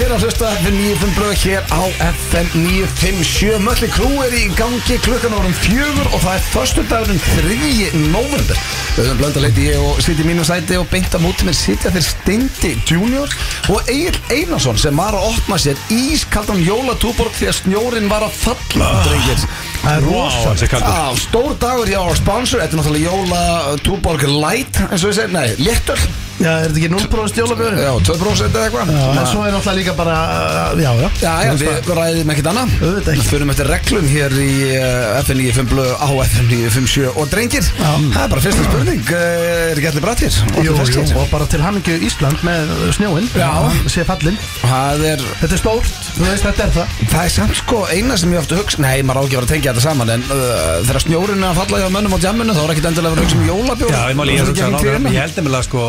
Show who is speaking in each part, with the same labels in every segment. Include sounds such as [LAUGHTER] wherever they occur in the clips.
Speaker 1: Þeir að hlusta FM 95 blöð hér á FM 957 Mölli Krú er í gangi klukkan árum fjögur og það er förstu dagurinn 3. november Öðum blönda leiti ég og sitja í mínu sæti og beint á móti mér sitja þeir Steindi Junior og Egil Einarsson sem var að opna sér ískaldan jólatúborg því að snjórin var að falla drengir Það er
Speaker 2: Vá, þessi kaldur.
Speaker 1: Já, stór dagur hjá our sponsor Þetta er náttúrulega jólatúborg light eins og ég segi, nei, léttöl
Speaker 3: Já, er þetta ekki 0% jólabjörn?
Speaker 1: Já, 2% eða eitthvað
Speaker 3: Já, en
Speaker 1: Þannig að-
Speaker 3: svo er náttúrulega líka bara, uh, já, já
Speaker 1: Já, já, við ræðum ekkert annað
Speaker 3: Auðvitað ekki.
Speaker 1: Við fyrir eftir reglum hér í eh, FN95 blöð á FN957 og drengir, það er bara fyrsta spurning eh, er ekki allir brattir og
Speaker 3: Jú,
Speaker 1: allir
Speaker 3: jú,
Speaker 1: ferskir?
Speaker 3: og bara til hamingju Ísland með uh, snjóinn
Speaker 1: Já.
Speaker 3: Hann sé fallin
Speaker 1: Það er,
Speaker 3: Þetta er stórt, þú veist, þetta er það
Speaker 1: það er samt sko eina sem ég ofta hugsa, nei maður á ekki að vera að tengja þetta saman en uh, þegar snjórinn er að falla hjá mönnum á djamminu þá er ekkert endilega að vera að hugsa um jólabjóð
Speaker 2: Já, ég máli, ég hugsa nákvæmlega,
Speaker 3: hérna?
Speaker 2: ég held nefnilega sko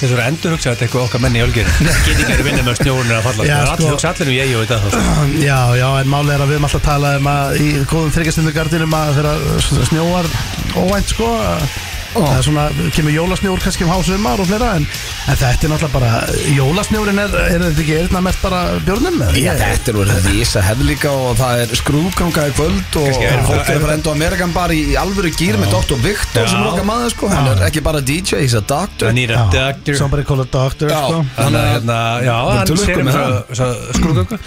Speaker 2: Þeir eru endur hugsa þetta eitthvað okkar menn í ölgir Getingar eru vinnir með snjórunir að falla
Speaker 3: Já,
Speaker 2: sko. Það
Speaker 3: sko.
Speaker 2: er allir hugsa allir um ég og þetta sko.
Speaker 3: Já, já, en málið er að við erum alltaf að tala um að í góðum þryggjastundu gardinum að þegar uh, snjóar óvænt, sko að
Speaker 1: Ó.
Speaker 3: Það er svona, kemur jólasnjór kannski um hásumar og fleira en, en þetta er náttúrulega bara Jólasnjórin er, er þetta ekki eirna mert bara björnum? eða?
Speaker 1: Já, þetta er verið að vísa hefðlíka og það er skrúkanga í kvöld og
Speaker 2: Kannski er-
Speaker 1: fólk er að fara enda á Amerikan bara í alvöru gýr með Dr. Victor sem er
Speaker 2: Já.
Speaker 1: okkar maður sko, hann er ekki bara DJ, he's a doctor
Speaker 2: I need a doctor
Speaker 3: Somebody call a doctor,
Speaker 1: Já.
Speaker 3: sko
Speaker 2: Þannig að hérna, já, hann
Speaker 1: til lukku
Speaker 2: sér um
Speaker 1: með
Speaker 2: skrúðgöngu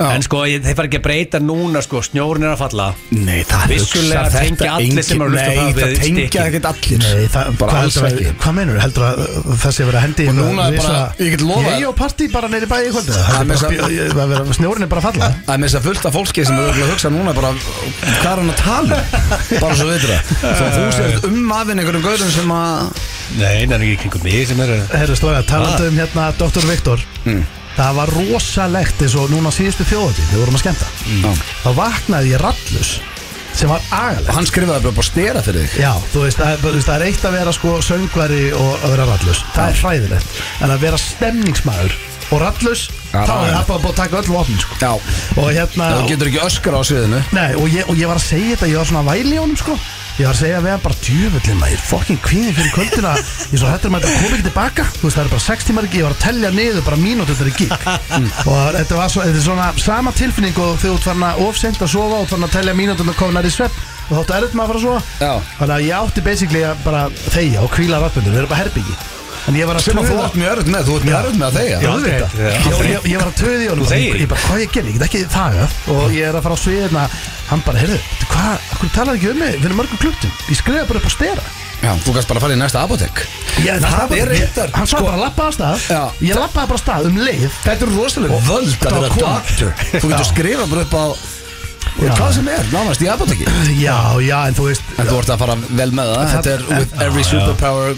Speaker 2: En sko, ég- þeir fara ekki að breyta núna sko, snjórun er að falla
Speaker 1: Nei, það
Speaker 2: Vissulega
Speaker 1: hugsar
Speaker 2: tengja
Speaker 1: þetta
Speaker 2: allir sem eru að hlusta á
Speaker 1: Nei,
Speaker 2: það
Speaker 1: það
Speaker 2: við
Speaker 1: tengja
Speaker 2: stykkin.
Speaker 1: ekkert allir
Speaker 3: Nei, það,
Speaker 1: bara
Speaker 3: hvað,
Speaker 1: alls
Speaker 3: heldur,
Speaker 1: ekki
Speaker 3: hvað meinur, heldur að uh, það sé verið að hendi í
Speaker 1: Og
Speaker 3: eitthvað
Speaker 1: núna er
Speaker 3: risa-
Speaker 1: bara- ég get lofað-
Speaker 3: Ég og partí bara neyri bæði í kvöldu Það
Speaker 1: Það með
Speaker 3: er
Speaker 1: þess
Speaker 3: bara
Speaker 1: að-
Speaker 3: spjó- ég- það er verið- Snjórinn er bara að falla
Speaker 1: Það er með þess að fullta fólki sem eru örugglega að hugsa núna bara hvað er hann að tala um? bara svo veitur það Svo þú sést um afinn einhverjum gaurum sem að
Speaker 2: Nei, það er ekki í kringum mig sem er
Speaker 3: Herru Strága,
Speaker 1: Ah.
Speaker 3: talandi um hérna Dr. Viktor
Speaker 1: Mm.
Speaker 3: Það var rosalegt eins og núna síðustu þjóðati Við vorum að skemmta Þá vaknaði ég rallus sem var agalegt
Speaker 1: hann skrifaði bara bara stera fyrir þig
Speaker 3: Já, þú veist, það er, þú veist, það er eitt að vera sko söngvari og að vera rallus Það er hræðilegt En að vera stemningsmaður og rallus
Speaker 1: Já,
Speaker 3: Þá er
Speaker 1: já.
Speaker 3: það bara búið að taka öll vopn sko.
Speaker 1: Já,
Speaker 3: Og hérna
Speaker 1: þú getur ekki öskra á sviðinu
Speaker 3: Nei, og ég, og ég var að segja þetta, ég var svona að væli honum sko Ég var að segja að við erum bara djöfullin maður Fokkin kvíðin fyrir kvöldina Ég er svo hættur maður að koma ekki tilbaka Þú veist, það eru bara 6 tímar ekki Ég var að tellja niður bara mínútur þegar ég gikk
Speaker 1: Mm.
Speaker 3: Og þetta var svo, þetta er svona sama tilfinning Og þegar þú ert farin að ofsend að sofa Og farin að tellja mínútur og koma nær í svepp Og þáttu erut maður að fara að sofa
Speaker 1: Já.
Speaker 3: Þannig að ég átti basically að bara þegja og kvíla rafbundur Við erum bara herbyggi En ég var að
Speaker 1: sem að þú
Speaker 3: tuða-
Speaker 1: átt mjög örð með, þú átt mjög örð með að
Speaker 3: Já,
Speaker 1: þegja
Speaker 2: Já,
Speaker 3: auðvitað.
Speaker 2: já,
Speaker 3: ég, ég, ég var að töði í honum
Speaker 2: Þú
Speaker 3: bara,
Speaker 2: þegir.
Speaker 3: Ég bara, hvað ég gerði, ég get ekki þagað Og ég er að fara á sviðina Hann bara, heyrðu, veitu hvað, hvernig talar ekki um mig Við erum mörgum klukktum, ég skrifa bara upp á stera
Speaker 1: Já, þú gæst bara að fara í næsta apotek
Speaker 3: ég,
Speaker 1: það
Speaker 3: það
Speaker 1: er
Speaker 3: bara- ég-
Speaker 1: reyndar,
Speaker 3: Hann sagði
Speaker 1: sko.
Speaker 3: bara að lappa að stað
Speaker 1: Já.
Speaker 3: Ég lappaði bara að stað um leið
Speaker 1: Þetta eru rosalega völd að
Speaker 3: Það
Speaker 1: vera
Speaker 3: kom.
Speaker 1: doktor Þú getur
Speaker 3: Já.
Speaker 1: skrifað bara upp á
Speaker 3: Já.
Speaker 1: hvað sem er, nánast í apoteki
Speaker 3: Já, já, en þú veist
Speaker 1: En þú ert að fara vel með það Þetta er with every superpower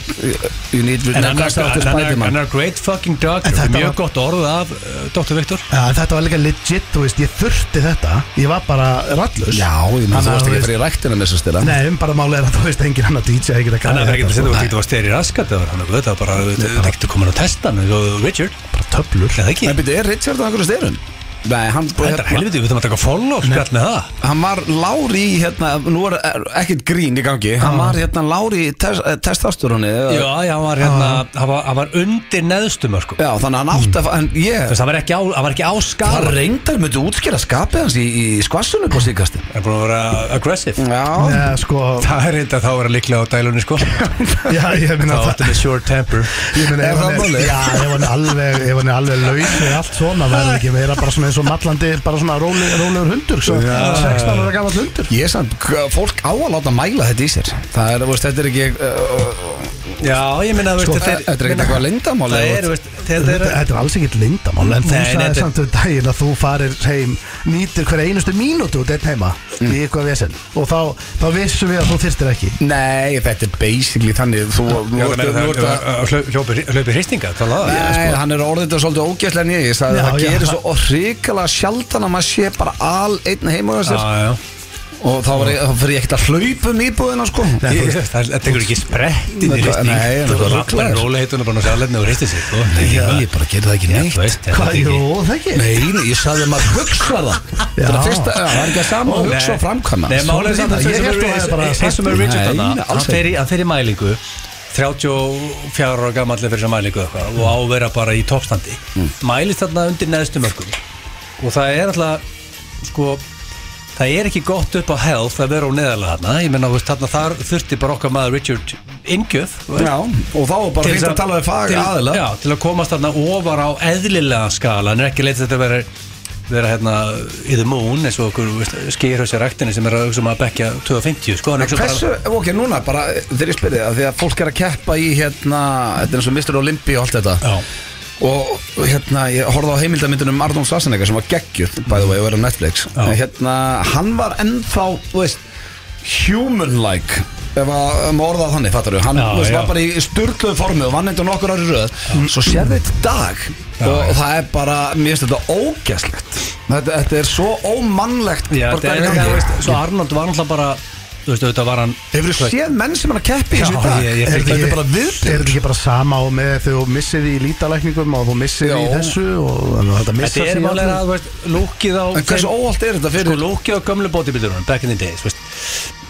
Speaker 1: You need with
Speaker 2: En
Speaker 1: never
Speaker 2: annar-
Speaker 1: stop to
Speaker 2: annar
Speaker 1: Spiderman
Speaker 2: annar great fucking doctor
Speaker 3: En þetta
Speaker 2: Mjög
Speaker 3: var-
Speaker 2: gott orð af uh, Dr. Viktor
Speaker 3: Já, en þetta var líka legit, þú veist, ég þurfti þetta Ég var bara rallus
Speaker 1: Já, ég menn þú varst
Speaker 3: Þannig
Speaker 1: ekki
Speaker 3: þú
Speaker 1: að
Speaker 3: veist-
Speaker 1: fara í ræktina með þessu stila
Speaker 3: Nei, um bara málið er að þú veist, engin annar DJ ekki að
Speaker 2: Þannig að það er ekki að setja
Speaker 3: sko.
Speaker 2: þú ekki að stera í raskat eða þannig að þetta var bara, þetta er ekki að koma að testa hann eins og Richard,
Speaker 3: Bara töflur
Speaker 2: eða ekki
Speaker 1: En byrju, er Richard á einhverju styrum? Nei, hann, hérna,
Speaker 2: Þetta er helviti, við þurfum að taka follow spjall með það
Speaker 1: hann var lári í hérna Nú er er ekkert grín í gangi Hann var hérna lári í tes, eh, testastúrunni Já,
Speaker 2: Já, já, hann var hérna, hann var, hann var undir neðstum sko.
Speaker 1: þannig að hann átti að fa- En
Speaker 2: Þú
Speaker 1: ég,
Speaker 2: veist, hann var ekki á, hann var ekki á
Speaker 1: það
Speaker 2: skala
Speaker 1: reyndar myndi útskýra skapið hans í, í skvassunum på síkastin
Speaker 2: Það er búin að vera aggressive
Speaker 1: Já,
Speaker 3: Já, sko
Speaker 2: Það er reynda þá að vera líklega á dælunni [LAUGHS] sko Það
Speaker 3: Já, ég meina það
Speaker 2: átti með short temper
Speaker 3: Ég meina,
Speaker 1: Er
Speaker 3: ef
Speaker 1: það
Speaker 3: hann er,
Speaker 1: málið?
Speaker 3: já, ef hann er alveg, ef hann er alveg laus og allt svona, verður ekki meira bara svona eins og mallandi, bara svona róli, rólegur hundur, svo 16 ára gammal hundur.
Speaker 1: ég samt, k- fólk á að láta mæla þetta í sér Það er, þú veist, þetta er ekki uh,
Speaker 2: Já, ég meina, þú
Speaker 1: Sko,
Speaker 2: veist,
Speaker 1: þetta er
Speaker 2: þetta
Speaker 1: ekkert eitthvað lindamál
Speaker 2: Það
Speaker 1: eða-
Speaker 2: er, þú veist, þetta er
Speaker 3: Þetta, þetta er alls ekkert lindamál, en þú
Speaker 2: Nei, nei,
Speaker 3: sagði
Speaker 2: þetta-
Speaker 3: samt um daginn að þú farir heim, nýtir hverja einustu mínútu út einn heima í eitthvað vesen og þá, þá vissum við að þú þyrstir ekki.
Speaker 1: Nei, þetta er basically þannig Þú,
Speaker 2: Já,
Speaker 1: þú
Speaker 2: það
Speaker 1: ert-
Speaker 2: meina,
Speaker 1: þú ert að
Speaker 2: það er hlaupi hristinga, talaðu það
Speaker 1: Nei, hann er orðið þetta svolítið ógæslega en ég Ég sagði
Speaker 3: Já,
Speaker 1: að það
Speaker 3: já,
Speaker 1: gerir
Speaker 3: það-
Speaker 1: svo hrikalega sjaldan að maður sé bara al einn heima á
Speaker 2: Já,
Speaker 1: þessir
Speaker 2: já
Speaker 1: og þá var ég- þá fyrir ég ekkert að hlaupa um íbúðina sko
Speaker 2: Ég- ég- Það það tekur ekki sprettin í
Speaker 1: Nei,
Speaker 2: hristing
Speaker 1: nei, nei,
Speaker 2: Þú
Speaker 1: það er
Speaker 2: rappar
Speaker 1: rugglaður.
Speaker 2: róleheituna bara á salerni og hristir sig sko.
Speaker 1: Já, ég bara gerði það ekki
Speaker 2: Já,
Speaker 1: neitt
Speaker 2: þú veist, þetta
Speaker 3: Hvað,
Speaker 2: er
Speaker 3: jú,
Speaker 2: ekki
Speaker 3: það ekki?
Speaker 1: Nei, nei, ég sagði að maður hugsa það Þetta er
Speaker 3: Já.
Speaker 1: að fyrsta, já, það er ekki að sama að
Speaker 2: Nei.
Speaker 1: hugsa og framkvæma
Speaker 2: Nei, málið er samt
Speaker 3: Ég
Speaker 2: að
Speaker 3: hélt þú hafðir bara
Speaker 2: eins
Speaker 3: sagt
Speaker 2: og með
Speaker 1: það.
Speaker 2: Richard
Speaker 1: Nei,
Speaker 2: þarna,
Speaker 1: nei, alls
Speaker 2: hann fer í- hann fer í mælingu 34 ára gamalli fyrir sem mælingu eitthvað og á að vera bara í toppstandi
Speaker 1: Mm.
Speaker 2: mælist þarna undir neðstu mörgum og það er alltaf sko, það er ekki gott upp á health að vera á neðalega þarna ég menna, þú veist, þarna þar þurfti bara okkar maður Richard Ingjöf
Speaker 1: Já, og þá er bara fínt að tala við fag aðila
Speaker 2: já, til að komast þarna ofar á eðlilega skala hann er ekki leitt þetta að vera vera hérna í the moon eins og okkur skýrhauðsja ræktinni sem er að, hugsa um að bekja 250 sko, hann
Speaker 1: En
Speaker 2: er bara-
Speaker 1: hversu, ok, núna bara þegar ég spyrði það, því að fólk er að keppa í hérna, þetta er eins og Mr. Olympi og allt þetta
Speaker 2: Já.
Speaker 1: og hérna, ég horfði á heimildamindunum Arnón Sassanega sem var geggjur, bæðu vegi, og er á Netflix
Speaker 2: Já.
Speaker 1: En hérna, hann var ennþá, þú veist, human-like ef að um orða það þannig, fattar hann
Speaker 2: Já,
Speaker 1: þú veist,
Speaker 2: já.
Speaker 1: var bara í sturgluðu formi og vann eitthvað nokkur ári röð svo sér þetta í dag og það er bara, mér finnst þetta ógæslegt þetta, þetta er svo ómannlegt
Speaker 2: Já,
Speaker 1: bara
Speaker 2: þetta
Speaker 1: hvað í
Speaker 2: er ekki,
Speaker 1: gangi.
Speaker 2: þú veist, svo Arnold var náttúrulega bara Þú veist, auðvitað var hann
Speaker 1: Hefur þú séð menn sem er að keppi í
Speaker 2: Já,
Speaker 1: þessu í dag?
Speaker 2: ég- ég-
Speaker 3: Er
Speaker 2: Þetta
Speaker 3: þetta
Speaker 1: er
Speaker 3: ekki-
Speaker 1: bara viðbjóður.
Speaker 3: Er þetta ekki bara sama á með þegar þú missið í lítalækningum og þú missið í
Speaker 1: Jó.
Speaker 3: þessu og þannig að þetta missa
Speaker 2: Þetta er
Speaker 3: sig í
Speaker 2: málega
Speaker 3: öllu.
Speaker 2: að, þú veist, lúkið á
Speaker 1: En hversu óvalt er þetta
Speaker 2: Sko,
Speaker 1: fyrir
Speaker 2: lúkið á gömlu bodybuildurunum, back in the days, þú veist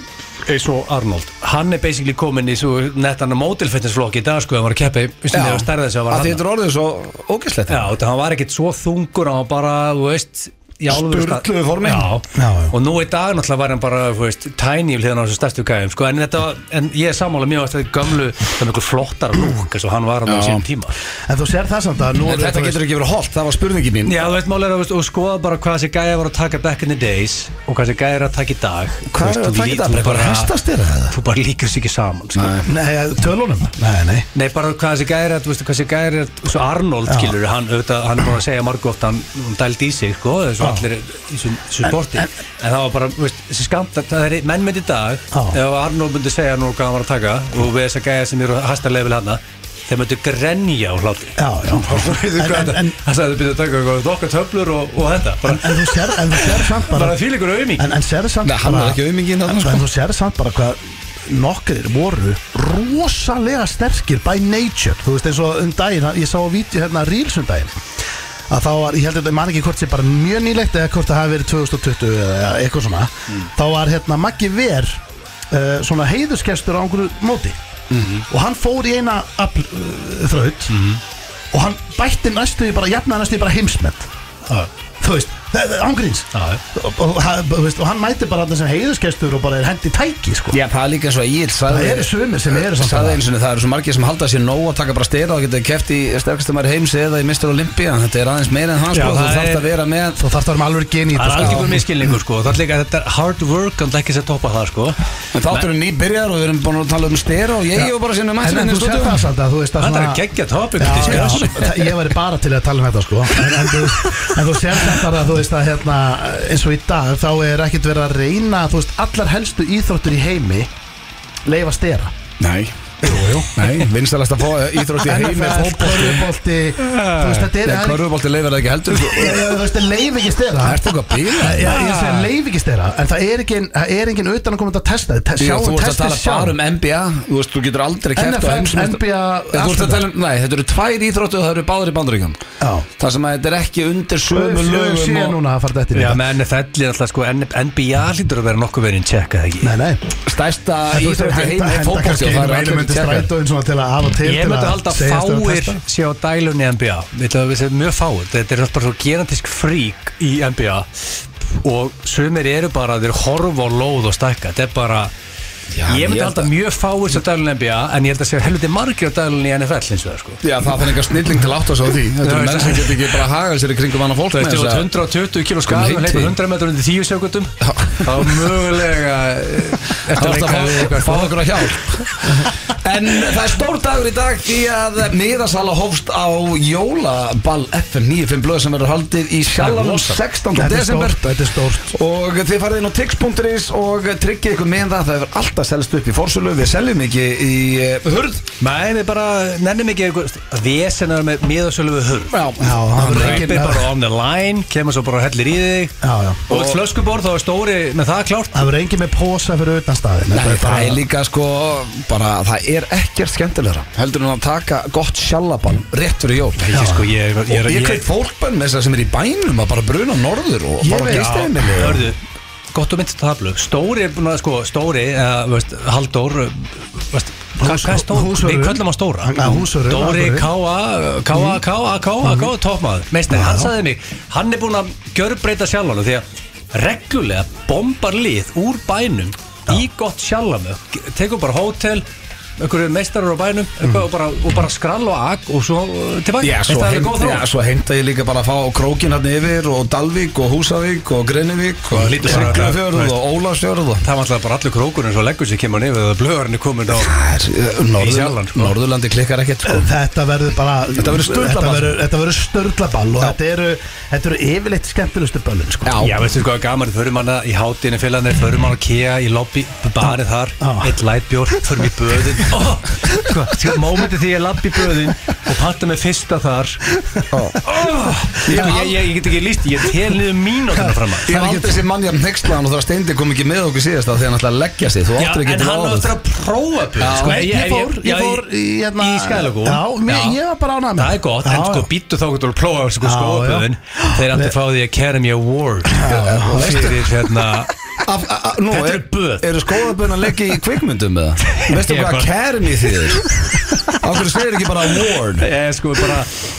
Speaker 2: eins og Arnold, hann er basically komin í svo nettan mótilfitnessflokk í dag sko, hann var að keppa í, vissi
Speaker 1: Já,
Speaker 2: þegar stærðið þess að var
Speaker 1: að því
Speaker 2: hann
Speaker 1: þetta er orðið svo ógæslegt
Speaker 2: Já, þetta hann var ekkit svo þungur hann var bara, þú veist í alvöru stað-
Speaker 1: Sturluðu formi.
Speaker 2: já.
Speaker 3: Já, já.
Speaker 2: og nú í dag náttúrulega var hann bara, þú veist, tæni hliðan á þessu stærstu gæðum, sko, en þetta en ég er sammála mjög að þetta gömlu, það er miklu flottar lúk, eins og hann var hann á
Speaker 1: Já.
Speaker 2: sínum tíma
Speaker 3: En þú sér það samt að nú
Speaker 1: En
Speaker 3: eru-
Speaker 1: þetta
Speaker 3: þú
Speaker 1: getur ekki verið holt, það var spurningi mín
Speaker 2: Já, þú veist, málega er að veist, og skoða bara hvað þessi gæja var að taka back in the days og hvað þessi gæja er að taka í dag Þú
Speaker 1: Hvað
Speaker 2: veist,
Speaker 1: er það
Speaker 2: þú
Speaker 1: að
Speaker 2: lí-
Speaker 1: taka
Speaker 2: þú
Speaker 1: þetta? Bara hestast er það?
Speaker 2: Þú bara líkar sér ekki saman sko.
Speaker 1: Nei.
Speaker 3: Nei, tölunum? Nei, nei
Speaker 2: Nei, bara hvað þessi gæja er að, þú veist, hvað þessi gæja er að Svo Arnold,
Speaker 3: Já.
Speaker 2: skilur, hann, auðvitað, hann er búin að segja margu oft Hann hann dældi í sig, sko, þessu allir í þessu þessu sporti En það var bara, þú veist, þessi skamt að Það er menn mynd í dag
Speaker 3: Já.
Speaker 2: Ef Arnold myndi segja nú hvað hann var að taka Og við þessa gæja sem eru að hasta level hana Þeir myndu grenja á hlátri
Speaker 3: Já, já En, en, en,
Speaker 2: Það sagði þau byrjuðu að taka eitthvað, okkar töflur og, og þetta bara,
Speaker 3: en þú sér, en þú sér samt bara
Speaker 2: bara fíl ykkur auðmík
Speaker 3: En, en sér samt
Speaker 1: Nei, hann
Speaker 3: bara-
Speaker 1: var ekki auminginn þarna,
Speaker 3: en,
Speaker 1: sko.
Speaker 3: en þú sér samt bara hvað nokkrir voru rosalega sterkir by nature þú veist eins og um daginn, ég sá að víti hérna Reels um daginn að þá var, ég held að ég man ekki hvort sé bara mjög nýlegt eða hvort það hafi verið 2020 eða eitthvað svona þá var hérna Maggi Ver uh, svona heiðuskestur á einhverju móti og hann fór í eina afl, uh, þraut og hann bætti næstu í bara jafnaði næstu í bara heimsmet þú veist, ángríns
Speaker 2: Já, já.
Speaker 3: og, og, hann- þú veist, og hann mæti bara þess að heiðuskestur og bara er hendi tæki sko.
Speaker 1: Já, það er líka svo að ég
Speaker 3: það eru sumir sem eru samt
Speaker 1: Saði
Speaker 3: að
Speaker 1: eins og það eru svo margir sem halda sér nóg að taka bara stera og geta keft í sterkastum maður heims eða í Mr. Olympia Þetta er aðeins meira en hans
Speaker 2: Já,
Speaker 1: sko, þú
Speaker 2: það
Speaker 1: þarft
Speaker 2: er-
Speaker 1: að vera með
Speaker 3: þú þarfst að vera með alveg geni í
Speaker 2: Það er
Speaker 3: þetta,
Speaker 2: algjörgur miskilningur sko Það er líka þetta er hard work en ekki sér toppa það sko
Speaker 1: En þáttur er nýbyrjar og við erum búin að tala um stera og ég og bara sinni um
Speaker 3: en,
Speaker 1: aðeins
Speaker 3: en þú sér það samt að þú veist að
Speaker 2: Það er
Speaker 3: svona
Speaker 2: að gegja topic sko.
Speaker 3: Já, já,
Speaker 2: discuss.
Speaker 3: það- ég væri bara til að tala um þetta sko en, en, þú, en þú sér þetta bara þú veist að hérna, eins og í dag þá er ekkert verið að reyna þú veist allar helstu íþróttur í heimi leifa stera
Speaker 1: Nei, jú, jú Nei, vinstalast að [LAUGHS] fá íþrótti heimi fótbolti
Speaker 3: fólkbólti þú veist þetta er
Speaker 1: Nei, körfubolti leifir það ekki heldur sko.
Speaker 3: Ég- ég- þú veist, leif ekki stera
Speaker 1: Ertu eitthvað að bíla?
Speaker 3: Já, ég segi leif ekki stera En það er engin, það er engin utan að koma að testa Te-
Speaker 1: Sjá,
Speaker 3: Sjáum
Speaker 1: þú ert að
Speaker 3: testið
Speaker 1: tala bara um NBA Þú veist, þú getur aldrei kæft
Speaker 3: NFL, NBA,
Speaker 1: Þú ert að tala um, nei, þetta eru tvær íþróttu og það eru báður í bandaríkjum
Speaker 3: Já.
Speaker 1: Það sem að þetta er ekki undir sömu
Speaker 3: Lög
Speaker 1: lögum
Speaker 3: sé
Speaker 1: og
Speaker 3: núna að fara þetta
Speaker 2: Já,
Speaker 3: inn í
Speaker 2: með NFL er alltaf sko N- NBA hlýtur að vera nokkuð verið tjekka það ekki
Speaker 3: Nei, nei
Speaker 1: stæsta
Speaker 3: En þú veist,
Speaker 1: íþróttu
Speaker 3: henda-
Speaker 1: heimi
Speaker 3: henda
Speaker 1: fótbolti
Speaker 3: kannski
Speaker 1: og það
Speaker 3: einum
Speaker 1: eru
Speaker 3: einum
Speaker 1: allir
Speaker 3: undir
Speaker 1: til tjekkar
Speaker 3: strætó eins og til að af og til
Speaker 2: Ég
Speaker 3: til
Speaker 2: myndi
Speaker 3: að
Speaker 2: halda að
Speaker 3: segjast vera að
Speaker 2: fáir
Speaker 3: testa.
Speaker 2: séu á dælunni í NBA Við ætlum að við séum mjög fáir Þetta er alltaf bara svo gerantisk frík í NBA og sumir eru bara þeir horfa á lóð og stækka Þetta er bara
Speaker 1: Já,
Speaker 2: Ég myndi
Speaker 1: ég held
Speaker 2: halda
Speaker 1: að-
Speaker 2: mjög fáir sér dælunni í NBA en ég held að séu helviti margir á dælunni í NFL hins vegar sko
Speaker 1: Já, það þarf einhver snilling til að átta sig á því Þetta eru
Speaker 2: Já,
Speaker 1: menn sem getur ekki bara hagað sér í kringum annað fólk
Speaker 2: Þú veist,
Speaker 1: með
Speaker 2: ef þú
Speaker 1: þessa-
Speaker 2: ert 120 kíló skall og
Speaker 1: Komið
Speaker 2: hleypur
Speaker 1: heiti.
Speaker 2: 100 metrur undir 10 sekundum þá mögulega eh,
Speaker 1: Það er
Speaker 2: eftir að leika við
Speaker 1: alltaf að
Speaker 2: eitthvað
Speaker 1: fá fá okkur að hjálp [LAUGHS] En það er stór dagur í dag því að miðasala hófst á jólaball FM 95 blöð sem verður haldið í
Speaker 2: Það
Speaker 1: sjalanum
Speaker 2: er rosa.
Speaker 1: 16.
Speaker 3: Þetta er
Speaker 1: desember
Speaker 3: stórt, þetta er stórt
Speaker 1: Og þið farið inn á tix.is og tryggið ykkur með það Það hefur alltaf selst upp í fórsölu Við seljum ekki í uh, hurð
Speaker 2: Nei, við bara nennum ekki eitthvað vesenar með miðasölu við hurð
Speaker 1: Já,
Speaker 3: það er
Speaker 2: Reipir
Speaker 3: engin-
Speaker 2: bara on the line, kemur svo bara og hellir í þig
Speaker 3: Já, já.
Speaker 2: Og eitt flöskuborð, þá er stóri með það klárt
Speaker 3: Það verður engin með posa fyrir utan staðin
Speaker 1: Nei, það er líka sko bara, það er ekkert skemmtilegra heldur en að taka gott sjallaball rétt fyrir jól
Speaker 2: Ég, sko, ég, ég,
Speaker 1: og ég
Speaker 2: ég,
Speaker 1: kveit
Speaker 2: ég,
Speaker 1: fólkbönn með þess að sem er í bænum að bara bruna norður og
Speaker 3: Ég
Speaker 1: bara
Speaker 3: veit.
Speaker 1: gista
Speaker 2: Hörðu, gott og myndið tablu Stóri er búin að sko, Stóri, eða, veist, Halldór eh, veist, hva-
Speaker 3: Hús-
Speaker 2: Hvað er Stóri?
Speaker 3: húsvörður.
Speaker 2: Við köllum á Stóra
Speaker 3: Ja, húsvörður,
Speaker 2: Dóri,
Speaker 3: akkurat.
Speaker 2: K.A., K.A.,
Speaker 1: Mm-hmm.
Speaker 2: K.A., K.A., K.A., toppmaður Meistari, hann sagði mig Hann er búin að gjörbreyta sjálfanum Því að reglulega bombar lið úr bænum Í gott sjálfanum Tekur bara hótel einhverju meistarar á bænum eitthvað, og, bara, og bara skrall og ak og svo eh, til
Speaker 1: Mm-hmm.
Speaker 2: bænum
Speaker 1: Já,
Speaker 2: Veist,
Speaker 1: svo,
Speaker 2: það er
Speaker 1: heim,
Speaker 2: góð þróun.
Speaker 1: já, svo heimta ég líka bara að fá krókin hann yfir og Dalvík og Húsavík og Greinivík og
Speaker 2: Lítið bara-
Speaker 1: Siglafjörð
Speaker 2: veist.
Speaker 1: og Ólafsfjörð og
Speaker 2: Það var alltaf bara allur krókurinn svo leggur sér kemur hann yfir eða blöðarinn er komin á
Speaker 1: Það er-
Speaker 2: Í Sjalland,
Speaker 1: Norðurland-
Speaker 2: sko.
Speaker 1: Norðurlandi klikkar ekkert sko.
Speaker 3: Þetta verður bara
Speaker 1: Þetta verður sturlaball.
Speaker 3: Þetta verður- Þetta verður störlaball Og
Speaker 1: Já.
Speaker 3: þetta eru, þetta eru yfirleitt skemmtilegustu böllin sko.
Speaker 2: Já, veistu hvað er gaman, förum hana í hátíðinni félagarnir, förum hana á KEA í lobby, barið þar,
Speaker 3: Já.
Speaker 2: eitt lightbjór, förum í böðin oh, Sko, mómentið því ég lapp í böðin og panta með fyrsta þar oh, ég, ég, ég, ég get ekki líst, ég tel niður mínútuna fram að
Speaker 1: Ég hef aldrei sér mannjafn nexlaðan og það steindi kom ekki með okkur síðast af því að hann ætlaði að leggja sig Þú
Speaker 2: Já,
Speaker 1: áttur ekki
Speaker 2: en
Speaker 1: til
Speaker 2: hann á
Speaker 1: orð.
Speaker 2: eftir að prófa böðin, sko
Speaker 3: Ég,
Speaker 2: ef
Speaker 3: fór, ég,
Speaker 2: já,
Speaker 3: fór í, hérna,
Speaker 2: í skælagú
Speaker 3: Já, mér, ég var bara ánað með
Speaker 2: Það er gott,
Speaker 3: já,
Speaker 2: en sko býttu þá getur að plóa sko
Speaker 3: Já,
Speaker 2: skóaböðin Þeir ættu að fá því Academy Award fyrir hérna
Speaker 1: Af- a- a- Nú,
Speaker 2: Þetta
Speaker 1: er,
Speaker 2: eru böð.
Speaker 1: eru skóðaböðin að leggja í kvikmyndum með það? Veistu
Speaker 2: Ég
Speaker 1: hvað
Speaker 2: bara-
Speaker 1: Academy þýðir? Af hverju segir ekki bara award?
Speaker 2: Ég er sko bara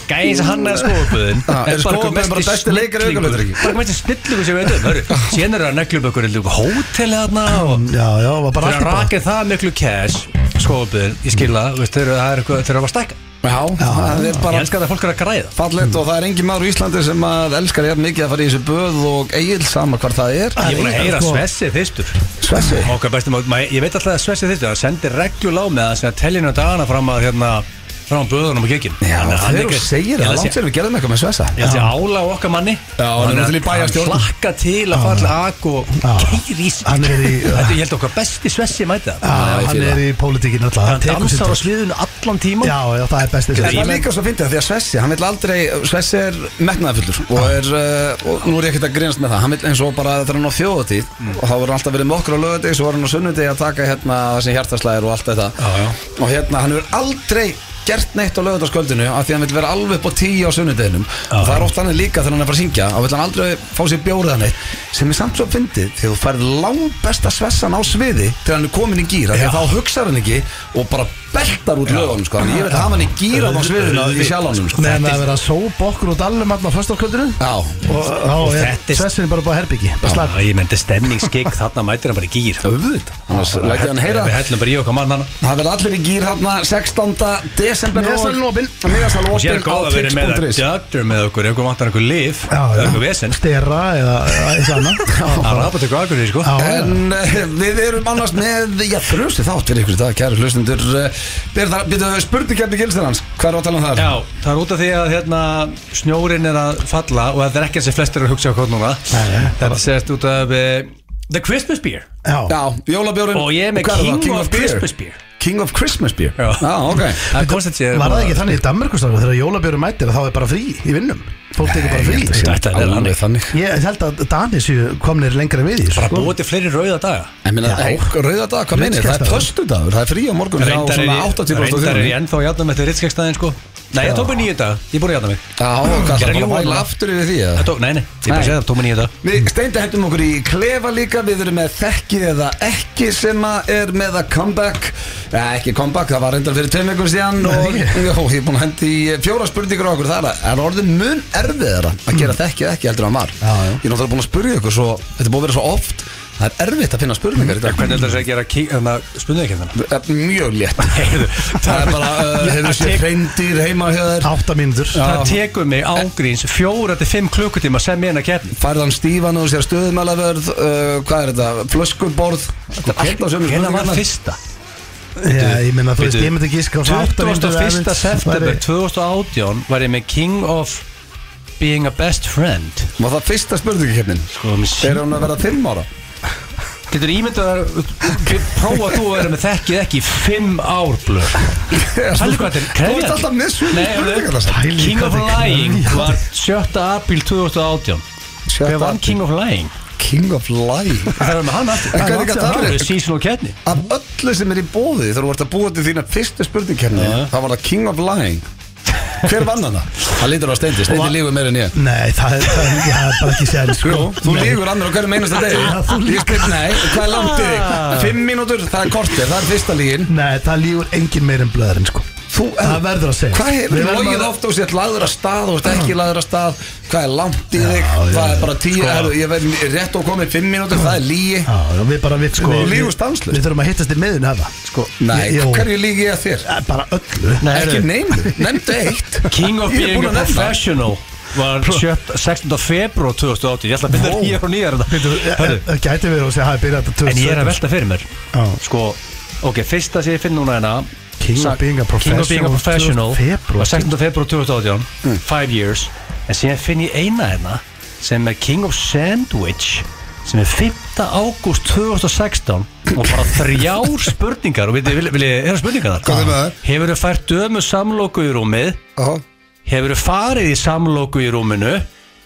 Speaker 2: Gæs sko. hann er skóaböðin
Speaker 1: Já, er skófaböðin bara besti Ah. leikari augnablik?
Speaker 2: Bara mest snillingu sem við veitum Hörru, síðan eru að neglum okkur Hótel þarna
Speaker 1: Ah.
Speaker 2: og
Speaker 3: Já, já, var bara
Speaker 2: Þeir
Speaker 3: allt í
Speaker 2: eru að
Speaker 3: bóð
Speaker 2: raka það miklu cash Skóaböðin, ég skilða Þeir eru það er eitthvað- þeir eru að vera stækka
Speaker 1: Já, það er
Speaker 2: Ég
Speaker 1: bara
Speaker 2: elskar það að fólk er að græða
Speaker 1: fallegt og það er engin maður í Íslandi sem að elskar ég mikið að fara í þessu böð og eigil sama hvar það er
Speaker 2: Ég er búin að heyra
Speaker 3: sko-
Speaker 2: Svessi fyrstur
Speaker 1: Svessi
Speaker 2: Okkar besti mál, ma- ég veit alltaf að Svessi þyrfti að sendi regjulá með það sem að tellinu dagana fram að hérna, fram að böðunum og kikkin
Speaker 1: Já, þegar þú segir það, langt sér við gerðum eitthvað með Svessa
Speaker 2: Ég held ég ála á okkar manni
Speaker 1: Já, hann er
Speaker 2: Þannig að
Speaker 1: til í bæjarstjórn.
Speaker 2: Hann hlakka til að fara til AK og keiri í sig
Speaker 3: Hann er í-
Speaker 2: Þetta er, ég held okkar besti Svessi mæta
Speaker 3: Já,
Speaker 1: Já, ég
Speaker 3: Hann
Speaker 1: fíla.
Speaker 3: er í pólitíkinu alltaf
Speaker 2: Hann
Speaker 3: tekur sinn
Speaker 2: dansar á
Speaker 3: tíma.
Speaker 2: sviðinu allan tíman
Speaker 3: Já, já, það er bestið
Speaker 1: En það er líka svo fyndið að því að Svessi, hann vil aldrei, Svessi er metnaðafullur
Speaker 2: Ah.
Speaker 1: og er, uh, og nú er ég ekkert að grínast með það, hann vil eins og bara þegar hann á þjóðatíð
Speaker 2: Mm.
Speaker 1: og þá var hann alltaf verið með okkur á lögadegi, svo var hann á sunnudegi að taka hérna þessi hjartaslæðir og allt þetta
Speaker 2: Já, já.
Speaker 1: og hérna hann hefur aldrei gert neitt á lögadagskvöldinu af því að hann vil vera alveg upp á tíu á sunnudeginum og það er oft hann líka þegar hann er að fara að syngja og vil hann aldrei fá sér bjóriða neitt sem er samt svo fyndið þegar þú færð langbesta svessan á sviði þegar hann er komin í gýra
Speaker 2: Já.
Speaker 1: þegar þá hugsar hann ekki og bara beltar út lögunum sko. Þannig ég vil hafa hann í gýra á sviðinu í sjálfanum sko.
Speaker 3: Meðan það er verið að sópa okkur út allum allan á föstarkvöldinu
Speaker 1: Já,
Speaker 3: Og þá er
Speaker 2: þetta er-
Speaker 3: Svessin bara búið að herbyggi
Speaker 2: Já, Ég menti stemningsgig, þarna mætir hann bara í gýr
Speaker 1: auðvitað Annars læt ég hann heyra
Speaker 2: Við hellum bara í okkar mann hann
Speaker 1: Það verður allir í gýr hérna 16. desember
Speaker 3: Miðasalinn opinn.
Speaker 1: Miðasal
Speaker 2: Og sér
Speaker 1: opinn á
Speaker 2: góða að vera með
Speaker 1: tix.is
Speaker 2: Dögdur með okkur, ef okkur vantar einhver lif Eitthvað vesinn
Speaker 3: Stera eða eða eitthvað annað
Speaker 2: [LAUGHS] Það er aðbætt eitthvað akkur í sko
Speaker 3: Já.
Speaker 1: En uh, við erum annars með, já, þrjusti þátt fyrir ykkur í dag, kæru hlustendur. Uh, Býrðu spurningarni gilsir hans, hvað er að tala um það?
Speaker 2: Já, það er út af því að hérna, snjórin er að falla og það er ekki sem flestir eru að hugsa á hvað núna
Speaker 3: Nei, nei,
Speaker 2: Þetta sést út af uh, The Christmas Beer
Speaker 3: Já,
Speaker 1: Já, jólabjórin.
Speaker 2: Og ég er með
Speaker 1: Hvað það?
Speaker 2: King of Christmas Beer.
Speaker 1: King of Christmas Beer?
Speaker 2: Já.
Speaker 1: Já, ok.
Speaker 2: Það kostið sér
Speaker 3: Var það ekki þannig í Danmörku strákar, þegar jólabjörn mættir að þá er bara frí í vinnum Fólk tekur bara
Speaker 1: Ég held að
Speaker 3: frí
Speaker 1: sé
Speaker 2: Þetta er
Speaker 1: alveg
Speaker 2: þannig.
Speaker 1: þannig.
Speaker 3: Ég held að Danis komnir lengra við í þessu,
Speaker 2: Bara
Speaker 3: sko.
Speaker 2: búið til fleiri rauða daga
Speaker 1: En minna,
Speaker 3: Já.
Speaker 1: rauða dag, hvað minnir? Það er
Speaker 3: Ritskjálftaður.
Speaker 1: föstudagur, það er frí á morgun hjá
Speaker 2: Reyndar er
Speaker 1: svona
Speaker 2: ég-
Speaker 1: 80
Speaker 2: reyndar er ég ennþá að játna með þetta ritskegstaðin sko Nei, ég tók mér nýju dag, ég búið að játna mig
Speaker 1: Já, hvað það
Speaker 2: Gerði
Speaker 1: er bara að
Speaker 2: jólabjór.
Speaker 1: væla aftur yfir því,
Speaker 2: Það
Speaker 1: eða?
Speaker 2: tók, Nei, nei, ég bara
Speaker 1: Nei.
Speaker 2: segja það, tók mér nýju dag
Speaker 1: Við steindi hættum okkur í klefa líka, við erum með þekkið eða ekki sem að er með að comeback eh, Ekki comeback, það var reyndar fyrir tveim vikum síðan og jó, ég er búin að hendi í fjóra spurningur á okkur Það er- er orðin mun erfiðara að
Speaker 2: Mm.
Speaker 1: gera þekkið eða ekki heldur en hann var
Speaker 3: Já, já.
Speaker 1: Ég er náttúrulega búin að spurja ykkur svo, þetta er búin að vera svo oft Það er erfitt að finna spurningar í dag
Speaker 2: Mm. Hvernig heldur þessi að gera ki- hérna, þarna spunniðikendana?
Speaker 1: Eh, Mjög
Speaker 2: [LAUGHS]
Speaker 1: létt
Speaker 2: Heyrðu,
Speaker 1: Það er bara,
Speaker 2: [LAUGHS]
Speaker 1: uh, hefur sér
Speaker 2: tek-
Speaker 1: hreindir heima hjá þér
Speaker 3: Átta mínútur
Speaker 2: það tekur mig ángríns fjóra til fimm klukkutíma sem ég er að kefni
Speaker 1: Færðan stífan og sér stöðumælavörð uh, Hvað er þetta? Flöskuborð Þetta er alltaf sömu
Speaker 2: Hvenær Sko, Hérna var
Speaker 1: spurningarnar.
Speaker 2: fyrsta?
Speaker 3: Já, ég meina, þú veist,
Speaker 2: Bíddu.
Speaker 3: ég myndi gíska á svona átta mínútur
Speaker 2: 21.
Speaker 3: væri-
Speaker 2: september 2018 var ég með King of Being a Best Friend
Speaker 1: Var það fyrsta spurningakefnin?
Speaker 2: Sko, með sí-
Speaker 1: Er hún að vera 5 ára?
Speaker 2: Getur ímyndað að prófa þú að vera með þekkið ekki í fimm ár
Speaker 1: [LAUGHS]
Speaker 2: blöð Pældu hvað þetta er
Speaker 1: Þú ert alltaf með sömu
Speaker 2: Nei,
Speaker 1: spurningar,
Speaker 2: alveg.
Speaker 1: Lasse.
Speaker 2: King of
Speaker 3: Pældu hvað þetta er
Speaker 2: Lying
Speaker 3: krefjandi.
Speaker 2: var 7. apríl 2018
Speaker 1: Sjötta
Speaker 2: Hver vann
Speaker 1: apríl.
Speaker 2: King of Lying?
Speaker 1: King of Lie
Speaker 2: Það er með hann aftur
Speaker 1: En hvernig
Speaker 2: Hann
Speaker 1: gat
Speaker 2: aftur.
Speaker 1: það verið?
Speaker 2: Það er seasonal kenni
Speaker 1: Af öllu sem er í bóði þegar þú ert að búa til þína fyrstu spurningakefni
Speaker 2: Já.
Speaker 1: þá var það King of Lying Hver vann hana? Það lítur á steindi, steindi lígur meira en ég
Speaker 3: Nei, það er, það er, ég hef bara ekki séð sko.
Speaker 1: Jú, þú
Speaker 3: Nei.
Speaker 1: lígur annar á hverjum einasta degi
Speaker 3: Já, þú
Speaker 1: Ég spyr, nei, hvað er langt í þig? Fimm mínútur, það er kortir, það er fyrsta lígin
Speaker 3: Nei, það lígur engin meir en blöðurinn sko.
Speaker 1: Þú,
Speaker 3: Það verður að segja
Speaker 1: Hvað hefur
Speaker 3: Við
Speaker 1: þú
Speaker 3: verðum
Speaker 1: logið
Speaker 3: að-
Speaker 1: oft og sett lagður að stað og sett ekki lagður að stað Hvað er langt í þig?
Speaker 3: já,
Speaker 1: Það
Speaker 3: já.
Speaker 1: er bara tíu,
Speaker 3: Sko.
Speaker 1: sko. ég verð rétt og komið fimm mínútur, það er lígi
Speaker 3: Já, já, við bara við sko
Speaker 1: Við lígum
Speaker 3: við-
Speaker 1: stanslaust.
Speaker 3: Við þurfum að hittast í miðun hafa Sko,
Speaker 1: Nei,
Speaker 3: ég- ég-
Speaker 1: hverju lígi ég að þér?
Speaker 3: Eh, Bara öllu
Speaker 2: Nei,
Speaker 1: Ekki
Speaker 2: heyrðu,
Speaker 1: neymdu, nefndu eitt
Speaker 2: King
Speaker 1: Ég
Speaker 2: of
Speaker 1: er
Speaker 2: Being
Speaker 1: búinn
Speaker 2: a
Speaker 1: að nefna.
Speaker 2: Professional var 7, 16. februar 2008 ég ætla að byrja
Speaker 1: Vó.
Speaker 2: nýjar og nýjar
Speaker 3: Þú- eh, eh,
Speaker 2: Hörru,
Speaker 3: Það gæti verið að segja hafi byrjað þetta 2017
Speaker 2: en ég er að velta fyrir mér
Speaker 3: Já.
Speaker 2: sko, ok, fyrsta sem ég finn núna hérna
Speaker 3: King of
Speaker 2: sa-
Speaker 3: Being a
Speaker 2: King of Being
Speaker 3: Professional,
Speaker 2: a Professional
Speaker 3: 20. febrúar.
Speaker 2: var 16. februar 2018
Speaker 3: Mm.
Speaker 2: five years, en síðan finn ég eina hérna sem er King of Sandwich sem er 5. ágúst 2016 og bara
Speaker 3: [LAUGHS]
Speaker 2: þrjár spurningar og vil, vil, vil ég hérna spurningar
Speaker 1: Hvað er með þær?
Speaker 2: hefur þú fært dömu samlóku í rúmið
Speaker 1: Aha.
Speaker 2: Hefur þú farið í samlóku í rúminu?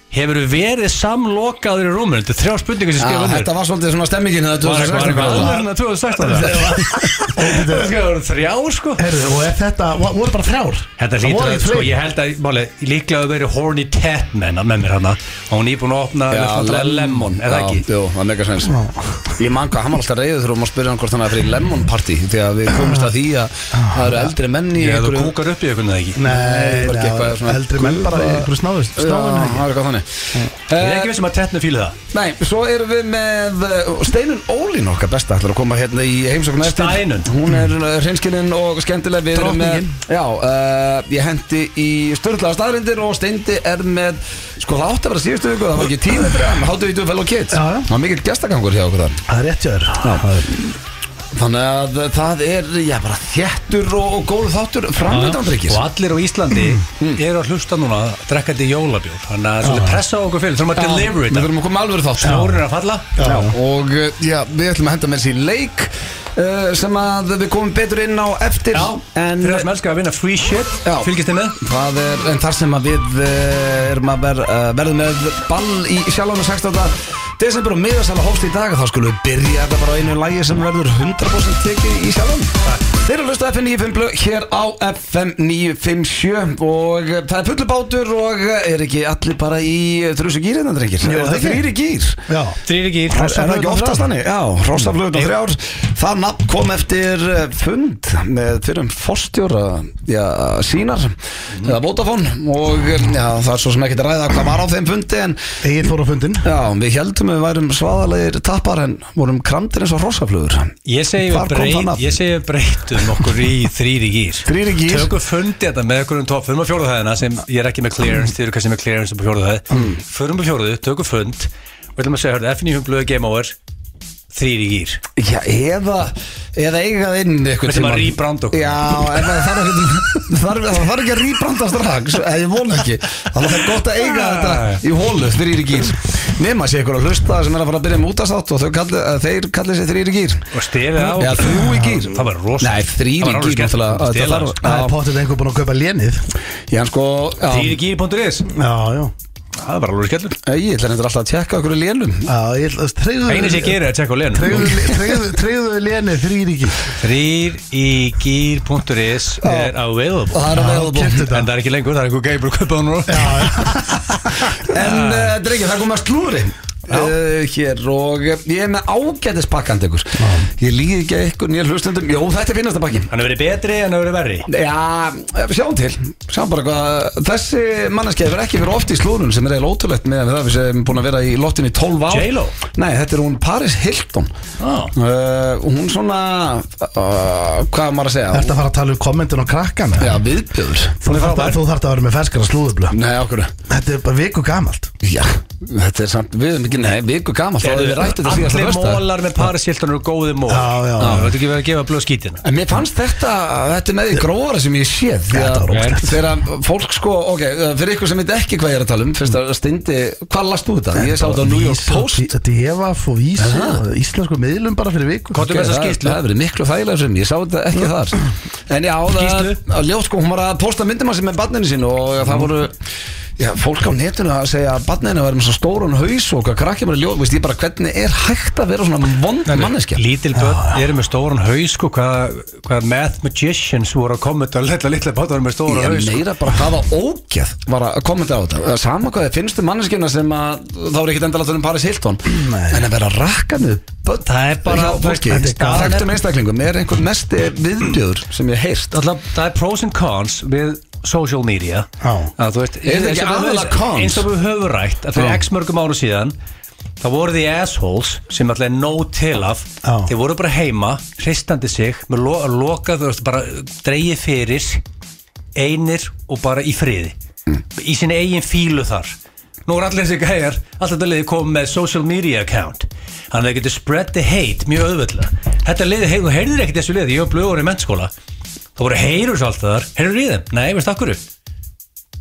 Speaker 2: Hefur þú verið samlokaður í rúminu? Þetta er þrjá spurningar sem
Speaker 1: Já,
Speaker 3: Ah,
Speaker 2: skrifa
Speaker 1: Þetta var svolítið svona stemmingin það
Speaker 2: Var eitthvað var eitthvað alveg hérna 2016 það? Það skal vera þrjá sko
Speaker 3: Herðu, og er þetta, vo- voru bara þrjár
Speaker 2: Þetta
Speaker 3: Það
Speaker 2: hlýtur
Speaker 3: voru
Speaker 2: að,
Speaker 3: ekki
Speaker 2: sko,
Speaker 3: fleiri.
Speaker 2: ég held að, máli, líklega hafa verið Horny Cat menna með mér hana og hún er búin að opna
Speaker 1: Já,
Speaker 2: ja, Lemon, er það ekki?
Speaker 1: Jú, það er mega sens Ég man hvað, hann var alltaf reyður þurfum að spyrja hann hvort hann er fyrir lemon party því að við komumst að því að það eru eldri menni
Speaker 2: Ég hefði þú kúkar upp í einhvern veginn ekki
Speaker 3: Nei,
Speaker 1: Var ekki eitthvað
Speaker 3: nei,
Speaker 1: svona
Speaker 3: eldri menn bara í einhverju snáðu
Speaker 1: Já,
Speaker 3: Snáðum
Speaker 1: það er eitthvað þannig
Speaker 2: Ég er
Speaker 1: Eh,
Speaker 2: ekki vissum að Tetnu fíla það
Speaker 1: Nei, svo erum við með uh, Steinun Ólín okkar besta ætlar að koma hérna í heimsókn eftir.
Speaker 2: Steinunn.
Speaker 1: Hún er hreinskilinn og skemmtileg Við erum með-
Speaker 3: Drottningin.
Speaker 1: Já, uh, ég hendi í störðlaða staðrindir og Steindi er með Sko það átti að vera síðustu viku, það var ekki tíma fyrir hann Háttu við þú fel og kitt
Speaker 3: Já, já.
Speaker 1: Það var mikill gestagangur hjá okkur þar
Speaker 3: Það er rétt hjá þér Það er-
Speaker 1: Þannig að það er, já bara þéttur og, og góð þáttur framöndan
Speaker 2: Og
Speaker 1: drikkis
Speaker 2: allir á Íslandi Mm. eru að hlusta núna drekkandi jólabjór Þannig að svolítið pressa á okkur fyrir, þurfum að deliver
Speaker 1: Við
Speaker 2: þetta
Speaker 1: þurfum að koma alveg þátt
Speaker 2: Snjórinn er að falla
Speaker 1: Já, og uh, já, við ætlum að henda með þessi leik uh, sem að við komum betur inn á eftir
Speaker 2: Já,
Speaker 1: en
Speaker 2: fyrir það sem elskar að vinna free shit
Speaker 1: Já.
Speaker 2: Fylgist þið með?
Speaker 1: það er en þar sem að við uh, erum að ver, uh, verðum með ball í sjálfum 16. desember og miðasala hófst í dag þá skulum við byrja þetta bara á einu lægi sem verður 100% tekið í sjálfum Þeir eru að hlusta á FM 95 blöð hér á FM 957 og uh, það er fullu bátur og uh, er ekki allir bara í þrjusu gýrina, drengir?
Speaker 3: Jú,
Speaker 1: Er
Speaker 3: það
Speaker 1: það
Speaker 3: ekki.
Speaker 1: þrýri gýr?
Speaker 3: Já
Speaker 2: Þrýri gýr
Speaker 1: Er það ekki oftast þannig? Já, Rossaflöðun og þrjár Það nafn kom eftir eh, fund með fyrrum forstjóra já, sínar
Speaker 2: Mhm.
Speaker 1: eða Vodafone og eh, já, það er svo sem ekkert að ræða hvað var á þeim fundi en
Speaker 3: Egil fór á fundin
Speaker 1: já, við heldum við værum svaðalegir tappar en vorum kramdir eins og Rossaflöður
Speaker 2: Ég segi
Speaker 1: Hvar kom
Speaker 2: við
Speaker 1: það
Speaker 2: breyt,
Speaker 1: nafn?
Speaker 2: ég segi við breytum okkur í þrýri gýr
Speaker 1: Þrír í gír.
Speaker 2: Tökum fundi þetta með okkur um topp Förum á fjóruðu hæðina sem ég er ekki með clearance Þið eru kannski með clearance upp á fjóruðu hæð
Speaker 1: Mm.
Speaker 2: Förum á fjóruðu, tökum fund Og ætlum að segja, hörðu, FNF blöðu game over Þrýri gýr
Speaker 1: Já, eða, eða eigað inn einhvern
Speaker 2: Ætlum að
Speaker 1: tímann.
Speaker 2: rebranda okkur.
Speaker 1: Já, en það þarf ekki [LAUGHS] það þarf- það þarf ekki að rýbranda strax eða ég vona ekki þannig að það er gott að eiga þetta í hólu þrýri gýr nema sé ykkur að hlusta sem er að fara að byrja með útastátt og þau kalli, eh, þeir kalli sér þrýri gýr
Speaker 2: Og stefið á
Speaker 1: Já, þrjú í gír
Speaker 2: Það var rosa
Speaker 1: Nei, þrír í gír, náttúrulega, það þarf-
Speaker 3: Það er
Speaker 1: Já.
Speaker 3: potið einhver búin að kaupa lénið
Speaker 1: Já, en sko já,
Speaker 2: Þrýri gýr.is
Speaker 3: Já, já
Speaker 2: Það var alveg skellur
Speaker 1: Ég ætla hendur alltaf að tjekka okkur í lénum
Speaker 3: Já, ég ætla Treyðu
Speaker 2: Einu sem ég gerir er að tjekka á lenum
Speaker 3: Treyðu, treyðu lénið þrýri gýr
Speaker 2: Þrýr í gýr.is er available
Speaker 1: Það er að
Speaker 3: Já, keyptu þetta.
Speaker 1: veða
Speaker 2: En það er ekki lengur, það er einhver gæði bara að kaupa hann núna
Speaker 1: En uh, drengir, það kom að slúri uh, Hér og eh, ég er með ágætis pakkandi ykkur Ég líði ekki að ykkur nýja hlustendum Jó, þetta er finnasta pakkin
Speaker 2: Hann hefur verið betri en hann hefur verið verri
Speaker 1: Já, sjáum til Sjáum bara hvað Þessi manneskja hefur ekki verið oft í slúrun sem er eiginlega ótrúlegt með það við sem búin að vera í lottinu í 12 ár
Speaker 2: J.Lo?
Speaker 1: Nei, þetta er hún Paris Hilton
Speaker 2: Já.
Speaker 1: uh, Hún svona uh, Hvað á maður að segja?
Speaker 3: Þetta fara að tala um kommentin og krakkana
Speaker 1: Já, viðbjöður
Speaker 3: Þú þarft að- þú þarft að vera með ferskara slúðublu
Speaker 1: Nei, okkur
Speaker 3: Þetta er bara viku gamalt
Speaker 1: Já, þetta er samt Við erum ekki, nei, viku gamalt Þá hefur við rætt þetta síðast
Speaker 2: Allir mólar með Parisildun eru góði mól
Speaker 3: Já, já, já.
Speaker 2: Þú veit ekki verið að gefa blöð skítina
Speaker 1: En mér fannst þetta, þetta er með því gróðara sem ég séð því að-
Speaker 3: Þetta var ógeðslegt.
Speaker 1: [LAUGHS] Þegar fólk sko, ok, fyrir ykkur sem veit ekki hvað ég er að tala um Fyrst að stindi, hvað last þú þetta? Ég sá þetta á New York
Speaker 3: Vísi og
Speaker 1: Post
Speaker 3: Dí- Devaf og Vísi og Íslensku miðlum bara fyrir viku
Speaker 2: Hvað- Komdu með
Speaker 1: Ok,
Speaker 2: þessa
Speaker 1: það-
Speaker 2: skýrslu.
Speaker 1: Það hefur verið miklu þægilega sem ég sá þetta ekki þar En já,
Speaker 2: Skýrslu. Mm.
Speaker 1: það að ljótt sko, hún var að posta myndum hans með barninu sín og það voru Já, fólk á netinu að segja að barninu verður með svo stóran haus og hvað krakkja maður er ljóð, veist ég bara hvernig er hægt að vera svona vond manneskja
Speaker 2: Lítil börn eru með stóran haus sko, hvað, hvað math magicians voru að koma þetta litla litla bátar með stóran
Speaker 1: Ég
Speaker 2: haus sko.
Speaker 1: meira bara hvaða ógeð var að kommenta á þetta Það er Sama hvað þið finnstu manneskjuna sem að þá er ekkit endala um Paris Hilton
Speaker 3: Nei.
Speaker 1: En að vera rakkanuð
Speaker 2: Það er bara-
Speaker 1: fólki,
Speaker 2: þetta er gaman.
Speaker 1: Þekktum einstaklingum er einhver mesti viðbjöður sem ég heist
Speaker 2: Alla, það er pros and cons við social media
Speaker 3: Já.
Speaker 2: að, þú veist,
Speaker 1: þetta
Speaker 2: eins og
Speaker 1: ekki
Speaker 2: við-
Speaker 1: aðalega cons?
Speaker 2: eins og við höfum rætt að fyrir
Speaker 1: Já.
Speaker 2: x mörgum ára síðan þá voru því assholes sem alltaf er nóg til af
Speaker 3: Já.
Speaker 2: þeir voru bara heima, hristandi sig með lo lokað, þú veist, bara dreigið fyrir einir og bara í friði í sinni eigin fílu þar nú er allir þessi gæjar, alltaf þetta liði komið með social media account þannig að það getur spread the hate mjög auðvöldlega þetta liði, hey, þú heyrðir ekkert þessu liði, ég var blöður í mennskóla þá voru heyrus alltaf þar, heyrður í þeim nei, veist akkur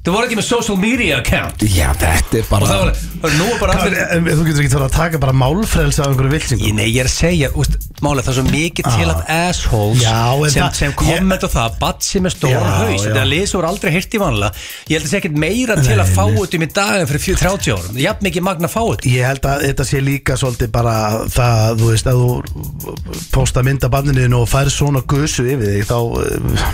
Speaker 2: þau voru ekki með social media account
Speaker 1: Já, þetta er
Speaker 2: og
Speaker 1: bara
Speaker 2: það var, nú er bara allir
Speaker 3: En Þú getur ekki þarf að taka bara málfrelsi af einhverju vilsingu
Speaker 2: Ég, nei, ég er að segja, úst, máli það er svo mikið til af assholes
Speaker 3: Ah. Já, en
Speaker 2: sem,
Speaker 3: það-
Speaker 2: sem komment á það, batsi með stóran
Speaker 3: Já,
Speaker 2: haus
Speaker 3: já.
Speaker 2: þetta lið sem voru aldrei hirt í vanlega ég held að það sé ekkert meira til að fá þetta um í dag en fyrir fjö- 30 árum, jafn mikið magna fá þetta
Speaker 3: Ég held að þetta sé líka svolítið bara það, þú veist, að þú posta mynd af bandinu og fær svona gusu yfir þig, þá eh,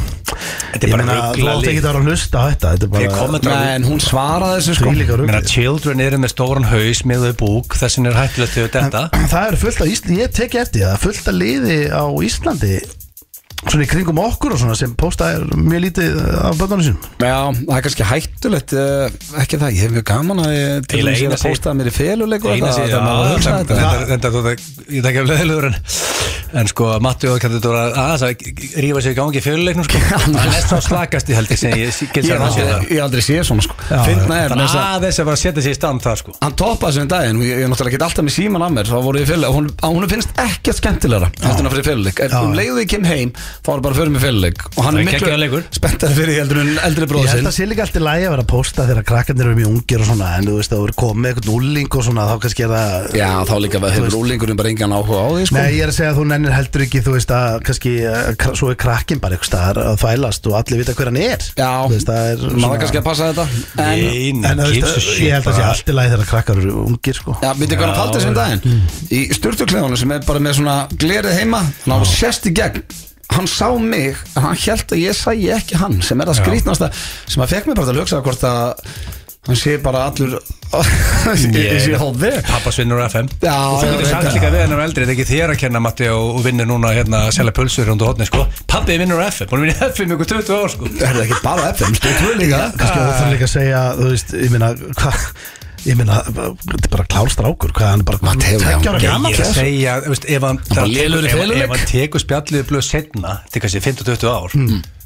Speaker 2: Þetta er bara
Speaker 3: Þú
Speaker 2: ruglað
Speaker 3: átt
Speaker 2: líf.
Speaker 3: ekki að vera að hlusta á þetta Þetta er
Speaker 2: Ég
Speaker 3: bara
Speaker 2: kom-
Speaker 1: Nei, en hún svaraði þessu sko
Speaker 3: þvílíka
Speaker 2: Ég meina,
Speaker 3: rugli
Speaker 2: children eru með stóran haus með þau búk, þessin er hættilegt þau þetta
Speaker 3: Það eru fullt af Íslandi, ég tek eftir það fullt af liði á Íslandi svona í kringum okkur og svona sem posta er mjög lítið af bönnarnu sínum
Speaker 1: Já, það er kannski hættulegt eh, ekki það, ég hef mjög gaman að ég til
Speaker 2: Eiginlega
Speaker 1: þess
Speaker 2: eina
Speaker 1: að
Speaker 2: sig-
Speaker 1: postaða mér í feluleik og
Speaker 2: Eina
Speaker 1: þetta,
Speaker 2: síðan,
Speaker 1: þetta maður að
Speaker 3: um
Speaker 1: hugsa þetta.
Speaker 2: þetta þetta þú það, ég tekja af leðilegur en en sko, Matti og Kjartur Dóra aðeins að rífa sig í gangi í
Speaker 3: [LAUGHS]
Speaker 2: fjöluleiknum sko, hann er næst þá slakast í heldig sem ég get
Speaker 1: Ég
Speaker 2: sér
Speaker 1: hef
Speaker 2: að sé
Speaker 1: aldrei-
Speaker 2: það
Speaker 1: ég hef aldrei séð svona sko Fyndna er
Speaker 2: þannig
Speaker 1: þess að
Speaker 2: aðeins að bara setja sig í stand það sko
Speaker 1: Hann toppaði sem daginn, og ég ég er náttúrulega ekki alltaf með síman að mér þá voru ég fyrir, hún, að hún finnst ekkert skemmtilegra heldur en að fyrir fyrirleik, ef
Speaker 3: Já.
Speaker 1: hún leiði ég kem heim þá var bara fyrir mig fyrirleik og hann
Speaker 2: Það
Speaker 1: er
Speaker 2: er geggjaður leikur.
Speaker 1: miklu spenntar fyrir því heldur en eldri
Speaker 3: Ég held
Speaker 1: bróðsinn
Speaker 3: að sé líka allt í lagi að vera að posta þegar krakkarnir eru mjög ungir og svona en þú veist að þú eru komið eitthvað núling og svona þá kannski er það
Speaker 1: Já, þá líka hefur úlingurinn bara engan áhuga á því sko.
Speaker 3: Nei, ég er að segja að þú nennir heldur ekki þú veist að kannski eh, kra- svo er krakkin bara eitthvað staðar að þvælast og allir vita hver hann er
Speaker 1: Já,
Speaker 3: þú veist, það er
Speaker 1: maður kannski að passa þetta en,
Speaker 2: eina,
Speaker 3: En þú veist, ég held að sé allt í lagi þegar krakkar eru ungir sko
Speaker 1: Já, myndi hvað hann faldi þessum daginn Í styrtukleðunum sem er bara með svona glerið heima Þannig að hann sérst í gegn Hann sá mig, en hann held að ég sæi ekki hann Sem er það skrýtnasta Sem að fekk mig bara til að hugsa hvort að Hann sé bara allur [LAUGHS] Ég sé á þig
Speaker 2: pappasvinnur FM
Speaker 1: Já,
Speaker 2: og
Speaker 1: já,
Speaker 2: þú getur
Speaker 1: veit
Speaker 2: sagt
Speaker 1: það.
Speaker 2: líka við hennar eldri þetta er ekki þér að kenna Matti og, og vinnur núna hérna að selja pulsur hundu hotni sko pappi vinnur á FM, hún vinnur FM ykkur 20 ár sko
Speaker 1: Það er ekki bara FM, styrtukleð líka
Speaker 3: Kannski þú þarf líka að segja, þú veist, ég meina hvað, ég meina, þetta er bara klár strákur hvað hann er bara
Speaker 1: Matteo, já.
Speaker 3: tveggja ára
Speaker 1: Ég-
Speaker 2: ég
Speaker 3: gamall,
Speaker 2: er að
Speaker 3: þessu.
Speaker 2: segja, þú veist, ef hann
Speaker 1: bara
Speaker 2: ef-
Speaker 1: lélegur í
Speaker 2: ef-
Speaker 1: feluleik.
Speaker 2: ef hann tekur spjallið blöð setna til kannski 15-20 ár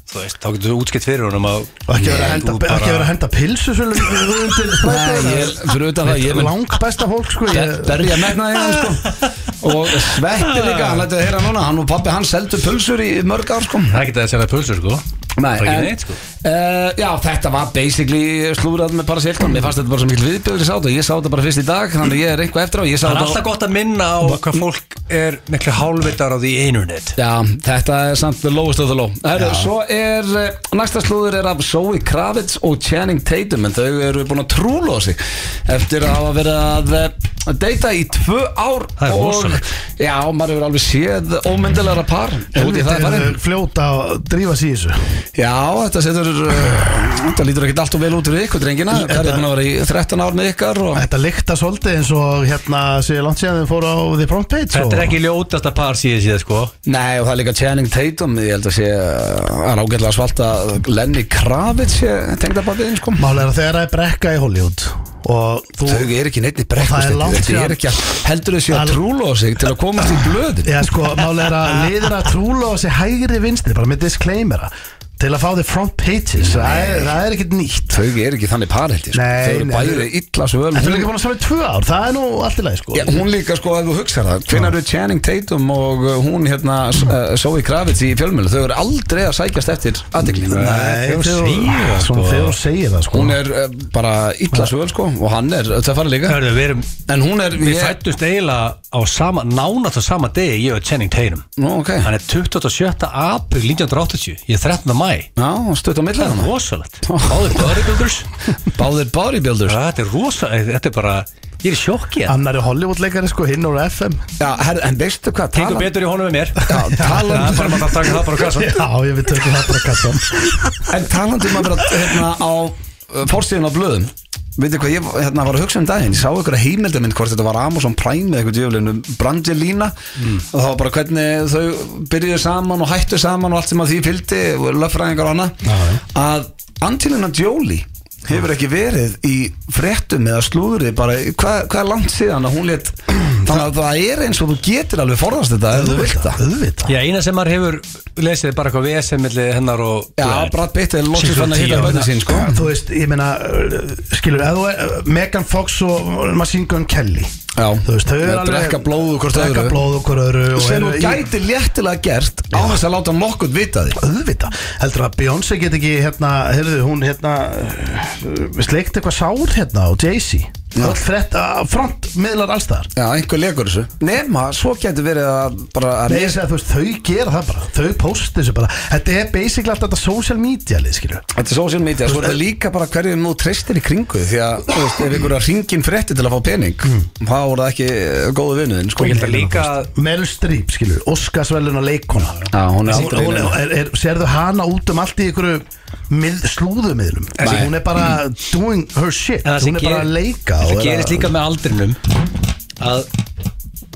Speaker 2: þú veist, þá getur þú útskipt fyrir honum að
Speaker 3: og ekki vera að
Speaker 2: Nei,
Speaker 3: henda-
Speaker 2: þú bara-
Speaker 3: ekki vera að henda pilsu svolum undir
Speaker 1: Nei, ég, fyrir utan það, ég mun
Speaker 3: lang besta fólk sko ég-
Speaker 1: berja megnaði hann sko og Sveppi líka, hann lættu að heyra núna hann og pappi, hann seldu pulsur í mörg ár sko
Speaker 2: það geta að selja pulsur sko það
Speaker 1: Nei,
Speaker 2: er ekki
Speaker 1: en,
Speaker 2: neitt sko
Speaker 1: eh, já, þetta var basically slúrað með Paris Hilton Mér fannst þetta bara svo mikil viðbjöður ég sá þetta Ég sá þetta bara fyrst í dag, þannig að ég er eitthvað eftir á Ég sá
Speaker 2: það er
Speaker 1: þetta
Speaker 2: alltaf gott að minna á hvað fólk er miklu hálfvitar á því internet
Speaker 1: Já, þetta er samt the lowest of the low Herru, Svo er, eh, næsta slúður er af Zoe Kravitz og Channing Tatum En þau eru búin að trúla á sig Eftir að hafa verið að eh, deyta í tvö ár
Speaker 2: Það er
Speaker 1: og,
Speaker 2: rosalegt.
Speaker 1: Já, maður hefur alveg séð ómyndilegra par Út í það er
Speaker 3: Helviti
Speaker 1: farin
Speaker 3: er fljóta að drífa sig í þessu
Speaker 1: Já, þetta setur eh, Þetta lítur ekkert allt og vel út fyrir ykkur, drengina Það er búin að vera í 13 ár með ykkar og...
Speaker 3: Þetta lykta svolítið eins og hérna séu langt síðan þau fóru á The Front Page sko.
Speaker 2: þetta
Speaker 3: og-
Speaker 2: er ekki ljótasta par síðan síðan sko
Speaker 1: Nei, og það er líka Channing Tatum Ég held að sé uh, hann er ágætlega svalt að Lenny Kravitz tengda bara við einn sko
Speaker 3: Mál er að þeirra er brekka í Hollywood og þú
Speaker 1: Þau eru ekki neitt í
Speaker 3: Og það er
Speaker 1: brekkust
Speaker 3: langt
Speaker 1: Þetta
Speaker 3: síðan-
Speaker 1: er ekki að heldur þau sé
Speaker 3: Það
Speaker 1: að
Speaker 3: er-
Speaker 1: trúla á sig til að komast í blöðin
Speaker 3: Já sko, mál er að liðin að trúla á sig hægri vinstri, bara með disclaimera til að fá The Front Pages það er, það er ekkert nýtt
Speaker 1: Þau eru ekki þannig par held ég sko
Speaker 3: Nei,
Speaker 1: Þau eru
Speaker 3: nei.
Speaker 1: bæði illa svöl
Speaker 3: En þau er ekki búin að svara í tvö ár, það er nú allt í lagi sko
Speaker 1: Já, hún líka sko ef þú hugsar það Hvenær eru Channing Tatum og uh, hún hérna S- uh, Zoe Kravitz í fjölmjölu Þau eru aldrei að sækjast eftir aðdeklinu
Speaker 3: Nei,
Speaker 2: Þegar þú
Speaker 3: þegar-
Speaker 2: segir það,
Speaker 3: svona
Speaker 2: sko.
Speaker 3: þegar þú segir það sko
Speaker 1: Hún er uh, bara illa svöl sko og hann er öll að fara líka
Speaker 2: Hörðu, við, erum,
Speaker 1: En hún er
Speaker 2: við
Speaker 1: ég-
Speaker 2: fættumst eiginlega á sama, nánast á sama degi ég og Channing Tatum
Speaker 1: Nú, ok
Speaker 2: hann er 27. apríl 1980 ég er 13. mæ bæ
Speaker 1: Já, stutt á milli
Speaker 2: Það er
Speaker 1: hana
Speaker 2: rosalegt Báðir [LAUGHS] bodybuilders
Speaker 1: Báðir bodybuilders
Speaker 2: Þetta er rosalegt Þetta er bara Ég er í sjokki hérna.
Speaker 3: Annar er Hollywood leikari sko, hinn úr FM
Speaker 1: Já, her, en veistu hvað
Speaker 2: Gengur betur í honum með mér
Speaker 1: Já,
Speaker 2: [LAUGHS] Það
Speaker 1: talan,
Speaker 2: er bara maður að taka það bara á [LAUGHS] kassan
Speaker 3: Já, ég við tökum það bara kassan
Speaker 1: En talandi um að vera hérna, á uh, fórstíðun á blöðum Veitir hvað, ég hérna, var að hugsa um daginn Ég sá ykkur heimildamind hvort þetta var Amazon Prime eða eitthvað djöflinu, Brangelina og það var bara hvernig þau byrjuðu saman og hættu saman og allt sem að því fylgdi og löffræðingar og annað að Angelina Jolie hefur ekki verið í fréttum eða slúðri bara, hvað, hvað er langt síðan að hún létt þannig að það er eins og þú getur alveg forðast þetta ef þú vilt það
Speaker 3: Auðvitað
Speaker 2: Já, eina sem maður hefur lesið er bara eitthvað VSM milli hennar og
Speaker 1: Já, Brad Pitt er loksins
Speaker 2: Síðan
Speaker 1: fann að
Speaker 2: tíu
Speaker 1: hitta
Speaker 2: ára.
Speaker 1: bönni sín sko
Speaker 3: Þú veist, ég meina, uh, skilur, eða þú er Megan Fox og Machine Gun Kelly
Speaker 1: Já,
Speaker 3: Þú veist, þau eru
Speaker 1: Að
Speaker 3: alveg
Speaker 1: drekka blóð úr hvort
Speaker 3: Drekka
Speaker 1: öðru.
Speaker 3: blóð úr hvort öðru og
Speaker 1: sem
Speaker 3: eru
Speaker 1: þú
Speaker 3: í-
Speaker 1: gæti léttilega gert á þess að láta nokkurt vita því
Speaker 3: Auðvitað, heldur að Beyoncé get ekki hérna, heyrðu, hún hérna uh, sleikt eitthvað sár hérna á Jay-Z
Speaker 1: Já.
Speaker 3: Öll frett, front, miðlar allstæðar
Speaker 1: Já, einhver legur þessu Nema, svo getur verið að bara að
Speaker 3: Nei, ég segi að þú veist, þau gera það bara, þau posta þessu bara Þetta er basically alltaf þetta social media lið, skilur
Speaker 1: Þetta er social media, svo er þetta líka bara hverjum nú treystir í kringu því að, þú veist, ef einhverja ringin frétti til að fá pening þá voru það ekki eh, góðu vinuðin, sko
Speaker 2: Og ég held að líka að
Speaker 3: Meryl Streep, skilur, Óskarsvelun og leikona
Speaker 1: Já, hún er
Speaker 3: Hún,
Speaker 1: aldrei
Speaker 3: hún er,
Speaker 1: vinur.
Speaker 3: er, er, sérðu hana út um allt í ykkur mið, slúðumiðlum
Speaker 1: Nei.
Speaker 3: Hún er bara doing her shit
Speaker 2: En það
Speaker 3: Hún
Speaker 2: sem
Speaker 3: er bara að
Speaker 2: gerir-
Speaker 3: leika og
Speaker 2: Það
Speaker 3: er
Speaker 2: gerist
Speaker 3: að-
Speaker 2: líka með aldrinum að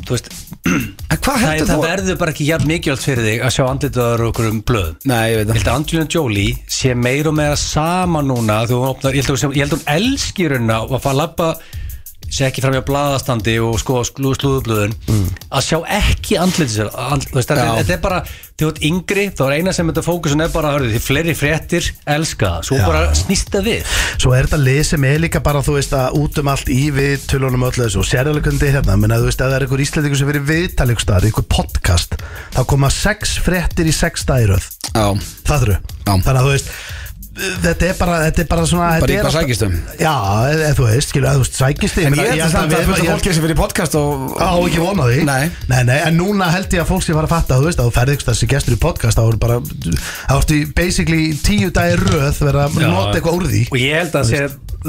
Speaker 2: þú veist,
Speaker 1: En hvað
Speaker 2: það,
Speaker 1: heldur
Speaker 2: það
Speaker 1: þú?
Speaker 2: verður bara ekki jafn mikilvægt fyrir þig að sjá andlitaður okkur um blöðum
Speaker 1: Nei, ég
Speaker 2: Ég
Speaker 1: veit
Speaker 2: held
Speaker 1: það
Speaker 2: að Angelina Jolie sé meir og meira sama núna þegar hún opnar, ég held að hún, sem- ég held að hún elskir hún að fara að labba sé ekki fram hjá blaðastandi og sko slú, slúðublöðun
Speaker 3: Mm.
Speaker 2: að sjá ekki andliti sér and, þú veist, þetta
Speaker 1: Já.
Speaker 2: er- þetta er bara, þegar þú ert yngri þá er eina sem þetta fókusun er bara að hörðu því fleiri fréttir elska, það, svo
Speaker 3: Já.
Speaker 2: bara snýst það við
Speaker 3: Svo er þetta lið sem er líka bara, þú veist, að út um allt í við tölunum öllu þessu og sérjuleikundi hérna, menna, þú veist, ef það er einhver íslendingur sem verið viðtalíkstæðar, einhver podcast þá koma sex frettir í sex dæröð
Speaker 1: Já,
Speaker 3: það þurru,
Speaker 1: Já.
Speaker 3: þannig að þú veist þetta er bara, þetta er bara svona þetta
Speaker 1: bara í
Speaker 3: er
Speaker 1: hvað
Speaker 3: alltaf-
Speaker 1: sækist um
Speaker 3: Já, eða þú veist, skilur, eða þú veist, sækist þig
Speaker 1: En ég held að það er fullt af fólki sem fyrir podcast og
Speaker 3: Á ekki vona því
Speaker 1: Nei.
Speaker 3: nei, nei, en núna held ég að fólk sé að fara að fatta Þú veist, að þú ferði ykkur þessi gestur í podcast Þá eru bara, þá ertu í basically tíu dagir röð Verða að
Speaker 2: Já.
Speaker 3: nota eitthvað úr því
Speaker 2: og ég held að það sé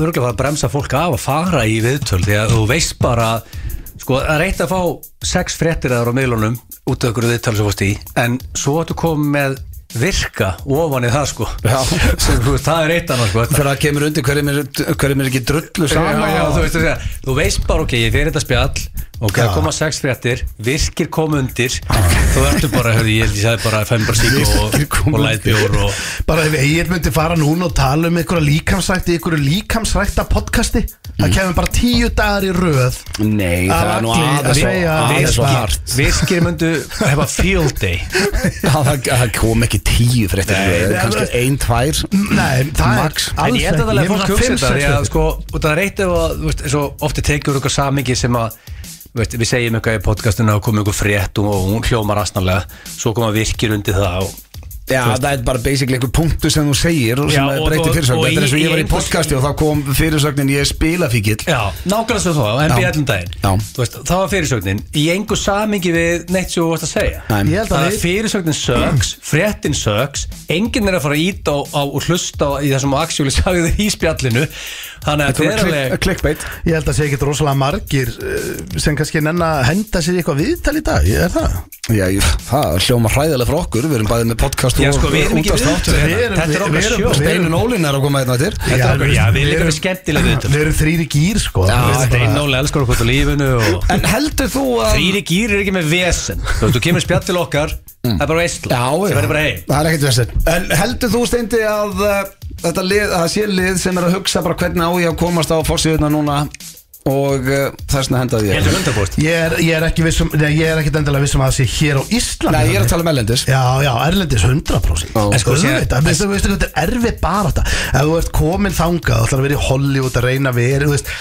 Speaker 2: örgulega að bremsa fólk af að fara í viðtöl því að þú veist bara sko, það er eitt að fá sex fréttir aðra á miðlunum út af ykkur viðtöl sem fórst í en svo ættu komið með virka ofan í það sko [LAUGHS] sem, þú veist, það er eitt annað sko
Speaker 1: þegar það kemur undir hverjum er, hverjum er ekki drullu
Speaker 2: Sama,
Speaker 1: saman
Speaker 2: já, þú, veist, þú veist, þú veist bara ok, ég fyrir þetta spjall ok, það
Speaker 3: Já.
Speaker 2: koma sex fréttir, virkir kom undir þú ertu bara, hörðu, ég held ég sagði bara fæm bara sík og,
Speaker 3: Virkir koma
Speaker 2: og lætbjór og
Speaker 3: Bara ef Egil myndi fara núna og tala um einhverja líkamsrækti, einhverju líkamsrækta podcasti,
Speaker 2: Mm.
Speaker 3: það kemur bara tíu dagar í röð
Speaker 1: Nei, það er nú
Speaker 3: Allir að
Speaker 1: aðeins og-
Speaker 3: segja-
Speaker 1: aðeins og
Speaker 3: Virkir-
Speaker 1: hart
Speaker 2: virkir myndu hefa field day
Speaker 1: Já, það, það kom ekki tíu fréttir í röð, kannski ein, tvær
Speaker 3: Nei, það
Speaker 1: Max.
Speaker 3: er
Speaker 2: En ég held að það er fólk að hugsa þetta því að
Speaker 3: þetta
Speaker 2: sko, og það er eitt ef að, þú veist, svo ofti tekur eitthvað samingi sem að þú veist, við segjum eitthvað í podcastinu og komum eitthvað frétt og og hún hljómar astanlega svo koma virkir undir það og
Speaker 1: Já, það er bara basically einhver punktu sem þú segir og sem
Speaker 2: Já, og-
Speaker 1: breytir
Speaker 2: og-
Speaker 1: fyrirsögn
Speaker 2: og
Speaker 1: Þetta er eins og
Speaker 2: í-
Speaker 1: ég var
Speaker 2: í
Speaker 1: í podcasti og þá kom fyrirsögnin ég er spilafíkil
Speaker 2: Já, nákvæmlega svo þá, á
Speaker 1: Já.
Speaker 2: NBL um daginn
Speaker 1: Já.
Speaker 2: Þú veist, Það var fyrirsögnin í engu samingi við neitt sem þú varst að segja
Speaker 1: Nei.
Speaker 3: Ég held
Speaker 2: Það
Speaker 3: að
Speaker 2: er
Speaker 3: við
Speaker 2: fyrirsögnin sögs, fréttin sögs enginn er að fara að íta á, á og hlusta á, í það sem Axjóli sagði í spjallinu þannig að þetta er alveg
Speaker 1: Clickbait
Speaker 3: Ég held að segja ekki rosalega margir eh, sem kannski nenn að henda sér í eitthvað viðtal í dag, er það?
Speaker 1: Já, ég- það hljóma hræðilega frá okkur Við erum bæðið með podcast
Speaker 2: Já,
Speaker 1: og
Speaker 2: sko, við erum ekki
Speaker 1: útvarpsþátt.
Speaker 2: viðtöl
Speaker 3: Við
Speaker 2: hérna.
Speaker 3: erum-
Speaker 2: Þetta er
Speaker 3: við-
Speaker 2: okkar
Speaker 3: við erum-
Speaker 2: sjó
Speaker 3: við-
Speaker 1: Steinun Ólin er að koma hérna til
Speaker 2: Þetta er okkar,
Speaker 3: við-
Speaker 2: já, við
Speaker 3: við
Speaker 2: líka
Speaker 3: erum-
Speaker 2: við skemmtilega viðtöl
Speaker 3: Við erum þrýri gýr sko
Speaker 2: Já,
Speaker 3: Þú veist,
Speaker 2: þetta er
Speaker 3: bara-
Speaker 2: einnóli elskar okkur til lífinu og
Speaker 1: En heldur þú að
Speaker 2: Þrýri gýr er ekki með vesen Þú veist, þú kemur spjall til okkar Það er bara veistla
Speaker 1: Já,
Speaker 2: Það
Speaker 1: já.
Speaker 2: verður bara heim
Speaker 1: Það er ekkert vestir En heldur þú steindi að uh, þetta lið, að það sé lið sem er að hugsa bara hvernig á ég að komast á fórsíðuna núna og uh, þessna hendaði
Speaker 2: Ég
Speaker 1: ég
Speaker 2: heldur hundarbúst
Speaker 3: Ég er, ég er ekki vissum, nei, ég er ekkit endilega vissum að það sé hér á Íslandi
Speaker 1: Nei, ég er að tala um ellendis
Speaker 3: Já, já, Erlendis 100%
Speaker 1: Ó.
Speaker 3: En sko,
Speaker 2: Þú
Speaker 3: auðvitað,
Speaker 2: sér-
Speaker 3: veistu, veistu hvað þetta er erfið bara þetta Ef þú ert komin þangað, þú ætlar að vera í Hollywood að reyna að vera, þú veist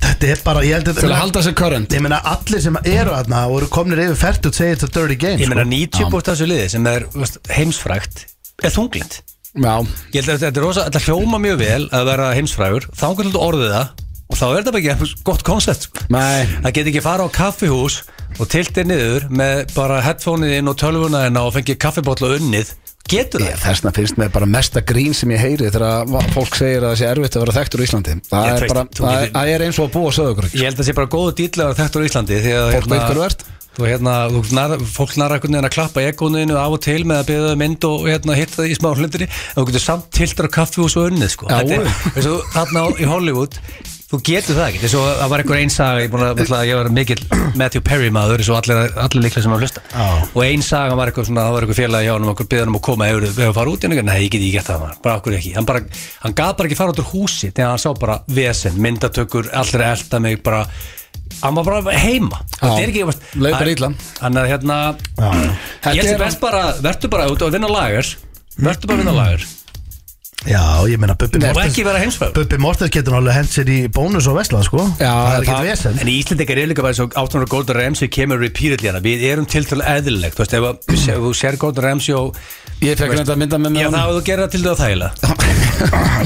Speaker 3: Þetta er bara, ég held að
Speaker 1: Til að halda sig current
Speaker 3: Ég meina, allir sem eru aðna og eru komnir yfir fært og segir þetta dirty game
Speaker 2: Ég meina
Speaker 3: sko.
Speaker 2: 90% af þessu liði sem er þú veist, heimsfrægt er þunglind
Speaker 1: Já,
Speaker 2: Ég held að þetta er rosa, þetta hljóma mjög vel að vera heimsfrægur þá kannski orðið það og þá er þetta bara ekki [LAUGHS] gott koncept
Speaker 1: Nei.
Speaker 2: Það get ekki fara á kaffihús og tiltið niður með bara headphoneið inn og tölvuna hérna og fengið kaffibotla unnið getur
Speaker 1: Ég,
Speaker 2: það
Speaker 1: þessna finnst mér bara mesta grín sem ég heyri þegar að va- fólk segir að það sé erfitt að vera þekktur í Íslandi það,
Speaker 2: Ég
Speaker 1: er,
Speaker 2: treysti-
Speaker 1: bara,
Speaker 2: þú
Speaker 1: það,
Speaker 2: getur-
Speaker 1: það er eins og að búa sögur
Speaker 2: Ég held að það sé bara góðu dýrlega þekktur á Íslandi því að
Speaker 1: Fólk veit hver þú ert.
Speaker 2: Þú hérna, þú nar, fólk nara einhvern veginn að klappa ekkuninu af og til með að beða um mynd og hérna hitta það í smá hlindinni en þú getur samt tiltar á kaffihús og unnið sko.
Speaker 1: Já.
Speaker 2: Þetta er, eins og þarna á- í Hollywood þú getur það ekki, þess að það var einhver einsaga ég, búin að, náttúrulega, ég var mikill [CLEARS THROAT] Matthew Perry maður eins og allir, allir líklega sem var að hlusta
Speaker 3: Já.
Speaker 2: og einsaga var eitthvað svona, það var eitthvað félagi hjá hann og okkur biðan um að koma ef við að fara út í hann nei, ég get ekki gert það, maður, bara okkur ekki hann, bara, hann gaf bara ekki fara út úr húsi þegar hann sá bara vesen, myndatökur, allir að elta mig bara, hann var bara heima
Speaker 1: Já.
Speaker 2: þetta er ekki,
Speaker 1: Leið bara illa.
Speaker 2: hann er hérna
Speaker 1: Þetta
Speaker 2: ég held
Speaker 1: er-
Speaker 2: sem best bara, verður bara út og vinna lagar verður bara að vinna lagar
Speaker 3: Já, ég meina Bubbi
Speaker 1: Mm.
Speaker 2: og
Speaker 3: Mortens
Speaker 2: ekki vera heimsfæður
Speaker 3: Bubbi Mortens getur náttúrulega hent sér í bónus og veslað sko
Speaker 1: Já,
Speaker 3: Það er ekkert
Speaker 1: það-
Speaker 3: vesen
Speaker 2: En í Íslandingar er líka bara svo 18 ára Gordon Ramsay kemur repeatedly hana Við erum tiltrúlega eðlilegt Þú veist, ef, að- [CLEARS THROAT] ef þú sér Gordon Ramsay og
Speaker 1: Ég fekk reynda að mynda með
Speaker 2: Já,
Speaker 1: mér
Speaker 2: þá þú gerir það til þau að þægilega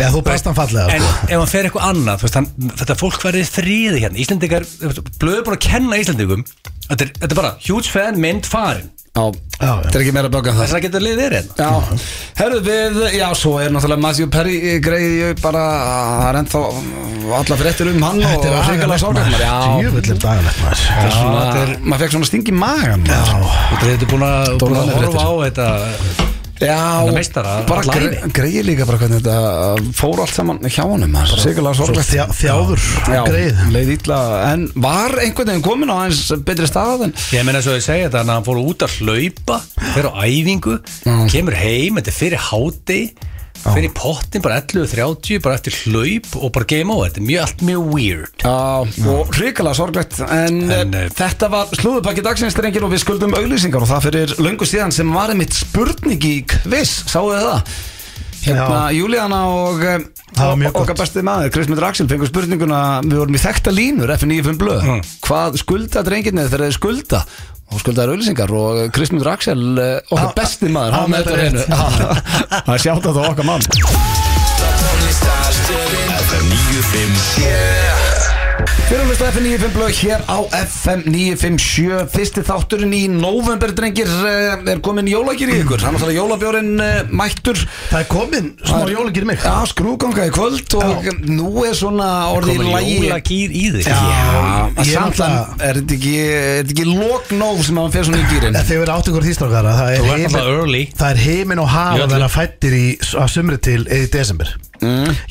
Speaker 3: Já, þú bast hann fallega
Speaker 2: En
Speaker 3: sko
Speaker 2: ef hann fer eitthvað annað þú veist, hann, Þetta fólk verið friði hérna Íslandingar, blöðu búin að kenna Íslandingum Þetta er, þetta er bara huge fan, mynd, farin
Speaker 1: Já,
Speaker 3: Já, já.
Speaker 1: þetta er ekki meira að bögga það
Speaker 2: Þess að geta liðið er hérna
Speaker 1: Já, herru við, já svo er náttúrulega Matthew Perry greið ég bara, það er ennþá alla fréttir um hann og
Speaker 3: Þetta er
Speaker 1: hrigalega
Speaker 3: agalegt
Speaker 1: sorgum
Speaker 3: maður Jöfull er dagalegt maður
Speaker 1: Já, maður fekk svona sting í magan Já,
Speaker 2: Þetta er búin að, búin að
Speaker 1: Dónalegt.
Speaker 2: horfa á þetta
Speaker 1: Já,
Speaker 2: Þannig að meistara,
Speaker 1: bara
Speaker 2: alla
Speaker 1: gre
Speaker 2: ævi.
Speaker 1: greið líka bara hvernig þetta uh, fór allt saman hjá honum Sigarlega
Speaker 3: Svo
Speaker 1: sorglegt
Speaker 3: þjá- Þjáður, um
Speaker 1: Já,
Speaker 3: greið
Speaker 1: leið illa En var einhvern veginn komin á hans betri stað en
Speaker 2: Ég meina svo ég segja þetta, þannig að hann fór út að hlaupa fer á æfingu, kemur heim þetta er fyrir háti fyrir pottin, bara 11.30, bara eftir hlaup og bara game over, þetta er mjög allt mjög weird
Speaker 1: Já, og hrikalega sorglegt En,
Speaker 2: En,
Speaker 1: en
Speaker 2: eh,
Speaker 1: þetta var slúðupakki dagsins drengir og við skuldum auglýsingar og það fyrir löngu síðan sem var einmitt spurning í quiz, sáu þið það? Hérna, Júlíana og eh,
Speaker 3: Það var mjög
Speaker 1: og- okkar
Speaker 3: gott.
Speaker 1: besti maður, Kristmyndur Axel fengur spurninguna, við vorum í þekta línur F95 blöð,
Speaker 3: Mm.
Speaker 1: hvað skulda drengirnir þegar þeir skulda og skuldaður auðlýsingar og Kristmyndur Axel eh, okkar
Speaker 3: Á-
Speaker 1: besti maður,
Speaker 3: á-
Speaker 1: hann með
Speaker 3: þetta
Speaker 1: þetta
Speaker 3: rétt.
Speaker 1: reynu [LAUGHS] það sjáta það okkar mann
Speaker 4: FM 957
Speaker 1: Fyrirlust á FM 95 blöð hér á FM 957 Fyrsti þátturinn í november drengir eh, er komin jólagir í ykkur Þannig að jólabjórin eh, mættur
Speaker 3: Það er komin smá
Speaker 1: Það er-
Speaker 3: jólingir mig
Speaker 1: Já, skrúganga í kvöld og nú er svona orðið í
Speaker 2: komið
Speaker 1: lagi
Speaker 2: jólagýr í þig
Speaker 1: Já,
Speaker 3: Ég
Speaker 1: samt
Speaker 3: er
Speaker 1: að
Speaker 3: náttúrulega-
Speaker 1: er þetta ekki, er þetta ekki loknóf sem að hann fer svona í gýrin
Speaker 3: En Þið verður átt ykkur þýstrákara Það er
Speaker 2: Þú ert
Speaker 3: heiminn-
Speaker 2: alltaf early.
Speaker 3: það er heiminn og haf
Speaker 2: Ég
Speaker 3: að
Speaker 2: ætla-
Speaker 3: vera fættir í, á sumri til eða í desember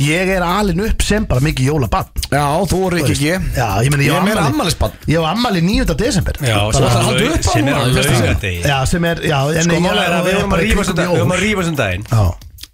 Speaker 3: Ég er alin upp sem bara mikið jólabann
Speaker 1: Já, þú er ekki ekki
Speaker 3: Já, ég meni
Speaker 1: Ég
Speaker 3: ég
Speaker 1: er
Speaker 3: á
Speaker 1: meira
Speaker 3: afmæli-
Speaker 1: afmælisbarn.
Speaker 3: Ég var ammali 9. desember
Speaker 2: Já, sem
Speaker 3: Bara-
Speaker 1: ætlar að halda
Speaker 2: laug-
Speaker 1: upp á
Speaker 2: sem er á
Speaker 1: núna, fyrsta sinn.
Speaker 2: laugadegi
Speaker 3: Já, sem er, já en
Speaker 2: Sko
Speaker 3: ég-
Speaker 2: málega er að við
Speaker 3: ég
Speaker 2: vorum
Speaker 3: bara
Speaker 2: að
Speaker 3: í
Speaker 2: rífast um
Speaker 3: kringum
Speaker 2: daginn Við vorum að
Speaker 3: jól.
Speaker 2: rífast um daginn
Speaker 3: Já,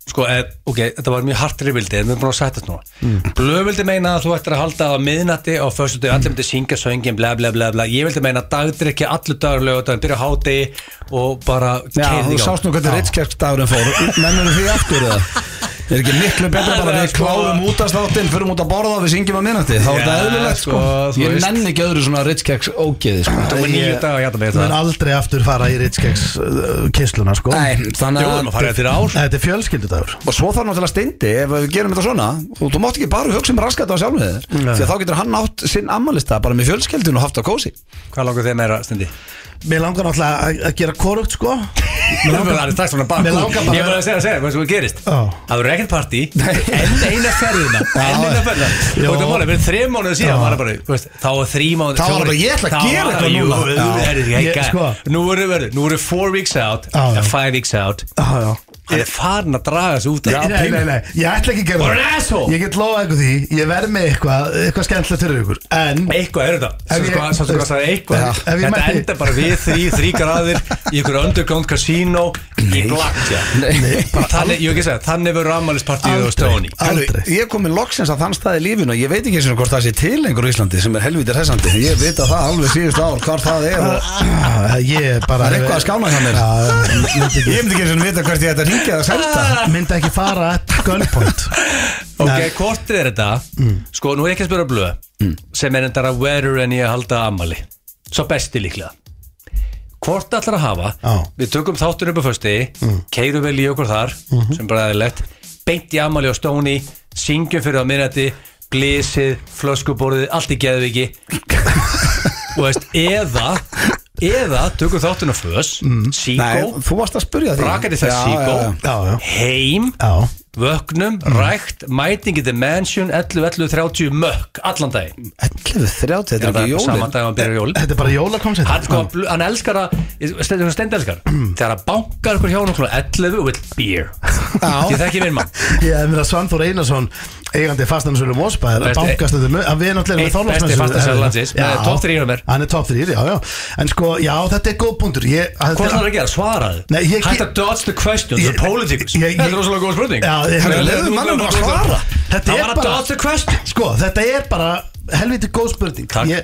Speaker 2: Sko, eh, ok, þetta var mjög hardt rifildi en við erum búin að sættast núna mm. Blöð vildi meina að þú ættir að halda á miðnatti á fyrstu dag, allir myndi syngja söngin bla bla bla bla, ég vildi meina dagdrykki allir dagur lögutaginn, byrja á hádegi og bara
Speaker 1: Já,
Speaker 2: keyrði
Speaker 1: þú
Speaker 2: í gang.
Speaker 1: sást nú hvernig Ritskjörgsdagurinn fór Mennur því aftur eða Er ekki miklu betra
Speaker 2: Það
Speaker 1: bara
Speaker 2: er
Speaker 1: við
Speaker 2: sko-
Speaker 1: kláðum út að státtinn Förum út að borða og við syngjum að minnati Þá er
Speaker 2: Já,
Speaker 1: þetta eðlilegt sko
Speaker 2: sko, þú
Speaker 1: Ég
Speaker 2: veist.
Speaker 1: nenni ekki öðru svona Ritskjörgs ógeði sko
Speaker 2: Tók mig níu daga að jæta mig
Speaker 3: Ég mun
Speaker 2: þetta
Speaker 3: aldrei aftur fara í Ritskeks kysluna sko
Speaker 1: Nei, þannig
Speaker 2: Jú, maður
Speaker 1: að
Speaker 2: farið eftir ár
Speaker 3: Þetta er fjölskyldudagur
Speaker 1: Og svo þarf náttúrulega steindi ef við gerum þetta svona og þú mátt ekki bara hugsa um raskata á sjálfum þér því að þá getur hann átt sinn ammalista bara með fjölskeldun og haft á kósi
Speaker 2: Hvað langar þið meira, Stendi?
Speaker 3: Mér langar náttúrulega að- að gera korugt sko
Speaker 2: Mér langar það er strax svona
Speaker 3: Mér
Speaker 2: bakku
Speaker 3: langar bara-
Speaker 2: Ég var að segja að segja hvað sem þú gerist
Speaker 3: Já.
Speaker 2: Það verður ekkert partí Enn eina
Speaker 3: [LAUGHS]
Speaker 2: ferðina Enn eina ferðina
Speaker 3: Já.
Speaker 2: Og það máli, fyrir þrejum mánuðu síðan
Speaker 3: Já.
Speaker 2: var það bara þú veist, Þá var þrý
Speaker 1: Þá
Speaker 2: mánuðu
Speaker 1: var það bara, ég ætla að gera eitthvað núna. Já.
Speaker 3: Ég- sko.
Speaker 2: núna Nú eru verið Nú eru four weeks out
Speaker 3: Já, já.
Speaker 2: eða Five weeks out
Speaker 3: Já, já
Speaker 2: Það er farin að draga þessu út af-
Speaker 3: Eh, Nei, nei, nei, ég ætla ekki að gera
Speaker 2: Bara asshole.
Speaker 3: Ég get lofað ykkur því, ég verð með eitthvað Eitthvað skemmtilegt fyrir ykkur En
Speaker 2: Eitthvað er þetta
Speaker 3: Ef
Speaker 2: Svo
Speaker 3: ég-
Speaker 2: sko, svo sko að sagði eitthvað
Speaker 3: Já. Ef ég
Speaker 2: Þetta
Speaker 3: mætti-
Speaker 2: enda bara við þrý, þrý graðir Í ykkur underground casino Í Blackja Þannig, ég hef ekki segja, þannig verður ammælispartíð og stóni
Speaker 3: Aldrei.
Speaker 1: Ég kom með loksins að þann staði lífinu og ég veit ekki eins og hvort það sé til einhver í Íslandi sem er helvítið hressandi ég veit að það alveg síðust ár hvar það er og
Speaker 3: Ah, Ég bara
Speaker 1: það er eitthvað að skána hjá mér
Speaker 3: mér
Speaker 1: Ég myndi ekki eins og vita hvert ég ætti að ringja eða selta
Speaker 3: Myndi ekki fara at gunpoint
Speaker 2: Ok,
Speaker 3: Nei. Mm.
Speaker 2: hvort er þetta Sko, nú er ég ekki að spyrja blöð sem er endara verður en ég að halda ammali Svo besti líklega Hvort ætlar að hafa
Speaker 3: Já.
Speaker 2: Við tökum þáttur upp á fösti mm. Keirum vel í okkur þar,
Speaker 3: Mhm.
Speaker 2: sem bara er lett Beint í ammali á stóni
Speaker 3: [LAUGHS]
Speaker 2: Syngjum fyrir á minnati Blísið, flöskuborðið, allt í geðviki þú veist, eða eða tökum þáttun á fös
Speaker 3: Mm.
Speaker 2: síkó,
Speaker 1: Nei, þú varst að spurja því
Speaker 2: brakar í þess
Speaker 1: Já, já, já.
Speaker 3: já, já.
Speaker 2: síkó heim,
Speaker 3: Já,
Speaker 2: vöknum
Speaker 3: Mm.
Speaker 2: rækt, mæting í the mansion 11, 11, 30, mökk, allan daginn
Speaker 1: 11, 30, þetta
Speaker 2: Já,
Speaker 1: er
Speaker 2: það
Speaker 1: ekki
Speaker 2: er saman
Speaker 1: jólin
Speaker 2: dag að hann byrja jólin
Speaker 3: þetta er bara jólakoncept
Speaker 2: hann, sko, bl- hann elskar að stendur stendelskar
Speaker 3: Mm.
Speaker 2: þegar hann bankar ykkur hjá hann klukkan 11 with beer
Speaker 3: Já.
Speaker 2: ég þekki minn mann
Speaker 3: Ég hef mér að Svanþór Einarsson eigandi fastanasölu Mósbæðar
Speaker 2: Besti-
Speaker 3: bankast þetta með, að við náttúrulega
Speaker 2: Einn besti fasteignasalur landsins, með topp þrír hjá mér.
Speaker 3: Hann er top 3, já, já En sko, já, þetta er góð punktur ég,
Speaker 2: Hvað er það að gera? Svaraðu
Speaker 3: Nei, ég-
Speaker 2: Hætt að dodge the questions, the
Speaker 3: Ég-
Speaker 2: politics
Speaker 3: ég-
Speaker 2: Þetta er
Speaker 3: ég-
Speaker 2: rosalega góð spurning
Speaker 3: Já, ég-
Speaker 2: Nei,
Speaker 3: leyfðu
Speaker 2: þú-
Speaker 3: manninum
Speaker 2: þú-
Speaker 3: að
Speaker 2: þú-
Speaker 3: svara. Þetta
Speaker 2: Það
Speaker 3: er
Speaker 2: var að
Speaker 3: bara-
Speaker 2: dodge the question
Speaker 3: Sko, þetta er bara helviti góð spurning
Speaker 2: Takk.
Speaker 3: ég,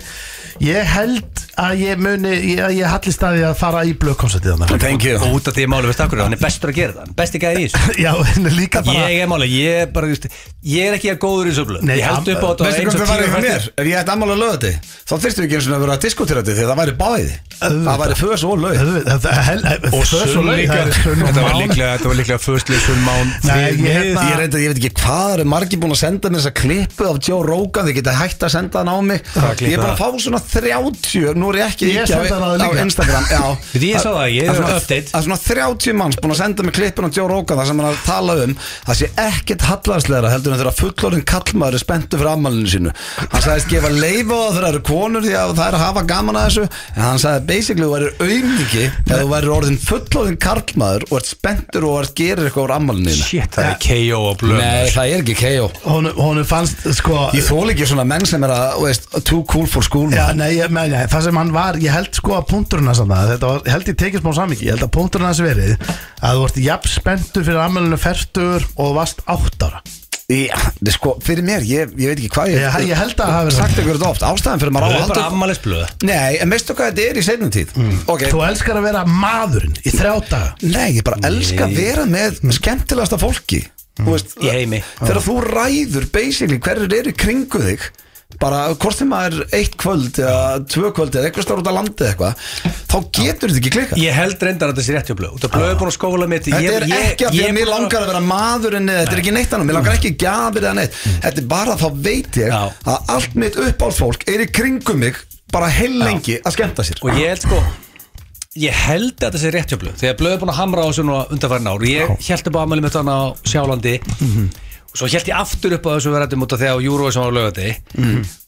Speaker 3: ég held að ég muni ég, ég hallist að ég að fara í blökkonsertið þannig
Speaker 1: Thank you
Speaker 2: Og út af því að máli veist akkur Hann er bestur að gera það, hann er besti gæði í þessu
Speaker 3: [LAUGHS] Já, en líka bara
Speaker 2: Ég er máli, ég er bara, þú veist Ég er ekki að góður í þessu blöð
Speaker 3: Nei,
Speaker 2: Ég held upp á þetta
Speaker 1: Veistu
Speaker 2: eins
Speaker 1: hvað
Speaker 2: og
Speaker 1: það væri
Speaker 2: tíu
Speaker 1: hjá mér?
Speaker 2: fættir.
Speaker 1: Ef ég ætti ammál að löða þetta Þá þyrstum við ekki eins og að vera að diskutera þetta Þegar það væri bæði Það væri fös og lög
Speaker 3: Auðvitað, þetta- hel-
Speaker 2: Og
Speaker 3: fös
Speaker 2: sunn
Speaker 3: laug,
Speaker 2: líka
Speaker 3: það er sunn og
Speaker 2: Þetta var
Speaker 3: mán.
Speaker 2: líklega, þetta var líklega Föstlega sunn mán
Speaker 3: Nei,
Speaker 2: þrír
Speaker 3: ég
Speaker 2: mið.
Speaker 3: hérna-
Speaker 1: Ég, reyndi, ég veit ekki hvað eru margir búin að senda mér þessa klippu af Joe Rogan, þið geta hægt að senda hann á mig
Speaker 2: Hvaða klipp
Speaker 1: Ég er bara
Speaker 2: er
Speaker 1: að fá svona 30 Nú er ég ekki
Speaker 3: Ég
Speaker 1: ýkja
Speaker 3: sendi hann á þig
Speaker 1: á
Speaker 3: líka.
Speaker 1: Instagram Já,
Speaker 2: Veitu, ég sá það, ég er
Speaker 1: svona-
Speaker 2: update.
Speaker 1: að svona 30 manns búin að senda mér klippun á Joe Rogan þar sem hann er að tala um það sé ekkert hallarslegra heldur en þegar fullorinn kallmaður er spenntu fyrir afmælinu sínu hann sagðist gefa leifa á þegar það eru konur því að það er að hafa gaman að þessu en hann sagði basically þú værir aumingi eða þú værir orðin fullorinn kallmaður og ert spenntur og ert gerir eitthvað úr afmælinu þínu.
Speaker 2: Shit, það er KO og blöð
Speaker 1: Nei, það er ekki KO
Speaker 3: Honum honum fannst, sko
Speaker 1: Ég þól ekki svona menn sem er að, þú veist, too cool for school
Speaker 3: Já,
Speaker 1: man.
Speaker 3: nei, ég, nei, nei, það sem hann var, ég held sko að punkturinn hans þarna, þetta var, ég held ég tekið smá samviki, ég held að punkturinn hans verið að þú vart jafn spenntur fyrir ammælunum færtur og þú varst átt ára.
Speaker 1: Já, þið sko, fyrir mér, ég, ég veit ekki hvað ég,
Speaker 3: Ég- ég held að það hafi verið-
Speaker 1: Sagt ykkur þetta oft, ástæðan fyrir maður á
Speaker 2: Það
Speaker 1: að
Speaker 2: er bara
Speaker 1: halda
Speaker 2: afmælisblöð
Speaker 1: Nei, en veistu hvað þetta er í seinum tíð Ok,
Speaker 3: Mm. Þú elskar að vera maðurinn í þrjá daga.
Speaker 1: nei, ég bara elska að vera með
Speaker 3: Mm.
Speaker 1: skemmtilegasta fólki Þú veist,
Speaker 2: Í heimi.
Speaker 1: Þegar þú ræður, basically, hverjir eru í kringu þig bara hvort sem maður er eitt kvöld eða tvö kvöld eða eitthvað starf út að landi eitthvað þá getur þetta ekki klikka
Speaker 2: Ég held reyndar að þetta sé rétt hjá blöð Út af blöð er búin að skóla mitt
Speaker 1: Þetta er ekki að því að mér langar að vera maðurinn eða þetta er ekki neitt annað, mér langar ekki gjafir eða neitt Þetta er bara þá veit ég
Speaker 2: Mm. Já.
Speaker 1: að allt mitt uppáhaldsfólk er í kringum mig bara heil lengi að skemmta sér
Speaker 2: og ég held sko ég held að þetta sé rétt hjá blöð þegar blöð er búin að hamra á þessu núna undanfærin ár ég held upp á afmæli mitt þannig á Sjálandi og svo held ég aftur upp á þessu verðum út af þegar Eurovision var lögati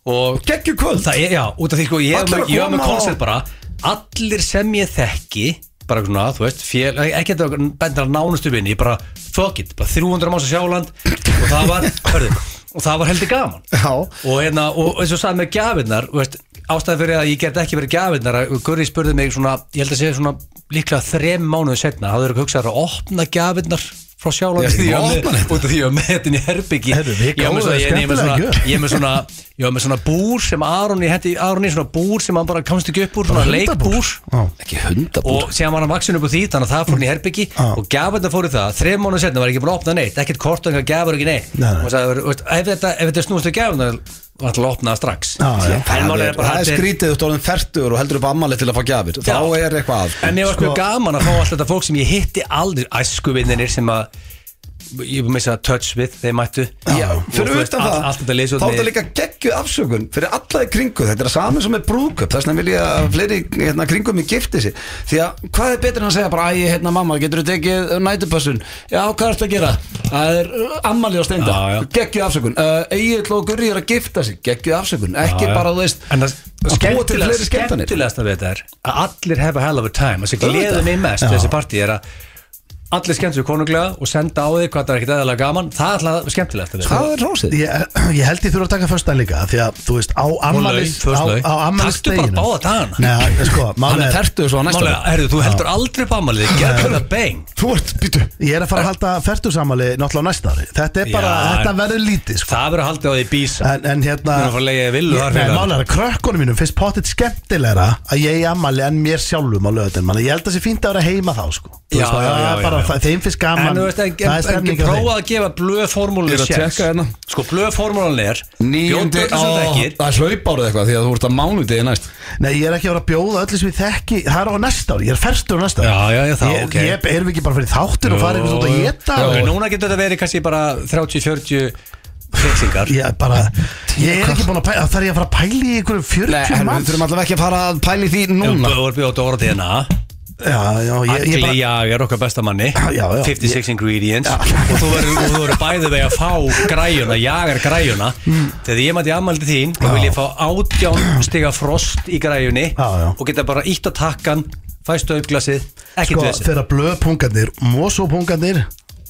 Speaker 2: og
Speaker 1: Gekkju kvöld
Speaker 2: það er, já, út af því sko ég
Speaker 1: Allir
Speaker 2: var
Speaker 1: að
Speaker 2: með,
Speaker 1: koma
Speaker 2: með
Speaker 1: á-
Speaker 2: koncert bara allir sem ég þekki bara svona, þú veist, fél, ekki þetta bendur að nánustu vinni, ég bara, fuck it bara 300 mása sjáland og það
Speaker 1: [COUGHS]
Speaker 2: var, hörðu, og það var heldur gaman
Speaker 1: Já.
Speaker 2: og hérna, og eins og sagði með gjafirnar þú veist, ástæðan fyrir að ég get ekki verið gjafirnar að Gurri spurði mig svona, ég held að segja svona líklega þrem mánuðu setna, hafðu verið hugsað að opna gjafirnar frá
Speaker 1: Já,
Speaker 2: sjálandi því
Speaker 1: opna
Speaker 2: að
Speaker 1: þetta?
Speaker 2: út af því að með þetta inn í herbyggi
Speaker 3: Heyrðu, við
Speaker 2: ég var með
Speaker 3: gáfum
Speaker 2: svona-
Speaker 3: þér
Speaker 2: ég- ég er með
Speaker 3: skemmtilega
Speaker 2: svona-
Speaker 3: gjöf.
Speaker 2: ég er með svona, ég var með svona búr sem Aron, ég hendi Aron í svona búr sem hann bara komst ekki upp úr, svona leikbúr
Speaker 1: Ekki hundabúr
Speaker 2: og síðan var hann vaksin upp úr því þannig að það fór hann í herbyggi
Speaker 3: Já.
Speaker 2: og gafandi fór í það, þrejum mánuð setna var ekki búin að opna neitt ekkert kort og einhver gafur ekki neitt
Speaker 3: Nei, nei.
Speaker 2: og sagði, veist, ef þetta, ef þetta snúst við gafuna var alltaf að opna það strax
Speaker 3: Já, já.
Speaker 2: En
Speaker 1: Það er,
Speaker 2: málið er bara,
Speaker 1: það er
Speaker 2: þetta er-
Speaker 1: skrítið út orðin fertur og heldur upp ammali til að fá gjafir Þá
Speaker 2: Já.
Speaker 1: er eitthvað að
Speaker 2: En ég var sko
Speaker 3: Sko-
Speaker 2: gaman að fá alltaf þetta fólk sem ég hitti aldrei æskuvinninir sem að ég var með þess að touch with, þeir mættu
Speaker 1: Já,
Speaker 2: Og
Speaker 1: fyrir
Speaker 2: þú veist,
Speaker 1: utan
Speaker 2: allt-
Speaker 1: það,
Speaker 2: allt
Speaker 1: þá
Speaker 2: þetta
Speaker 1: er það
Speaker 2: liðsjóðni
Speaker 1: líka geggju afsökun fyrir alla í kringu, þetta er að saman sem er brúðköp þess vegna vil ég að fleiri hérna, kringum í gifti sig, því að hvað er betur en að segja bara, æ, hérna mamma, getur þú tekið nætupassun, já, hvað ertu að gera það er uh, ammali á steinda
Speaker 2: Já, já.
Speaker 1: geggju afsökun, uh, Egil og Gurri er að gifta sig, geggju afsökun, ekki
Speaker 2: Já, já.
Speaker 1: bara þú veist,
Speaker 2: En það
Speaker 1: að búa til
Speaker 2: skemmtilegast-
Speaker 1: fleiri skemmtanir
Speaker 2: skemmtilegasta við þetta er að allir have a hell of a time þessi
Speaker 1: Auðvitað.
Speaker 2: gleðu mig mest við þessi partí er að allir skemmtu konunglega og senda á því hvað það er ekkert eðalega gaman það er alltaf skemmtilegast við
Speaker 1: það er rósið
Speaker 3: Ég, ég held ég þurfa að taka föstan líka því að þú veist á ammalis
Speaker 2: laug,
Speaker 3: á,
Speaker 2: föstlaug.
Speaker 3: á ammalis
Speaker 2: Taktu bara báða dagana.
Speaker 3: Nei, sko,
Speaker 1: hann
Speaker 3: málið
Speaker 1: er
Speaker 3: er
Speaker 1: fertuð svo á næsta
Speaker 2: Málega, herru, þú heldur aldrei upp ámalið gerður það bang
Speaker 1: þú ert, býtu,
Speaker 3: Ég er að fara að halda fertursamali náttúrulega á næsta ári Þetta er bara,
Speaker 2: Já.
Speaker 3: þetta verður lítið sko.
Speaker 2: það verður að halda á því í bísa
Speaker 3: en, en hérna
Speaker 2: Þú erum að fara að leigja í villu
Speaker 3: Ég-
Speaker 2: þar
Speaker 3: Nei,
Speaker 2: fyrir það.
Speaker 3: málega er að krökkunum mínum finnst pottit skemmtilegra að ég í ammali en mér sjálfum á löðin Ég held að það sé fínt að vera heima þá sko. Þú
Speaker 2: Já,
Speaker 3: veist, það
Speaker 2: já, já,
Speaker 3: er bara,
Speaker 2: já, já.
Speaker 3: það- Þeim finnst gaman
Speaker 2: en þú veist, en,
Speaker 3: það er
Speaker 2: en, en
Speaker 3: stemning á þeim.
Speaker 2: prófa að gefa blöð
Speaker 1: Ég
Speaker 2: formúlunni
Speaker 1: er að
Speaker 2: séns.
Speaker 1: tékka hérna.
Speaker 2: sko blöð formúlan er
Speaker 1: nýjandi,
Speaker 2: Björn Björnsson þekkir.
Speaker 1: það hlaupar eitthvað því að þú ert að mánudegi næst
Speaker 3: Nei, ég er ekki að vera að bjóða öllu sem ég þekki Það er á næsta ári, ég er ferstur á næsta ári
Speaker 2: Já, já, já, þá,
Speaker 3: ég,
Speaker 2: ok.
Speaker 3: ég, Erum við ekki bara fyrir þáttir og farið eitthvað út að
Speaker 2: Jó,
Speaker 3: geta
Speaker 2: jó.
Speaker 3: og-
Speaker 2: Núna getur þetta verið kannski bara 30-40 fyrtingar
Speaker 3: Ég er bara, ég er ekki búin að pæla Það þarf ég að fara að pæla í ykkur
Speaker 1: Nei,
Speaker 3: 40
Speaker 1: herru, við
Speaker 3: manns
Speaker 1: þurfum allavega ekki að fara að pæli því núna
Speaker 2: Þú er bjóta orða DNA
Speaker 3: Já, já, ég, ég
Speaker 2: Agli
Speaker 3: bara
Speaker 2: Jager, okkar besta manni
Speaker 3: já, já.
Speaker 2: 56 ingredients og þú verður- og þú verður bæðið vegi að fá græjuna Jager græjuna
Speaker 3: Mm.
Speaker 2: Þegar ég mætti afmældi þín þá vil ég fá átján stiga frost í græjunni
Speaker 3: Já, já.
Speaker 2: og geta bara ítt á takkan fæstu auðglasið, ekki
Speaker 3: Sko,
Speaker 2: til þessi
Speaker 3: þegar blöðpungarnir, mósópungarnir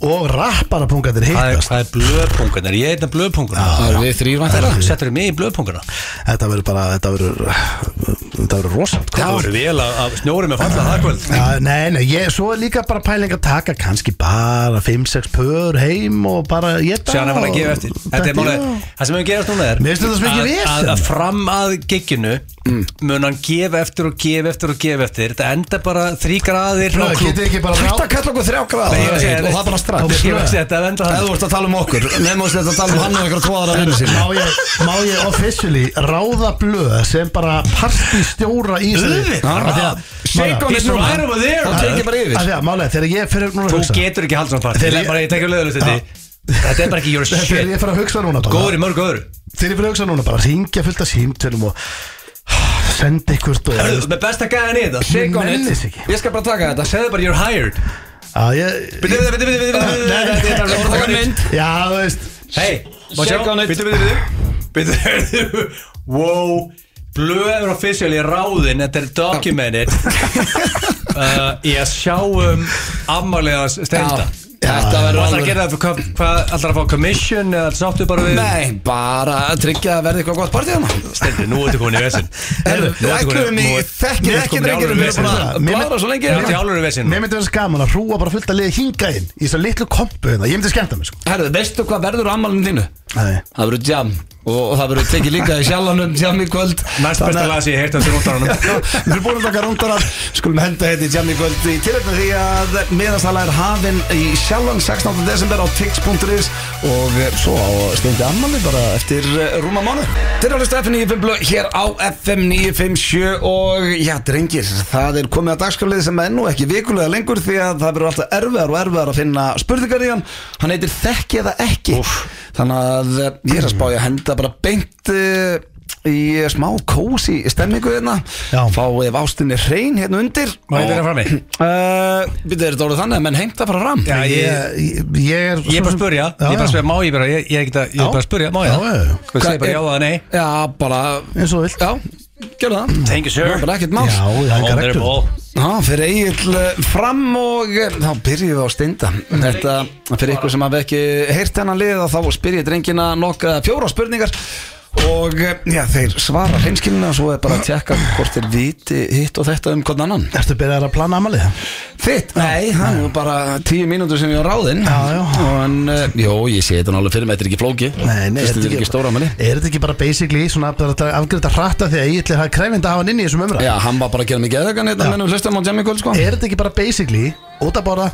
Speaker 3: og rapparapungarnir
Speaker 2: Það er,
Speaker 3: hittast
Speaker 2: það er blöðpunkunar, ég heitna blöðpunkunar
Speaker 1: Það eru við þrýrvænt þeirra
Speaker 2: Settur mig í blöðpunkuna
Speaker 3: Þetta verður bara, þetta verður Þetta verður rosamt
Speaker 2: Það voru vel að, að snjóri með falla það kvöld
Speaker 3: Já, nei, nei, ég, svo er líka bara pæling að taka kannski bara 5-6 pör heim og bara ég það
Speaker 2: Sjána bara að gefa eftir Þetta er málega, það sem hefur gerast núna er
Speaker 3: Mér finnst þetta svo mikið
Speaker 2: að-
Speaker 3: vesen.
Speaker 2: að- Að fram að gigginu mun hann gefa eftir og gefa eftir og gefa eftir Þetta enda bara þrý graðir á klúbb.
Speaker 3: Getið ekki bara
Speaker 1: Hætt
Speaker 3: rá
Speaker 1: að kalla okkur þrjá gráð
Speaker 2: Nei, ég
Speaker 1: Og
Speaker 2: er að segja,
Speaker 1: það bara strax
Speaker 2: Ég var að segja, þetta er enda
Speaker 1: Ef
Speaker 2: hann
Speaker 1: þú ert að tala um okkur Nefnum þú ert að tala um hann og einhverja tvoðara vinnu sín
Speaker 3: Má ég, má ég officially ráða blöð sem bara partistjóra í þessari Af því
Speaker 2: Auðvitað.
Speaker 3: að-
Speaker 1: Shake on
Speaker 3: Málega,
Speaker 1: his
Speaker 2: He's right over there.
Speaker 1: Hann tekið bara
Speaker 3: af
Speaker 1: yfir
Speaker 3: því að málega, þegar ég fyrir núna að
Speaker 2: Þú
Speaker 3: hugsa
Speaker 2: getur ekki haldið svona part
Speaker 3: Þegar
Speaker 2: Ég
Speaker 3: ég-
Speaker 2: bara, ég tekja löðulegt þetta Þetta er bara ekki your
Speaker 3: Þegar ég
Speaker 2: shit
Speaker 3: fyrir að hugsa núna Donna,
Speaker 2: Góður í mörgu öðru
Speaker 3: Þegar ég fyrir að hugsa núna bara ringja fullt af símtölum og senda ykkur og
Speaker 2: Hörðu, Með besta gæðan í þetta
Speaker 3: Ég
Speaker 2: Shake on
Speaker 3: nenni
Speaker 2: it
Speaker 3: þessu ekki.
Speaker 1: Ég skal bara taka þetta
Speaker 2: Segðu bara you're hired
Speaker 3: Já, ég
Speaker 2: Bitti, bitti, bitti, bitti,
Speaker 3: Nei.
Speaker 2: bitti
Speaker 1: Þú ert að taka mynd
Speaker 3: Já, þú veist
Speaker 2: Hei, má sjá
Speaker 1: Shake on it.
Speaker 2: Bitti, bitti, bitti Bitti, wow Blöður officially ráðinn Þetta er documented Uh, Ég sjá um afmálega stenda
Speaker 1: Þetta
Speaker 2: Þú
Speaker 1: verður
Speaker 2: ætlar að
Speaker 1: alveg
Speaker 2: gera það, hvað hvað- ætlar að fá commission eða sáttu bara við
Speaker 1: Nei, bara að tryggja að verði eitthvað gott partíð hann
Speaker 2: Stendi, nú ertu komin í vesin
Speaker 1: Herru,
Speaker 2: Nú ertu komin-
Speaker 1: ætlum í
Speaker 2: nú-
Speaker 1: þekkir
Speaker 2: nú ertu
Speaker 1: ekki
Speaker 2: komin í
Speaker 1: drengir
Speaker 2: alvöru
Speaker 1: Við
Speaker 2: vesen.
Speaker 1: erum bara að blára svo lengi
Speaker 2: Nú ertu í alvöru vesin
Speaker 3: Mér myndi verið gaman að hrúa bara fullt að liða hinga inn Í þess að litlu kompu hérna, ég myndi skemmta mig sko
Speaker 1: Herru, veistu hvað verður á ammálinu þínu?
Speaker 3: Nei.
Speaker 1: Það verður jam og, og það verður tekið líka í sjallanum jam í kvöld
Speaker 2: Næst besta lag sem ég heirt eftir rótaranum
Speaker 1: Við erum búin að taka rúndarar Skulum henda hérna í jam í kvöld í tilöfni því að meðanstala er hafinn í sjallan 16. desember á tix.is og eh, svo á steindi ammali bara eftir eh, rúma mánu Þeir eru að hlusta FM 95 blöð hér á FM 957 og já drengir það er komið að dagskraflið sem er nú ekki vikulega lengur því að það verður alltaf erfiðar og erfiðar að finna spurningar í hann hann heitir þekki eða ekki þannig að eh, ég er að spá ég að henda bara beint eh, í smá kósi stemmingu hérna
Speaker 3: Já.
Speaker 1: fá ef ástinni hrein hérna undir
Speaker 2: Má ég byrja
Speaker 1: [CLEARS THROAT]
Speaker 2: frammi?
Speaker 1: Uh, Býttu, er þetta orðið þannig að menn heimta fara fram?
Speaker 2: Já, ég
Speaker 3: Ég, ég, ég er
Speaker 2: Ég er bara að spurja, ég er bara að spurja, má ég bara, ég ég er ekki að, ég er bara að spurja, má ég
Speaker 3: Já, já,
Speaker 2: það?
Speaker 3: já.
Speaker 2: Hvað segir bara já eða nei?
Speaker 1: Já, bara
Speaker 3: Eins og þú vilt
Speaker 1: Já, gerðu það
Speaker 2: Thank you, sir.
Speaker 1: Það er bara ekkert mál
Speaker 3: Já, það er ekki rektur
Speaker 2: Honorable.
Speaker 1: Já, fyrir Egil fram og eh, þá byrjum við á steinda Þetta, fyrir ykkur sem hafa ekki heyrt hennan lið þá spyr ég drengina nokka fjóra spurningar og eh, já, þeir svara hreinskilina og svo er bara að tjekka hvort þeir viti hitt og þetta um hvern annan
Speaker 3: Ertu byrjar að plana amalið?
Speaker 1: Þitt? Nei, það er bara tíu mínútur sem ég var ráðinn
Speaker 3: Já, já.
Speaker 1: En, uh, Jó, ég sé þetta náttúrulega fyrir mig, þetta er ekki flóki Þetta er ekki stóra manni
Speaker 3: Er þetta ekki bara basically svona að afgriða hratta því að ég ætli að krefjandi að hafa hann inn í þessum umræð?
Speaker 1: Já, hann var bara að gera mig geðagan hérna mennum hlustum á Jammy Gold sko
Speaker 3: Er þetta ekki bara basically út að borða,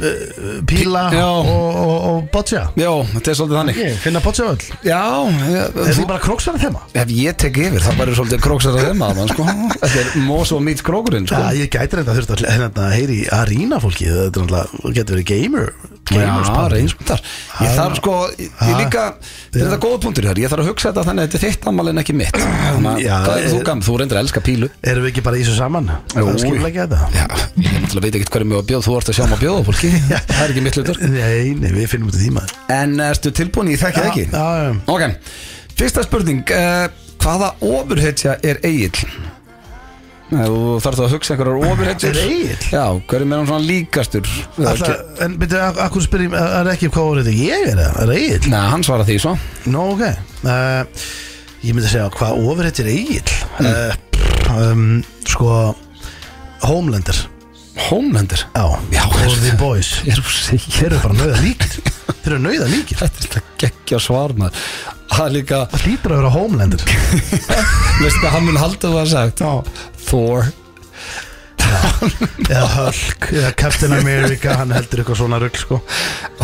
Speaker 3: uh, píla
Speaker 1: Já.
Speaker 3: og, og, og botja?
Speaker 1: Já, þetta er svolítið þannig
Speaker 3: Ég finna botja öll Er
Speaker 1: Já, ég,
Speaker 3: þetta
Speaker 1: þú,
Speaker 3: ekki bara króksverðið þema?
Speaker 1: ef ég tek yfir þá verður svolítið króksar að þeim að hann sko Þetta er mós og mít krókurinn sko
Speaker 3: Já, ég gæti reynda þurft að hérna, heyri í arena fólki Þetta er náttúrulega, þú getur verið gamer gamers
Speaker 1: Já,
Speaker 3: party.
Speaker 1: reynskundar Ég þarf sko, ég ég líka Þetta er þetta góða punktur þar, ég þarf að hugsa þetta þannig að þetta er þitt ammál en ekki mitt Þannig að
Speaker 3: Já,
Speaker 1: hvað er þú
Speaker 3: eh,
Speaker 1: gamm, þú reyndir að elska pílu
Speaker 3: Erum við ekki bara í þessu saman?
Speaker 1: Jú.
Speaker 3: Það skilur ekki þetta
Speaker 1: Já, ég náttúrulega veit ekkert hverju mjög að bjóða, þú ert að sjá maður að bjóða [LAUGHS] fólki Það er ekki mitt hlutur
Speaker 3: Nei, nei, við finnum út í því maður
Speaker 1: En erstu tilbúin, ég þekki það ekki
Speaker 3: Já, já,
Speaker 1: Ok, fyrsta spurning uh, Hvaða ofurhetja er eigill? Þú þarf þá að hugsa einhverjar ofurhetjur
Speaker 3: Er Egill?
Speaker 1: Já, hverjum er hann svona líkastur? Eða
Speaker 3: Alla,
Speaker 1: ekki-
Speaker 3: En byrju, ak- akkur spyrjum, er er ekki hvað voru þetta? Ég er það, er Egil?
Speaker 1: Nei, hann svarar því svo
Speaker 3: Nó, ok uh, Ég myndi að segja, hvað ofur þetta er Egil?
Speaker 1: Mm.
Speaker 3: Uh, um, sko, Homelander
Speaker 1: Homelander
Speaker 3: Já,
Speaker 1: Já,
Speaker 3: og
Speaker 1: er-
Speaker 3: The Boys
Speaker 1: Er þú segir?
Speaker 3: Þeir eru bara nauða líkir Þeir eru nauða líkir
Speaker 1: Þetta er þetta geggja svar maður Það er líka,
Speaker 3: Það hlýtur að vera Homelander
Speaker 1: veistu að hann mun halda það sagt Já. Thor
Speaker 3: eða Hulk eða Captain America hann heldur eitthvað svona rugl sko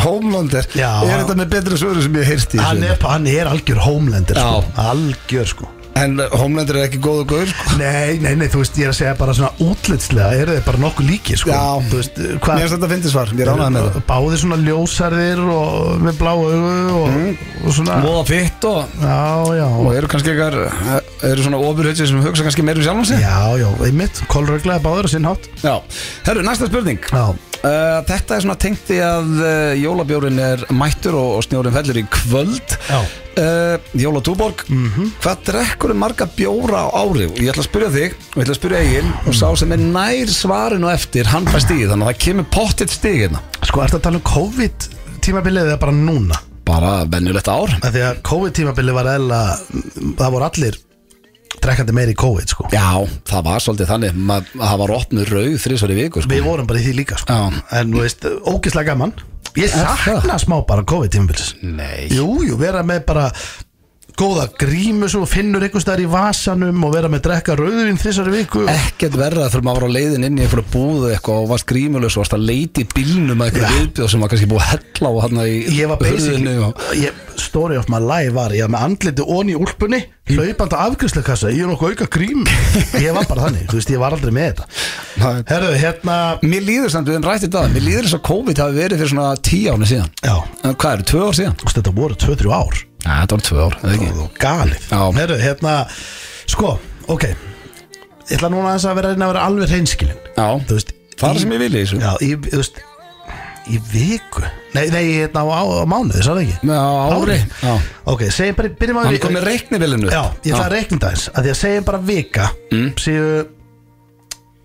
Speaker 1: Homelander,
Speaker 3: Já.
Speaker 1: er þetta með betra svöru sem ég heyrst í
Speaker 3: hann
Speaker 1: þessu?
Speaker 3: er, hann er algjör homelander
Speaker 1: Já.
Speaker 3: sko. algjör sko
Speaker 1: En uh, Homelander er ekki góð og góður sko.
Speaker 3: Nei, nei, nei, þú veist, ég er að segja bara svona útlitslega eru þeir bara nokkuð líkir, sko
Speaker 1: Já.
Speaker 3: þú veist,
Speaker 1: Mér
Speaker 3: hvað
Speaker 1: finnst þetta að fyndi svar, ég ránaði með það
Speaker 3: Báðir svona ljósarðir og með blá augu og,
Speaker 1: Mm.
Speaker 3: og svona
Speaker 1: Móða fitt og,
Speaker 3: Já, já,
Speaker 1: og eru kannski eitthvað uh, eru svona ofurhauðsir sem hugsa kannski meira um sjálfum sig
Speaker 3: já, já, einmitt, kolröglega báðir og sinnhátt
Speaker 1: Já, herru, næsta spurning
Speaker 3: Já,
Speaker 1: Uh, þetta er svona tengt í að uh, jólabjórin er mættur og, og snjórin fellur í kvöld
Speaker 3: Já.
Speaker 1: uh, Jólatúborg Hvað drekkur marga bjóra á ári? Og Ég ætla að spyrja þig og ég ætla að spyrja eigin og sá sem er nær svarinu eftir hann fær stíð þannig að það kemur pottitt stíð hérna
Speaker 3: sko, ertu að tala um COVID tímabilið eða bara núna?
Speaker 1: Bara venjulegt ár
Speaker 3: Af Því að COVID tímabilið var eðla það voru allir drekkandi meiri í COVID, sko
Speaker 1: Já, það var svolítið þannig Ma, það var opnuð rauð þrísvar í viku sko.
Speaker 3: Við vorum bara í því líka, sko
Speaker 1: Já.
Speaker 3: En, þú veist, ógislega gaman Ég sakna smá bara COVID tímabilið
Speaker 1: Nei
Speaker 3: Jú, jú, vera með bara góða grímu svo finnur einhvers staðar í vasanum og vera með drekka rauðvin þessari viku og-
Speaker 1: Ekkert verra þegar maður var á leiðin inn í einhverju búðu eitthvað og var skrímulegs og varst að leiti bílnum að eitthvað viðbjóð sem var kannski búið að hella á hann í
Speaker 3: Ég var basically,
Speaker 1: hurðinni og...
Speaker 3: ég, story of my life var, ég var með andliti onni í úlpunni, hlaupandi á afgjörsleikassa, ég er nokkuð auka grím Ég var bara þannig, þú veist, ég var aldrei með þetta
Speaker 1: Nei.
Speaker 3: Herðu, hérna,
Speaker 1: Mér líður samt við en rætti þetta Mér líður þess að COVID hafi verið fyrir svona tíu áni síðan
Speaker 3: já,
Speaker 1: en Hvað eru, tvö ár síðan?
Speaker 3: þú veist, þetta voru 2-3 ár
Speaker 1: Já, þetta var tvö ár, eða ekki?
Speaker 3: og þú galið
Speaker 1: Já.
Speaker 3: Herðu, hérna, sko, ok Ég ætla núna aðeins að vera að reyna að vera alveg reynskilin
Speaker 1: Já,
Speaker 3: Þú veist,
Speaker 1: það er
Speaker 3: í-
Speaker 1: sem ég vilja í þessu
Speaker 3: Já, í, þú veist Í viku? Nei, nei, hérna á, á, á mánuði, sagði ekki?
Speaker 1: Já, á ári. Já.
Speaker 3: Ok, segjum bara, byrjum á
Speaker 1: Hann kom með reiknivilinu
Speaker 3: Já, ég ætla að reikna það eins að Því að segjum bara vika mm. Séu,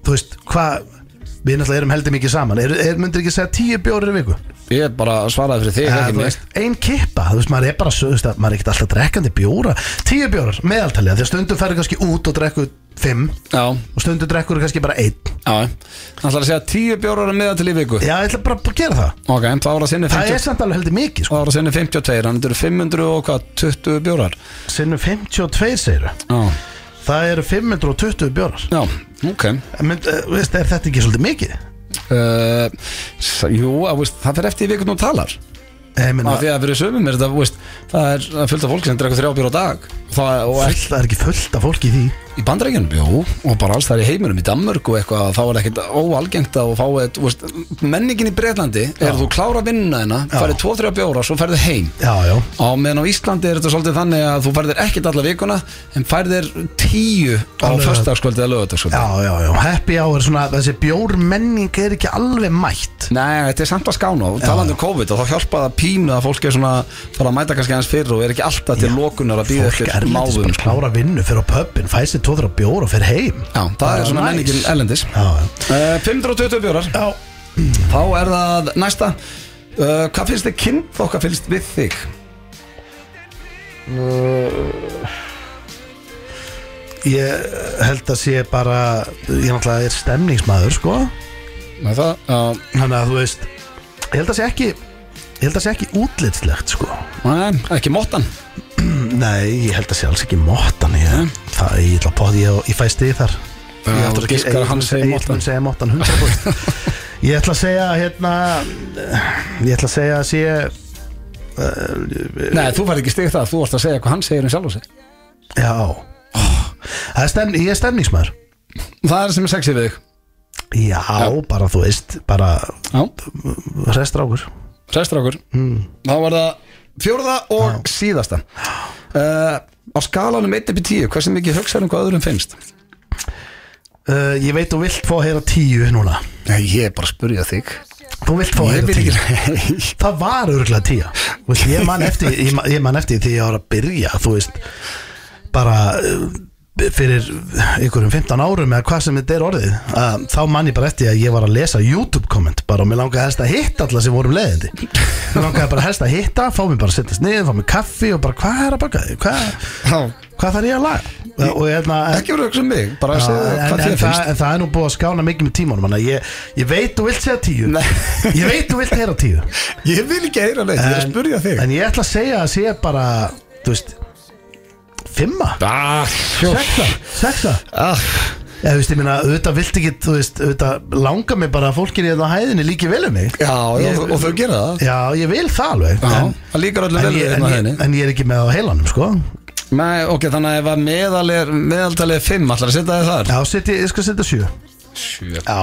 Speaker 3: þú veist, hvað Við náttúrulega erum heldur mikið saman er, er, Myndir ekki segja tíu bjórir í viku?
Speaker 1: Ég bara svaraði fyrir þig,
Speaker 3: Eh,
Speaker 1: ekki
Speaker 3: þú
Speaker 1: mig
Speaker 3: veist, Ein kippa, þú veist, maður er bara svo, þú veist, að Maður er ekkert alltaf drekkandi bjóra Tíu bjórar, meðaltalið, af því að stundum ferðu kannski út og drekku fimm
Speaker 1: Já,
Speaker 3: Og stundum drekkur kannski bara einn
Speaker 1: já Hann ætlar að segja tíu bjórar að meða til í viku
Speaker 3: Já, ég ætla bara að gera það
Speaker 1: Ok, en það var að sinni
Speaker 3: Það
Speaker 1: 50
Speaker 3: er samt alveg heldur mikið, sko
Speaker 1: Það var að sinni 52, hann eru 500 og hvað, 20 bjórar
Speaker 3: Sinnum 52 segiru
Speaker 1: Já,
Speaker 3: Það eru 520 bjórar
Speaker 1: já, ok
Speaker 3: Men, uh, veist, Er þetta ekki svolítið mikið?
Speaker 1: uh, s- Jú, að, veist, það fyrir eftir í vikun og talar
Speaker 3: Eh, Ég meina,
Speaker 1: Af því að fyrir sömum er þetta, veist, það er það er fullt af fólki sem drekur þrjá bjór á dag það, og
Speaker 3: full, það er ekki fullt af fólki í því
Speaker 1: Í bandarækjunum, jú, og bara alls þar í heiminum í Danmörk og eitthvað, þá er ekkert óalgengt að fá eitt, þú veist, menningin í Breitlandi er þú klára vinnuna þina, færið 2-3 bjóra, svo færið heim
Speaker 3: Já, já
Speaker 1: Á meðan á Íslandi er þetta svolítið þannig að þú færðir ekkert alla vikuna en færðir tíu á
Speaker 3: Alveg.
Speaker 1: föstudagskvöldi eða lögudagskvöldi
Speaker 3: Já, já, já, happy hour, svona, þessi bjórmenning er ekki alveg mætt
Speaker 1: Nei, þetta er samt að skána og talandi um COVID og þá hjálpa það pínu að fólk er svona fara að mæta kannski aðeins fyrr og er ekki alltaf til lokunar að býða
Speaker 3: Fólk
Speaker 1: eftir
Speaker 3: erlendis
Speaker 1: máðum
Speaker 3: bara
Speaker 1: sko.
Speaker 3: klára vinnu, fyrir á pöppin, fæsi tóður á bjór og fyrir heim
Speaker 1: Já, það er svona
Speaker 3: Nice.
Speaker 1: menningin ellendis
Speaker 3: Já, já
Speaker 1: uh, 520 bjórar
Speaker 3: Já,
Speaker 1: Þá er það næsta uh, Hvað finnst þið kynnt og hvað finnst við þig?
Speaker 3: ég held að sé bara, ég náttúrulega er stemningsmaður, sko
Speaker 1: Með það, já,
Speaker 3: Þannig að þú veist, ég held að sé ekki, ég held að sé ekki útlitslegt, sko
Speaker 1: nei, ekki móttan
Speaker 3: Nei, ég held að sé alls ekki móttan ég, það, ég ætla að bóði ég, ég fæ stið þar
Speaker 1: Já,
Speaker 3: Ég ætla
Speaker 1: þú
Speaker 3: ekki-
Speaker 1: giskar að hann
Speaker 3: Egill
Speaker 1: segir
Speaker 3: mun-
Speaker 1: Mottan.
Speaker 3: Egill mun segja móttan 100%
Speaker 1: [LAUGHS]
Speaker 3: Ég ætla að segja hérna Ég ætla að segja að sé
Speaker 1: Nei, þú fær ekki stig það, þú varst að segja hvað hann segir um sjálf og sig
Speaker 3: Já
Speaker 1: Oh.
Speaker 3: Það er stemn, Ég er stemningsmaður
Speaker 1: Það er sem er sexið við þig
Speaker 3: Já, bara þú veist bara
Speaker 1: Já,
Speaker 3: restrákur
Speaker 1: restur okkur mm. Þá var það fjórða og síðasta uh, Á skalanum 1-10, hversu mikið hugsaður um hvað öðrum finnst?
Speaker 3: uh, Ég veit þú vilt fá að heyra tíu núna
Speaker 1: Nei, ég er bara að spurja þig
Speaker 3: Þú vilt fá að
Speaker 1: Ég
Speaker 3: heyra
Speaker 1: vil
Speaker 3: tíu
Speaker 1: ekki
Speaker 3: Það var örgulega tíja veist, ég, man eftir, ég, man, ég man eftir því ég var að byrja Þú veist Bara uh, fyrir einhverjum 15 árum eða hvað sem þetta er orðið uh, þá man ég bara eftir að ég var að lesa YouTube komment bara og mér langaði helst að hitta alla sem vorum leiðindi mér langaði bara helst að hitta fá mér bara að setjast niður, fá mér kaffi og bara hvað er að baka þig, hvað,
Speaker 1: Já,
Speaker 3: hvað þarf ég að laga Uh, og hérna en,
Speaker 1: Ekki verið að hugsa um mig, bara að
Speaker 3: Já,
Speaker 1: segja
Speaker 3: en,
Speaker 1: hvað
Speaker 3: en,
Speaker 1: þér
Speaker 3: það,
Speaker 1: finnst
Speaker 3: en það er nú búið að skána mikið með tímanum þannig að ég, ég veit þú vilt segja tíu
Speaker 1: Nei.
Speaker 3: ég veit þú vilt heyra tíu
Speaker 1: Ég vil ekki heyra neitt, ég er að
Speaker 3: En-
Speaker 1: spurja þig
Speaker 3: En ég ætla að segja að sé bara Þú veist Fimma
Speaker 1: Ah,
Speaker 3: Sexa Sexa
Speaker 1: ah,
Speaker 3: Eða þú veist, ég meina Auðvitað vilt ekki Þú veist, auðvitað langar mig bara að fólkinni Þetta hérna hæðinni líki vel um mig
Speaker 1: Já, já og, og þau gera það
Speaker 3: Já, ég vil það alveg
Speaker 1: Já,
Speaker 3: en,
Speaker 1: það líkar öllum
Speaker 3: en,
Speaker 1: vel
Speaker 3: ég,
Speaker 1: hérna
Speaker 3: en,
Speaker 1: henni
Speaker 3: ég, en ég er ekki með á heilanum, sko
Speaker 1: Nei, ok, þannig að ef að meðal er, meðaltalið er 5, ætlar að setja þið þar?
Speaker 3: Já, setji, ég skal setja sjö
Speaker 1: Sjö.
Speaker 3: Já,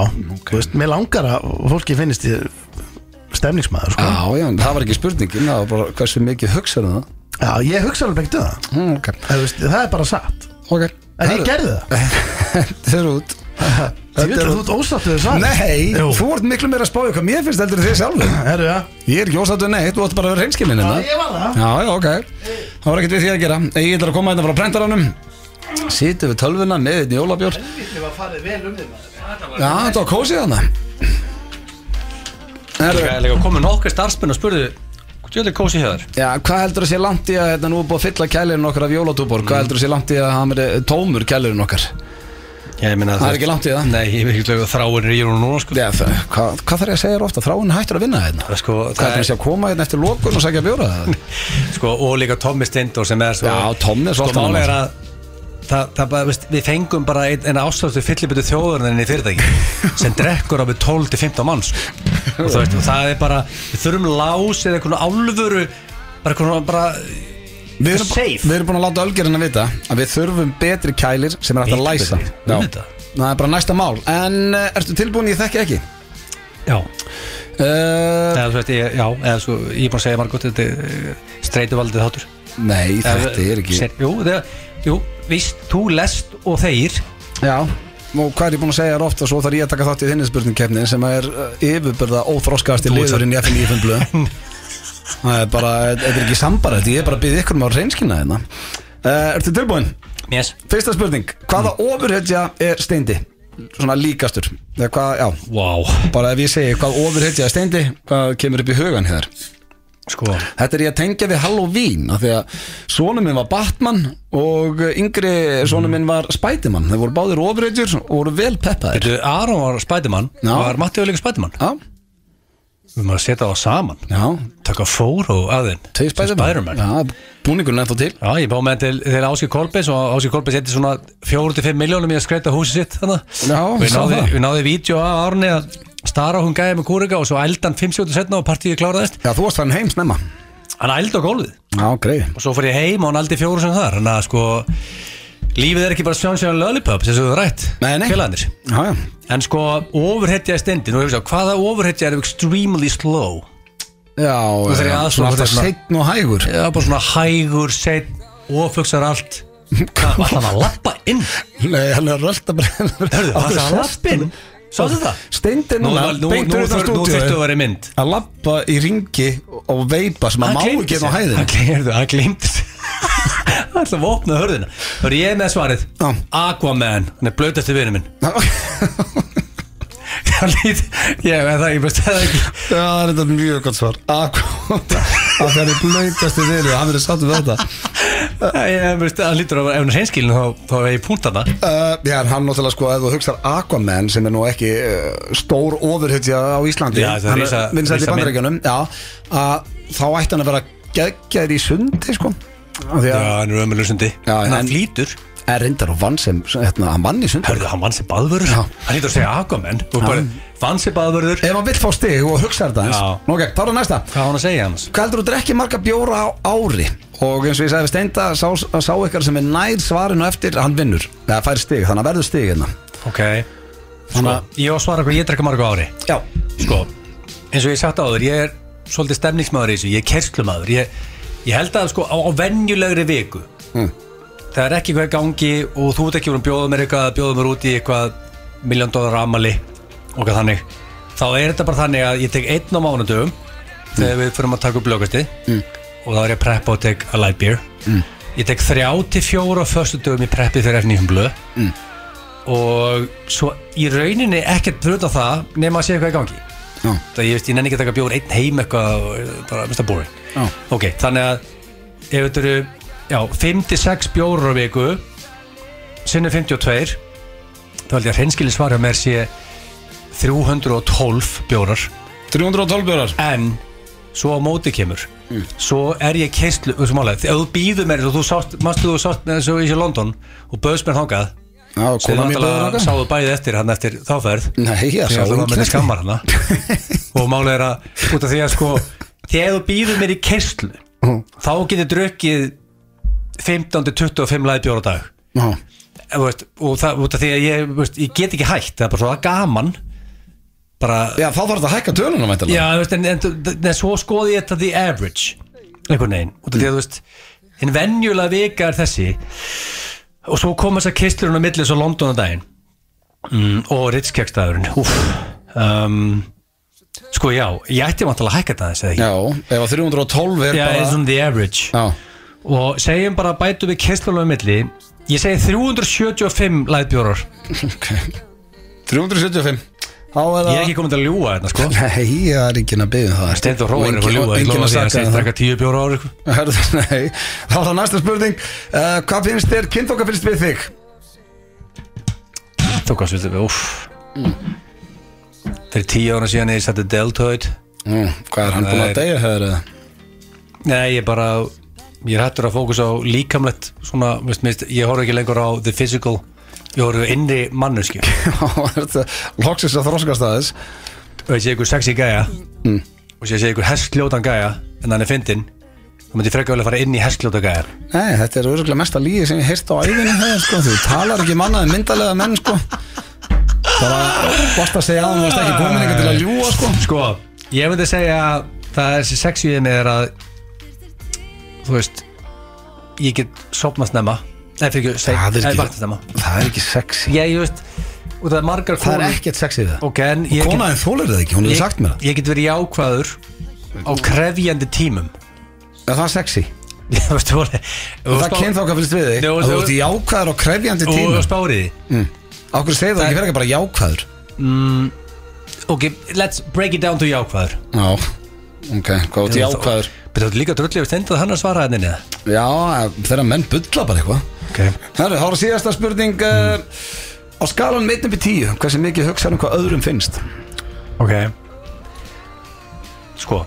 Speaker 3: þú veist, mér langar að fólki finnist ég stemningsmaður, sko
Speaker 1: Já, já, en það var ekki spurningin, það var bara hversu mikið hugsaðu það.
Speaker 3: Já, ég hugsa alveg ekki það
Speaker 1: Mm, ok,
Speaker 3: Það, veist, það er bara satt
Speaker 1: ok.
Speaker 3: En ég gerði það
Speaker 1: [LAUGHS] Þetta er út.
Speaker 3: Ég vil að þú ert ósáttu við svar
Speaker 1: Nei,
Speaker 3: Jú.
Speaker 1: þú ert miklu meira að spája hvað mér finnst heldur en þið sjálfur.
Speaker 3: Herru, já
Speaker 1: Ég er ekki ósattu neitt, þú ert bara að vera reynskilinn
Speaker 3: Já, ég var það.
Speaker 1: Já, já, ok. Það var ekkert við því að gera. Ég ætlar að koma hérna frá prentaranum. Sýtu við tölvuna með einn jólabjór.
Speaker 3: Helviti var farið vel um þig maður
Speaker 1: Já, þetta var kósið hana. Herru,
Speaker 2: Líka, líka komið nokkri starfsmenn og spurðu Hvað er þetta kósi hér?
Speaker 1: Já, hvað heldur að sé langt í að hérna, nú er búið að fylla kælirinn okkar af jólatúbor Hvað heldur að sé langt í að hann er tómur kælirinn okkar
Speaker 2: Ég meina
Speaker 1: Það er ekki langt í það.
Speaker 2: Nei, ég veit ekki að þráin er í hún núna sko
Speaker 1: Já, það, hvað, hvað þarf ég að segja þér ofta? Þráin hættur að vinna
Speaker 2: Það
Speaker 1: hérna
Speaker 2: er sko,
Speaker 1: Hvað heldur að sé að koma hérna eftir lokun og segja bjóra það?
Speaker 2: sko, og líka Tommi Stindor sem er svo,
Speaker 1: Já, Tommi er svo
Speaker 2: sko,
Speaker 1: alltaf
Speaker 2: málið
Speaker 1: annars.
Speaker 2: er að Það, það bara, veist, við fengum bara ein, eina ástæðustu fyllibötu þjóðurinn í fyrirtæki
Speaker 1: [LAUGHS]
Speaker 2: sem drekkur á við 12-15 manns og það, veist, og það er bara við þurfum lás eða einhvern alvöru bara einhvern bara
Speaker 1: Við
Speaker 2: erum- [LAUGHS] Safe.
Speaker 1: við erum búin að láta ölgerinn að vita að við þurfum betri kælir sem er hægt að
Speaker 2: Miklu
Speaker 1: læsa
Speaker 2: betri.
Speaker 1: Já.
Speaker 2: Auðvitað.
Speaker 1: Það er bara næsta mál En uh, ertu tilbúin ég þekki ekki?
Speaker 2: já,
Speaker 1: Uh,
Speaker 2: eða, þú veist, ég, já, eða svo, ég er búin að segja margótt þetta er eh, streituvaldið þáttur
Speaker 1: nei,
Speaker 2: Eh,
Speaker 1: þetta er ekki
Speaker 2: Ser, jú, það, jú, víst, þú lest og þeir
Speaker 1: Já, og hvað er ég búin að segja þér ofta svo þarf ég að taka þátt í þinni spurningkeppni sem er uh, yfirbyrða óþróskaðast í
Speaker 2: Þú ert
Speaker 1: liðurinn í FN í FN blöð
Speaker 2: [LAUGHS]
Speaker 1: Það er bara, eh, þetta er ekki sambarað ég er bara að byggja ykkur um að reynskina þetta uh, Ertu tilbúin?
Speaker 2: yes.
Speaker 1: Fyrsta spurning, hvaða
Speaker 2: Mm.
Speaker 1: ofurhetja er steindi? Svona líkastur Eða hvað, já,
Speaker 2: wow.
Speaker 1: bara ef ég segi hvað ofurhetja er steindi hvað kemur upp í hugan hér?
Speaker 2: sko,
Speaker 1: Þetta er ég að tengja við Halloween af því að sonum minn var Batman og yngri sonum minn var Spiderman, þeir voru báðir ofurhetjur og voru vel peppaðir
Speaker 2: Þetta Aron var spædimann
Speaker 1: Já.
Speaker 2: Var Matti líka spædimann
Speaker 1: Já,
Speaker 2: Við maður að setja það saman
Speaker 1: já,
Speaker 2: Taka fór og aðinn
Speaker 1: tveir Spiderman
Speaker 2: Spiderman Já.
Speaker 1: Já, búningurinn er þá til
Speaker 2: Já, ég bá með til, til Áskir Kolbeins og Áskir Kolbeins setja svona 4-5 miljónum í að skreita húsið sitt þannig.
Speaker 1: Já,
Speaker 2: Við
Speaker 1: sá
Speaker 2: náði,
Speaker 1: það.
Speaker 2: við náði vídeo af Arni að stara hún gæði með kúrika og svo ældan 5 sekúndur setna og partíið kláraðist
Speaker 1: Já, þú varst þannig heim snemma
Speaker 2: Hann ældi á gólfið
Speaker 1: Já, greið
Speaker 2: og svo fór ég heim og hann aldi fjóru sem þar þannig að sko lífið er ekki bara sjónsjóðan lollipop sem þú rætt
Speaker 1: Nei, nei.
Speaker 2: félagarnir
Speaker 1: Já, já,
Speaker 2: en sko overheadja er stendi nú hefur svo hvaða overheadja er extremely slow
Speaker 1: já
Speaker 2: þarf ég
Speaker 1: já,
Speaker 2: aðstoð
Speaker 1: Svona
Speaker 2: fyrir
Speaker 1: alltaf
Speaker 2: svona-
Speaker 1: seinn og hægur
Speaker 2: það er bara svona hægur set ofugsar allt [LAUGHS] hvað var það að lappa inn
Speaker 1: Nei, hann er rölda bara [LAUGHS]
Speaker 2: hörðu
Speaker 1: Af hverju
Speaker 2: það var að lappa inn sáttu það
Speaker 1: Steindi
Speaker 2: nú,
Speaker 1: núna,
Speaker 2: nú, nú,
Speaker 1: beintur
Speaker 2: nú,
Speaker 1: utan
Speaker 2: þur- nú
Speaker 1: stúdíói.
Speaker 2: þurftu að vera í mynd
Speaker 1: Að lappa í ringi og veipa sem að má
Speaker 2: gleymdi
Speaker 1: ekki hérna
Speaker 2: sér.
Speaker 1: á hæðinu
Speaker 2: hann gleymdi hann gleymdi sér. [LAUGHS] hann ætlaði að opna hörðina þá er ég með svarið
Speaker 1: Já.
Speaker 2: Aquaman hann er blöytast í vinnu minn [LAUGHS] Það lít, ég veit það, ég veist það ekki
Speaker 1: [LAUGHS] Já, það er þetta mjög gott svar Akkurat Það er blöytast í þeirri Hann verður sattum við þetta
Speaker 2: Ég veist, það lítur að ef hann er hreinskilin þá, þá er ég punkt hana
Speaker 1: Uh, já, en hann náttúrulega sko, ef þú hugstar Aquaman sem er nú ekki uh, stór ofurhytja á Íslandi
Speaker 2: Já, það er
Speaker 1: hann
Speaker 2: risa-
Speaker 1: vinsæll í
Speaker 2: risa
Speaker 1: bandaríkjunum já, að þá ætti hann að vera geggjaður í sundi sko Af því
Speaker 2: Já,
Speaker 1: að
Speaker 2: hann er ömurlegur sundi
Speaker 1: Já,
Speaker 2: En
Speaker 1: en-
Speaker 2: hann flýtur
Speaker 1: er reyndar og vann sem, sem hérna, hann vann í sundi
Speaker 2: Hörðu, hann vann sér baðvörður
Speaker 1: Já.
Speaker 2: Hann lítur að segja Aquaman Þú bara, vann sér baðvörður
Speaker 1: ef hann vill fá stig og hugsar þetta
Speaker 2: Já.
Speaker 1: hans ok, þá er það næsta
Speaker 2: Hvað á hann að segja annars?
Speaker 1: Hvað heldur þú drekki marga bjóra á ári? Og eins og ég sagði við Steinda, sá, sá ykkar sem er nær svarinu eftir, hann vinnur. Eða fær stig, þannig að verður stig hérna.
Speaker 2: Ok Sko,
Speaker 1: Þannig
Speaker 2: ég á að svara hvað ég drekka margu ári
Speaker 1: Já.
Speaker 2: Sko, eins og ég sagt áður Ég er svolítið stemningsmaður í þessu Ég er kerslumæður Ég, ég held að sko á, á venjulegri viku
Speaker 1: Mm.
Speaker 2: Það er ekki hvað í gangi Og þú ert ekki voru að bjóða mér eitthvað Bjóða mér út í eitthvað Miljón dólar amali Og hvað þannig Þá er þetta bara þannig að ég tek einn á mánudöfum
Speaker 1: Mm.
Speaker 2: Þegar við förum að taka upp lögastið og þá er ég að preppa og tek a light beer
Speaker 1: Mm.
Speaker 2: ég tek þrjá til fjóra fyrstu dögum í preppi fyrir F9 blöð mm. og svo í rauninni ekkert bruta það nema að sé eitthvað í gangi
Speaker 1: Já.
Speaker 2: það ég veist, ég nenni ekki að taka bjóður einn heim eitthvað og eh, bara, minnst það boring
Speaker 1: Já.
Speaker 2: ok, þannig að ef þetta eru, já, 5-6 bjóður á viku sinnum 52 þá held ég að hreinskilin svar hjá mér sé 312 bjórar
Speaker 1: 312 bjórar.
Speaker 2: en svo á móti kemur svo er ég keislu þessu málega, ef þú býður mér eins og þú sátt, mástu þú sátt með þessu í London og bauðst mér þangað
Speaker 1: Já,
Speaker 2: sem
Speaker 1: konan mín bauð
Speaker 2: náttúrulega
Speaker 1: þangað.
Speaker 2: sáðu bæði eftir hann eftir þáferð
Speaker 1: Nei, já,
Speaker 2: þegar
Speaker 1: sá
Speaker 2: þú var með
Speaker 1: enginn.
Speaker 2: þess skammar hana og málega er að út af því að sko þegar þú býður mér í keislu þá getur drukkið 15-25 lagi bjóra dag
Speaker 1: Já.
Speaker 2: Eh, þú veist, og það út af því að ég, þú veist, ég get ekki hægt það er bara svo gaman bara,
Speaker 1: Já, þá þarf þetta að hækka tölunum
Speaker 2: já,
Speaker 1: væntanlega.
Speaker 2: þú veist, en, en, en, en svo skoði ég þetta the average einhvern veginn, út af því að þú veist en venjulega vika er þessi og svo kom þess að kistlurinn á milli svo London að daginn mm, og Ritz-kjökstæðurinn Úff, um, sko já, ég ætti vantilega að hækka þetta aðeins eða ekki
Speaker 1: Já, ef að 312 er
Speaker 2: Já,
Speaker 1: bara
Speaker 2: eins og the average
Speaker 1: Já,
Speaker 2: og segjum bara bætu við kistlunum á milli ég segi 375 læðbjórar
Speaker 1: ok 375 Þá er það
Speaker 2: ég er ekki komin til að ljúa þetta sko
Speaker 1: Nei, ég er enginn að byggja það
Speaker 2: Steint og Róin er
Speaker 1: Og
Speaker 2: að ljúa ég
Speaker 1: enginn
Speaker 2: lofa
Speaker 1: að
Speaker 2: því að
Speaker 1: saka
Speaker 2: segja
Speaker 1: það
Speaker 2: strakka tíu bjóra ári sko.
Speaker 1: Hörðu, [LAUGHS] nei, þá er það næsta spurning uh, Hvað finnst þér, kynþóka finnst við þig?
Speaker 2: þú kannst við þetta uff fyrir tíu ára síðan ég setti deltoid
Speaker 1: Nú, Hm, hvað er hann búinn að
Speaker 2: Nei.
Speaker 1: deyja hefur eða? [LAUGHS]
Speaker 2: nei ég bara ég er hættur að fókus á líkamlegt svona, veist, mist, ég horf ekki lengur á the physical ég horf innri mannuskju
Speaker 1: Loksins að þróskast aðeins
Speaker 2: og ég sé ykkur sexy gæja
Speaker 1: Mm.
Speaker 2: og ég sé ykkur hestljótan gæja en hann er fyndinn þá myndi ég frekar vel að fara inn í hestljóta gæjar
Speaker 1: Nei, þetta er öruglega mesta líði sem ég heyrst á æðinu þegar, sko, þú talar ekki mannaði myndalega menn, sko bara, varst að segja að hann varst ekki komin eitthvað til að ljúa, sko
Speaker 2: Sko, ég myndi segja að það er þessi sexuðið með er að þú veist ég get sopnað snemma eða fyrir ekki,
Speaker 1: Það er
Speaker 2: eða
Speaker 1: ekki-
Speaker 2: vaknað snemma
Speaker 1: Það er ekki sexy
Speaker 2: ég, ég veist, og það er margar
Speaker 1: Það er
Speaker 2: konur-
Speaker 1: ekkert sexy við það
Speaker 2: ok, en ég
Speaker 1: Kona
Speaker 2: get,
Speaker 1: þín þolir það ekki, hún hefur sagt mér
Speaker 2: ég, ég get verið jákvæður á krefjandi tímum [LAUGHS]
Speaker 1: það Er það sexy?
Speaker 2: Ég veist, þú veist,
Speaker 1: Það er kynþóka fylgst við þig
Speaker 2: Nei, og
Speaker 1: að Þú
Speaker 2: þú-
Speaker 1: ert í jákvæður og krefjandi
Speaker 2: og, og
Speaker 1: tíma
Speaker 2: spáriði
Speaker 1: Okkur segir það ekki verið bara jákvæður
Speaker 2: ok, let's break it down to jákvæður
Speaker 1: Já, ok, hvað út í jákvæður
Speaker 2: betur þetta líka drullið við stendað hann að svara henni neða
Speaker 1: Já, þeirra menn bulla bara eitthvað
Speaker 2: ok, Hmm.
Speaker 1: Herru, þá er síðasta spurning uh, Á skalan meitnum við tíu Hversu mikið hugsaður um hvað öðrum finnst?
Speaker 2: ok sko,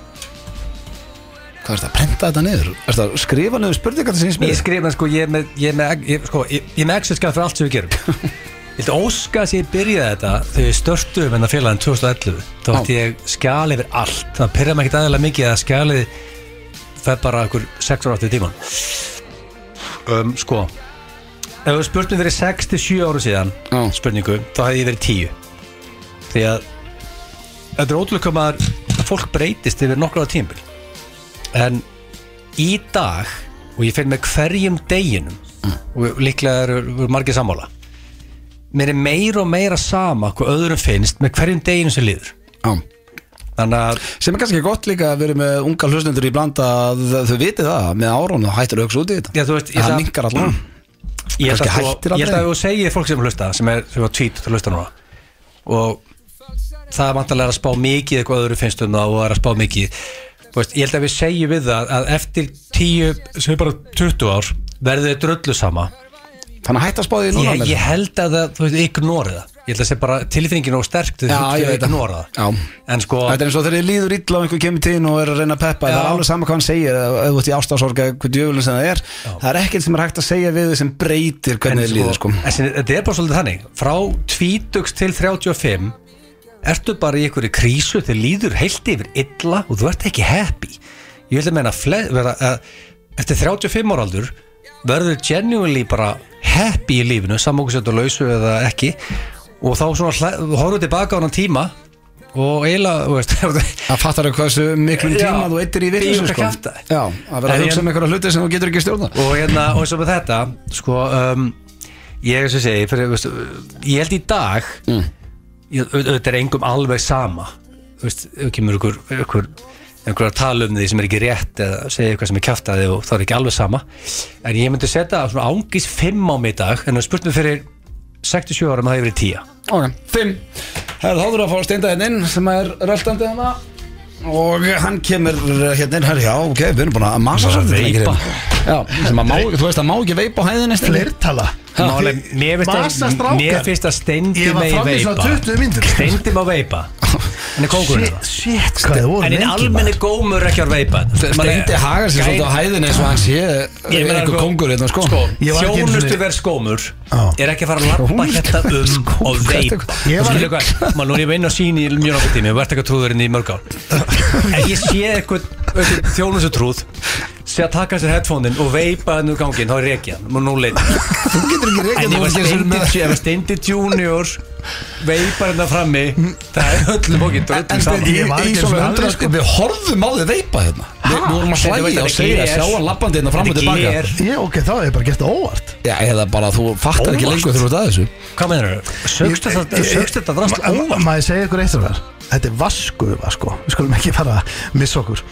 Speaker 1: Hvað er það að prenta þetta niður? Er það að skrifa niður spurningar til sinni
Speaker 2: Ég
Speaker 1: smið?
Speaker 2: skrifa sko, ég er með, ég er með, ég, sko, ég, ég er með exit-skjað fyrir allt sem við gerum Viltu óska að ég byrjaði þetta þegar við hérna störtum en það félagin 2011 þá ætti ég skjal yfir allt þannig pyrra mig ekkert aðeinslega mikið að skjalið fer bara einhver 6 ára áttið tíman um, Sko Ef við spurtum fyrir 6-7 ára síðan
Speaker 1: Já.
Speaker 2: spurningu, þá hefði ég verið 10 því að þetta er ótrúlega hvað maður að fólk breytist yfir nokkra ára tímabil en í dag og ég finn með hverjum deginum og líklega eru, eru margir sammála mér er meira og meira sama hvað öðrum finnst með hverjum deginum sem líður
Speaker 1: Já
Speaker 2: þannig að
Speaker 1: Sem er kannski gott líka að vera með unga hlustendur í blanda að þau viti það með árun og hættir að hugsa út í þetta
Speaker 2: Já, þú veist, ég Mm.
Speaker 1: Það
Speaker 2: ætla-
Speaker 1: mingar allan
Speaker 2: ég held að
Speaker 1: Kannski
Speaker 2: sko-
Speaker 1: hættir
Speaker 2: ég held að
Speaker 1: aldrei.
Speaker 2: þú segir fólk sem hlusta sem er sem er á tvít til hlusta núna og það er vantarlega að spá mikið eitthvað öðru finnst um það og er að spá mikið Þú veist, ég held að við segjum við það að eftir 10, sem er bara 20 ár verður þau drullu sama
Speaker 1: Þannig að hætta að spá því núna
Speaker 2: ég,
Speaker 1: með
Speaker 2: ég held að það, þú veist, ignori það ég held að það sé bara tilfinningin og sterk til
Speaker 1: Já,
Speaker 2: þess
Speaker 1: ég
Speaker 2: að
Speaker 1: veit það.
Speaker 2: ignora
Speaker 1: Já.
Speaker 2: það en sko,
Speaker 1: Þetta er eins og þegar þið líður illa og einhver kemur tíðin og er að reyna að peppa
Speaker 2: Já.
Speaker 1: Það er alveg sama hvað hann segir eða ef þú ert í ástasorga hvað djöfulin sem það er Það er ekkert sem er hægt að segja við þau sem breytir
Speaker 2: en
Speaker 1: hvernig þið líður sko.
Speaker 2: en sem- þetta er bara svolítið þannig frá 20 til 35 ertu bara í einhverju krísu þið líður heilt yfir illa og þú ert ekki happy ég vil að meina fle- vera, að eftir 35 ára aldur verður genuinely bara happy í lífinu samókusjöndu lausu eða ekki og þá svona hla- þú horfðu tilbaka á hann tíma og eiginlega, þú veist [LAUGHS]
Speaker 1: Það fattar þau hversu miklum
Speaker 2: Já.
Speaker 1: tíma þú eittir í
Speaker 2: Ég
Speaker 1: vitlisum
Speaker 2: er
Speaker 1: sko.
Speaker 2: að kjafta.
Speaker 1: Já, að vera
Speaker 2: En
Speaker 1: að
Speaker 2: ég-
Speaker 1: hugsa um einhverja hluti sem þú getur ekki stjórna
Speaker 2: og hérna, og eins og með þetta sko, um, ég sem segi fyrir, veist, ég held í dag mm. ég, au- auðvitað er engum alveg sama þú veist, ef kemur ykkur ykkur, einhver að tala um því sem er ekki rétt eða segja eitthvað sem er kjaftaði og það er ekki alveg sama en ég myndi setja svona ángis 5 á mig í dag, en það spurt mér fyrir 67 ára með það yfir í 10
Speaker 1: Ok, fimm Herð, þá þurfum við að fá steinda hérna inn sem er röltandi hana Og hann kemur hérna inn, herri, já, ok, við erum búin að massa
Speaker 2: Bara
Speaker 1: svolítið
Speaker 2: veipa.
Speaker 1: lengi hérna. Já, sem að má, þú veist að má ekki veipa á hæðinni Steindi.
Speaker 3: Fleirtala
Speaker 2: Málega, mér finnst
Speaker 3: Massa
Speaker 2: að-
Speaker 3: strákar.
Speaker 2: mér finnst að steindi
Speaker 3: Ég var
Speaker 2: megi
Speaker 3: fram í svona
Speaker 2: veipa
Speaker 3: 20 myndir
Speaker 2: steindi má veipa hann er kókurinn
Speaker 3: Shit, shit, hvað þið voru
Speaker 2: En einn
Speaker 3: lengi
Speaker 2: almenni
Speaker 3: maður.
Speaker 2: gómur ekki að veipa
Speaker 1: Steindi hagar sér svolítið á hæðinni eins og hann sé
Speaker 2: Ég meina,
Speaker 1: einhver
Speaker 2: sko-
Speaker 1: kongur hérna, sko,
Speaker 2: sko,
Speaker 3: Ég var ekki einu sinni-
Speaker 2: Þjónustu verð skómur
Speaker 3: Á.
Speaker 2: Er ekki að fara að lappa hérna um Og veipa
Speaker 3: Ég var-
Speaker 2: Skilu hvað, maður nú er ég með inn á sín í mjög nokkuð tími Þú ert ekki að trúðurinn í mörg ár En ég sé eitthvað þjónustu trúð sé að taka sér headphone-in og veipa hann úr gangin, þá er reikið hann, nú leitt
Speaker 1: Þú getur ekki reikjað
Speaker 2: En ég var Steindi- ég var Steindi Junior veipar hérna frammi það er öllum okkur
Speaker 1: En
Speaker 2: dröllum
Speaker 1: stendi,
Speaker 3: Ég var
Speaker 1: í
Speaker 3: ekki
Speaker 1: svona
Speaker 3: eins og
Speaker 1: undra
Speaker 3: alveg, sko.
Speaker 1: Við horfum á þið veipa hérna Við við vorum að
Speaker 2: Þetta var
Speaker 1: slæja
Speaker 2: þetta
Speaker 1: og segja
Speaker 2: gler.
Speaker 1: Sjá hann lappandi hérna fram og
Speaker 2: Þetta
Speaker 1: tilbaka
Speaker 2: gler.
Speaker 3: Ég, ok, þá hef ég bara gert það óvart
Speaker 1: Já, eða bara þú fattar ekki
Speaker 2: Óvart.
Speaker 1: lengur þegar þú ert að þessu
Speaker 2: Hvað meinar þau? Sögst þetta
Speaker 3: Ég- ég-
Speaker 2: sögst þetta drast
Speaker 3: Ma-
Speaker 2: óvart?
Speaker 3: Má ég segja ykkur eitt af þér Þetta er vaskuða sko Við skulum ekki fara að missa okkur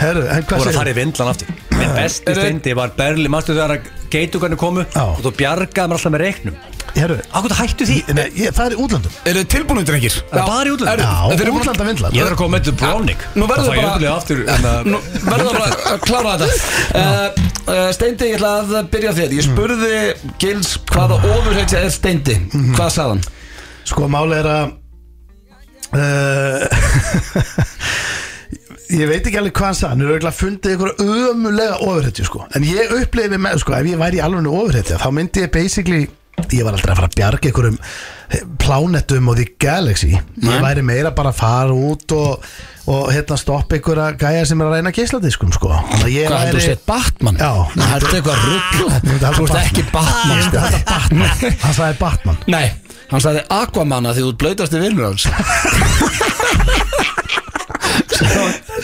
Speaker 3: Herru, en
Speaker 2: Þú
Speaker 3: hvað
Speaker 2: voru að
Speaker 3: segir
Speaker 2: fara í vindlan aftur Minn besti Steindi var Berli, mástu þegar að geitugarnir komu
Speaker 3: Já.
Speaker 2: og þú bjargaði mér alltaf með reiknum
Speaker 3: Herru,
Speaker 2: Akkur það hættu því?
Speaker 3: nei, ég, það er í útlöndum
Speaker 1: Eru þið tilbúinu, drengir?
Speaker 2: Það er bara í útlöndum.
Speaker 1: Eru-
Speaker 3: Já,
Speaker 1: Þeir eru búin að-
Speaker 3: útlandavindlar.
Speaker 2: Ég þarf að koma með þetta Browning
Speaker 1: Nú verður
Speaker 2: Það fæ ég
Speaker 1: bara
Speaker 2: öflug aftur hérna. en að-
Speaker 1: Nú verður bara að klára þetta uh, uh, Steindi, ég ætla að byrja á þér Ég spurði Gils hvaða ofurheitja er Steindi Hvað sagði hann?
Speaker 3: Sko, máli er að uh, [LAUGHS] Ég veit ekki alveg hvað hann sagði Hann er auðvitað fundið ykkur ömulega ofurhetju sko En ég upplifði mig með, sko, ef ég væri í alveg ofurhetja Þá myndi ég basically Ég var aldrei að fara að bjarga ykkurum plánetum og því galaxy Ég væri meira bara að fara út og, og hérna stoppa ykkur að gæja sem er að reyna geisladiskum sko Þannig að ég
Speaker 1: Hvað heldur þú
Speaker 3: væri-
Speaker 1: sétt Batman?
Speaker 3: Já.
Speaker 1: Heldur þú eitthvað
Speaker 3: Ég
Speaker 1: ruggl?
Speaker 3: myndi halda
Speaker 1: Þú ert ekki Batman sko.
Speaker 3: Ég
Speaker 1: Steindi.
Speaker 3: myndi halda
Speaker 1: [LAUGHS]
Speaker 3: Batman Hann sagði Batman
Speaker 1: Nei, hann sagði Aquaman að því þú ert blautasti vinnur hans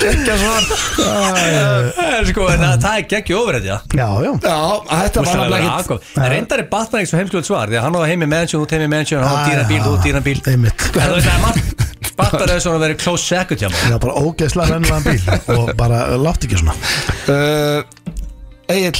Speaker 1: Ekki að svara
Speaker 2: En sko, en að það er geggjó ofrættja
Speaker 3: Já, já
Speaker 1: Já, þetta var
Speaker 2: Það
Speaker 1: nefnilega
Speaker 2: er
Speaker 1: ekkert
Speaker 2: Aquaman. En reyndar er Batman ekki svo heimskjöld svar Því að hann á heimi mansion, þú teimi mansion Hann á
Speaker 3: Já,
Speaker 2: dýran bíl,
Speaker 3: Ah, já.
Speaker 2: þú dýran bíl [LAUGHS]
Speaker 3: Einmitt.
Speaker 2: En þú veist, það er margt Batman er svona að vera close second hjá mér
Speaker 3: Já, bara ógeðslega rennlaðan bíl og bara látt ekki svona
Speaker 1: Uh, Egil,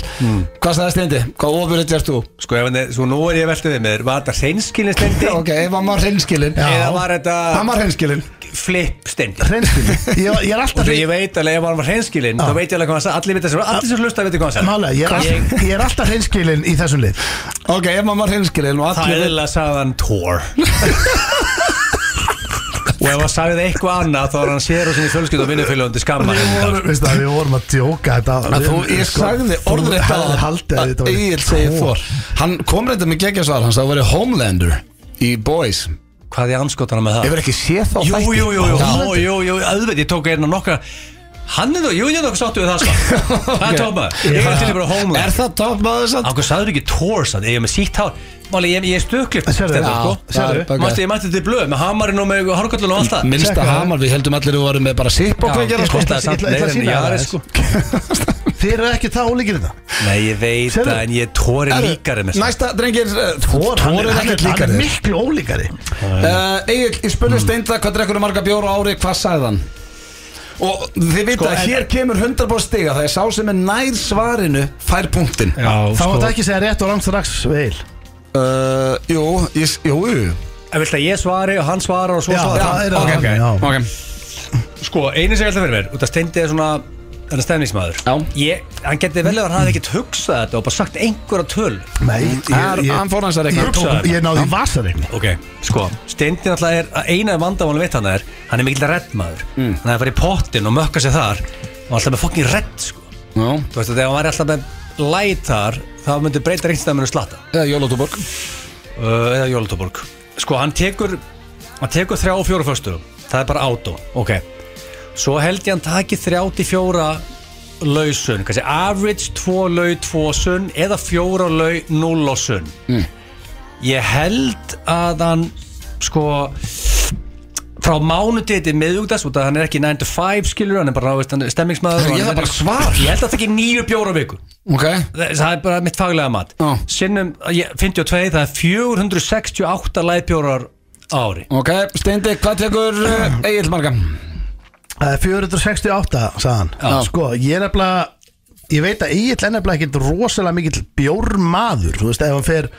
Speaker 1: hvað sagði Steindi? Hvað ofurheitja ert þú?
Speaker 2: Sko, ef hann er, svo nú er ég veltið við mér Var þetta hreinskilin stendi?
Speaker 1: Ok, ef hann var hreinskilinn
Speaker 3: Já.
Speaker 2: Eða var
Speaker 1: Hann
Speaker 2: þetta
Speaker 1: var hreinskilinn
Speaker 2: flip stendi?
Speaker 3: Hreinskilni, ég, ég er
Speaker 2: Og
Speaker 3: alltaf
Speaker 2: því ég veit alveg ef hann var hreinskilin Þá veit ég alveg hvað hann sagði Allir vita sem, allir sem hlusta veit hvað hann sagði
Speaker 3: Málega, ég er, alltaf, ég er alltaf hreinskilin í þessum lið
Speaker 1: Ok, ef hann var hreinskilinn og
Speaker 2: Það
Speaker 1: allir
Speaker 2: er eða sagði hann Thor Og ef hann sagði eitthvað annað Þá var hann sér og sinni fjölskyld og vinnufélugandi skammar
Speaker 3: Við vorum, veistu það, við vorum að djóka þetta
Speaker 1: Að Sko, þú, ég sagði orðrétt
Speaker 3: á Haldið að þetta
Speaker 1: að
Speaker 3: væri
Speaker 1: Egil segi
Speaker 3: Thor.
Speaker 1: Thor Hann kom reynda með geggja svar, hann sagði að veri Homelander í Boys
Speaker 2: Hvað ég anskotana með það?
Speaker 1: Ég verð ekki séð þá
Speaker 2: Jú,
Speaker 1: þætti
Speaker 2: jú, jú, jú,
Speaker 1: Já.
Speaker 2: jú, jú, jú, auðvitað, ég tók einn og nokkra Hann er það, jú, ég er nokkuð sáttu við það sko Það er
Speaker 1: Ok.
Speaker 2: tóma, ég er til í bara
Speaker 1: Er
Speaker 2: homeland
Speaker 1: það topp maður satt?
Speaker 2: Ákveð sagður ekki Thors að ég er með sítt hár Máli, ég, ég er stöklift
Speaker 3: Sérðu? Já, sérðu?
Speaker 1: ok.
Speaker 2: Mástu, ég mætti þetta í blöð með hamarinn og með hárkallun og allt það
Speaker 1: Minnsta
Speaker 3: Tjekka það.
Speaker 1: hamar, við heldum allir að við varum með bara sipp og
Speaker 2: Já,
Speaker 1: kveikjara
Speaker 2: ég
Speaker 1: sko
Speaker 2: kostaði
Speaker 3: Ég
Speaker 2: samt
Speaker 3: ætla- ég ætla að
Speaker 2: meira en
Speaker 3: sýna þér
Speaker 2: Jari
Speaker 3: aðeins.
Speaker 2: sko
Speaker 3: Þeir eru ekki það ólíkir þetta
Speaker 2: Nei, ég veit
Speaker 3: Sérðu?
Speaker 2: það, en ég er Thori
Speaker 1: Herru,
Speaker 2: líkari með
Speaker 1: Næsta, drengir, eh, Thor Thor
Speaker 3: Hann er,
Speaker 1: er
Speaker 3: hann er,
Speaker 1: ekkert
Speaker 3: hann er
Speaker 1: líkari
Speaker 3: miklu ólíkari
Speaker 1: Uh, Egil, ég spurði Steinda hvað drekkur marga bjóra á ári, hvað sagði hann? Og þið vita
Speaker 2: Sko,
Speaker 1: að
Speaker 2: en-
Speaker 1: hér kemur 100% stiga Það er sá sem er nær svarinu fær punktin uh,
Speaker 3: Þá sko. máttu ekki segja rétt og rangt strax veil
Speaker 1: Eh, Jú, ég, s- jú, jú
Speaker 2: En vilt að ég svari og hann svarar og svo
Speaker 3: Já, það
Speaker 2: svarar hann?
Speaker 3: er
Speaker 2: Ok,
Speaker 3: það,
Speaker 2: ok.
Speaker 3: já.
Speaker 1: Ok,
Speaker 2: Sko, einu sem ég ætla fyrir mér, út að Steindi er svona Þannig stefningsmaður
Speaker 1: Já.
Speaker 2: ég, Hann geti vel eða hann hafði ekkert hugsað þetta og bara sagt einhverja töl
Speaker 3: Nei,
Speaker 1: Hann-
Speaker 3: ég,
Speaker 1: hann
Speaker 3: ég,
Speaker 1: fór hans að
Speaker 3: ég,
Speaker 1: reyna
Speaker 3: tók, ég náði í vasareikni
Speaker 2: Ok, sko, Steindi náttúrulega er að eina vandamálum veit hann er, hann er mikill reddmaður mm. hann er að fara í pottin og mökka sér þar og alltaf með fokkin redd, sko
Speaker 1: Já,
Speaker 2: þú veist að þegar hann væri alltaf með læt þar þá myndi breyta reynstæðaminu slata
Speaker 1: eða Jólatúborg
Speaker 2: uh, eða Jólatúborg sko, hann tekur hann tekur þrjá og fjóra föstu það er bara átó, ok svo held ég hann taki þrjá til fjóra lausun, kannski average tvo lau, tvo sunn eða fjóra lau, null og sunn
Speaker 1: Mm.
Speaker 2: ég held að hann sko frá mánudegi til miðugdags út að hann er ekki 9 to 5 skilur hann er bara veist, hann er stemmingsmaður
Speaker 1: Herra,
Speaker 2: og
Speaker 1: ég þarf
Speaker 2: hann
Speaker 1: bara svar.
Speaker 2: ég held að það ekki nýju bjóra viku
Speaker 1: Ok,
Speaker 2: það það er bara mitt faglega mat
Speaker 1: Já.
Speaker 2: sinnum ég, 52 það er 468 læðbjórar ári
Speaker 1: ok, Steindi, hvað tekur uh, Egil marga?
Speaker 3: Það er 468, sagði hann
Speaker 1: Já.
Speaker 3: Sko, ég er nefnilega Ég veit að Egil er nefnilega ekkit rosalega mikill bjórmaður Þú veist, ef hann fer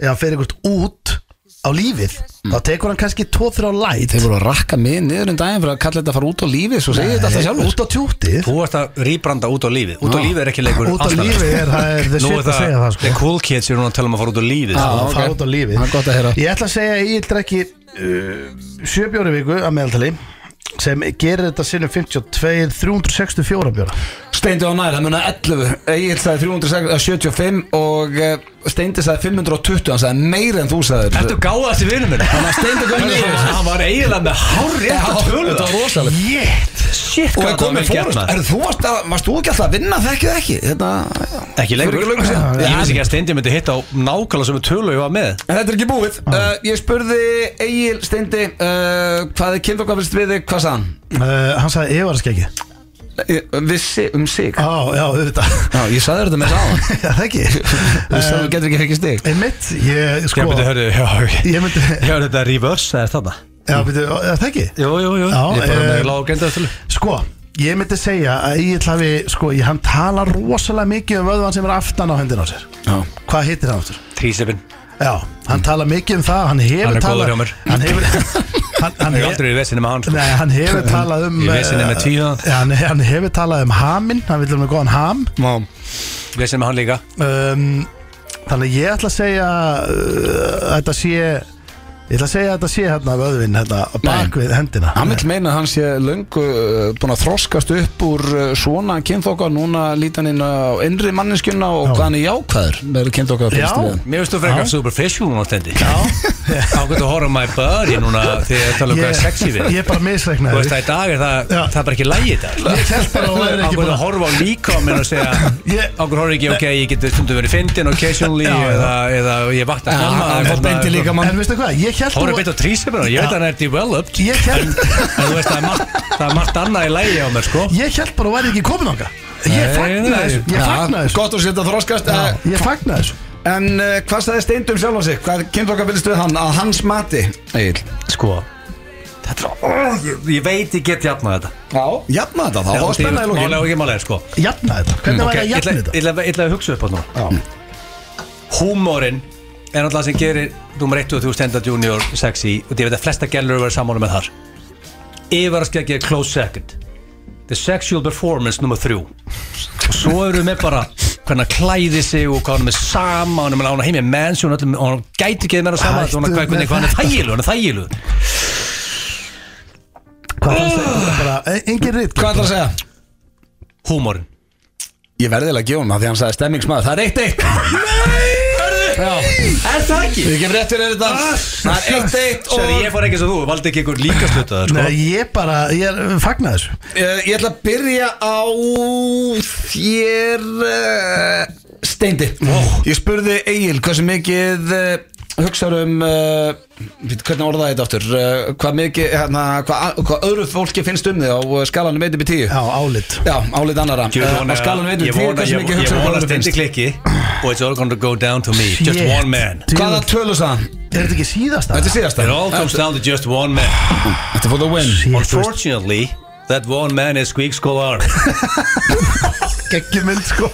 Speaker 3: Ef hann fer eitthvað út á lífið Þá tekur hann kannski 2-3 light
Speaker 1: Mm. Þeir voru að rakka mig niður um daginn fyrir að kalla þetta að fara út á lífi Svo segir þetta alltaf sjálfur
Speaker 3: Út á tjútið
Speaker 2: þú ert að rýbranda út á lífið út á
Speaker 1: Já.
Speaker 2: lífið er ekki
Speaker 3: Út
Speaker 2: leikur
Speaker 3: á
Speaker 2: ástæðulaust.
Speaker 3: lífið er, það er the
Speaker 2: Nú
Speaker 3: shit að segja það sko
Speaker 2: the cool kids eru núna að tala um að fara út á lífið
Speaker 1: Já.
Speaker 2: sko.
Speaker 3: Að
Speaker 1: ok.
Speaker 3: fara út á lífið
Speaker 1: Það er gott að heyra.
Speaker 3: Ég ætla að segja að Egil drekki uh, 7 bjóri viku að meðaltali sem gerir þetta sinnum 52 364 bjóra
Speaker 1: Steindi á nær, það muna 11 Egil sagði 375 eh, og eh, Steindi sagði 520 hann sagði meira en þú sagðir
Speaker 2: Ertu gáða þessi vinnum minn?
Speaker 1: Þannig að Steindi kom
Speaker 2: Hann
Speaker 1: niður.
Speaker 2: hann var eiginlega með hár rétt að
Speaker 1: Já,
Speaker 2: tölu
Speaker 1: þetta var rosalegt.
Speaker 2: Jétt,
Speaker 1: og ég
Speaker 2: shit, hvað það var
Speaker 1: kom
Speaker 2: vel
Speaker 1: með
Speaker 2: gert
Speaker 1: fórust
Speaker 2: maður
Speaker 1: Er þú varst að, varst þú ekki alltaf að vinna þekkið ekki? Hérna, Þetta,
Speaker 2: Ekki lengur
Speaker 1: Fyrir ekki löngu síðan.
Speaker 2: Ég veist ekki að Steindi myndi hitta á nákvæmlega sem tölu ég var með
Speaker 1: En þetta er ekki búið uh, Ég spurði Egil Steindi uh, hvað er kynnt okkar fyrst við þig, hvað sagði hann?
Speaker 3: Uh, hann sagði ég var að skeggi
Speaker 1: Ég- Vissi um sig
Speaker 3: Á, já, auðvitað [LAUGHS]
Speaker 1: Já, ég sagði þetta með sáðan [LAUGHS]
Speaker 3: Já, það ekki Eh,
Speaker 1: Þú sagði þú getur ekki ekki stig
Speaker 3: Einmitt, ég, sko
Speaker 2: Ég myndi, hörðu, já,
Speaker 3: Ég myndi,
Speaker 2: já, þetta reverse, það er þarna
Speaker 3: já, byrju, já, það ekki
Speaker 2: Jú, jú, jú,
Speaker 3: Já,
Speaker 2: ég er bara
Speaker 3: eh,
Speaker 2: með lág gendaðu tölu
Speaker 3: Sko, ég myndi segja að Egil hafi, sko, ég, hann tala rosalega mikið um vöðvan sem er aftan á hendina á sér
Speaker 1: Já.
Speaker 3: Hvað hittir hann aftur?
Speaker 2: Trísefin,
Speaker 3: Já, hann tala mikið um það, hann hefur
Speaker 2: Mm. Hann er
Speaker 3: talað-
Speaker 2: góður hjá mér.
Speaker 3: Hann
Speaker 2: [LAUGHS]
Speaker 3: hefur, hann, hann,
Speaker 2: ég er
Speaker 3: hefur
Speaker 2: aldrei í vesinu með hann sko.
Speaker 3: Nei, hann hefur talað um
Speaker 2: Í vesinni með
Speaker 3: eh,
Speaker 2: tvíhöfðan.
Speaker 3: Já, hann, hann hefur talað um haminn, hann vil um með góðan ham
Speaker 2: Vesinu með hann líka
Speaker 3: um, Þannig að ég ætla að segja uh, að þetta sé Ég ætla að segja að þetta sé hérna vöðvinn hérna á bak við hendina
Speaker 1: Hann vil meina að hann sé löngu uh, búin að þroskast upp úr uh, svona kynþokka núna lítan inn á innri manneskjuna og
Speaker 3: Já.
Speaker 1: hvað hann er jákvæður með kynþokka
Speaker 3: Já.
Speaker 1: fyrst við
Speaker 2: Mér veist þú frekar
Speaker 3: Já.
Speaker 2: superficial núna stendi Já Þá getur að horfa á my body núna þegar ég tala um hvað er sexy við
Speaker 3: [LAUGHS] Ég er bara
Speaker 2: Þú
Speaker 3: misreiknaði
Speaker 2: veist það í dag er það,
Speaker 3: Já.
Speaker 2: það er bara ekki lægi í dag
Speaker 3: Ég held bara að hún væri
Speaker 2: Á
Speaker 3: ekki
Speaker 2: hverju
Speaker 3: bara
Speaker 2: að horfa á líkominn og segja
Speaker 3: Ég-
Speaker 2: Á hverju horfa ekki, ok, ég geti stundum verið fyndin occasionally
Speaker 3: Já, já.
Speaker 2: eða, eða ég vakna snemma eða
Speaker 1: Það
Speaker 2: hvort það
Speaker 1: beinti
Speaker 2: er-
Speaker 1: líka mann
Speaker 3: En veistu hvað, ég held
Speaker 2: Horfa beitt á trísefinu, ég veit
Speaker 3: Já.
Speaker 2: að hann er developed
Speaker 3: Ég held,
Speaker 2: En þú veist það er margt, það er margt annað í lægi á mér sko
Speaker 3: ég held bara að hún væri ekki komin ánga Ég
Speaker 2: Nei,
Speaker 3: fagnaði
Speaker 2: nei.
Speaker 3: þessu Ég fagnaði þessu
Speaker 1: Gott að setja þroskast
Speaker 3: Já,
Speaker 1: eh,
Speaker 3: Ég fagnaði þessu
Speaker 1: En uh, hvað sagði Steindum sjálf á sig? Hvað kynþokka vilist við hann? Að hans mati Egil
Speaker 2: Sko Þetta er, ó, ég, ég veit ég get jafna þetta
Speaker 1: Já Jafna þetta þá, þá er spenna í
Speaker 2: Málega
Speaker 1: lókin
Speaker 2: og ekki málega sko
Speaker 3: Jafna þetta, hvernig
Speaker 2: Ok,
Speaker 3: væri að
Speaker 2: ég ætla-
Speaker 3: jafna þetta?
Speaker 2: Ég ætla- ég ætla að hugsa upp á það núna. Húmórin er alltaf sem gerir nummer 1 og 3 Stenda Junior sexy og ég veit að flesta gælur eru verið sammála með þar Yfaraskeggi er close second The sexual performance nummer 3 og svo eru við með bara hvernig hann klæði sig og hvað hann er með sama hann er með hann heim í mansion öllum, og hann gæti ekki með hann sama
Speaker 3: Hættu
Speaker 2: og hann,
Speaker 3: með
Speaker 2: hvernig, hvað hann er
Speaker 3: þetta.
Speaker 2: þægilu, hann er þægilu
Speaker 3: Hvað fannst þetta? Bara, e- engin rít
Speaker 1: Hvað ætlar að segja?
Speaker 2: húmórin
Speaker 1: Ég verðilega að gefa hann það því hann sagði stemmingsmaður Það er eitt eitt Nei
Speaker 2: Er það ekki?
Speaker 1: Við gefum rétt fyrir þetta Það er eitt eitt og
Speaker 2: Sérðu, ég fór ekki eins og þú, valdi ekki einhver líka slutaður sko.
Speaker 3: Nei, ég bara, ég er- fagnaði þessu
Speaker 1: Eh, Ég ætla að byrja á þér uh, Steindi Ég spurði Egil hversu mikið uh, hugsaður um uh, við- hvernig orðaði þetta aftur uh, hvað, mikið, hérna, hvað, hvað öðru fólki finnst um þig á eh, skalanum 1 upp í 10
Speaker 3: Já, álit
Speaker 1: Já, álit annara
Speaker 2: Ég
Speaker 1: Eh,
Speaker 2: vona-
Speaker 1: Á skalanum 1
Speaker 2: ég
Speaker 1: upp í 10
Speaker 2: vona-
Speaker 1: hversu
Speaker 2: ég-
Speaker 1: mikið
Speaker 2: Ég
Speaker 1: hugsaður um
Speaker 2: vona
Speaker 1: öðru
Speaker 2: stendi
Speaker 1: finnst
Speaker 2: klikki Og Oh, it's all gonna go down to me Just
Speaker 3: Shit.
Speaker 2: one man
Speaker 3: Djú-
Speaker 1: Hvaða tölu sagði hann?
Speaker 3: Er þetta ekki síðasta?
Speaker 1: Þetta er síðasta
Speaker 2: It all comes down to just one man
Speaker 1: Þetta er for the win
Speaker 3: Shit, þú veist,
Speaker 2: Unfortunately That one man is Squeak Scholar
Speaker 3: geggjum mynd sko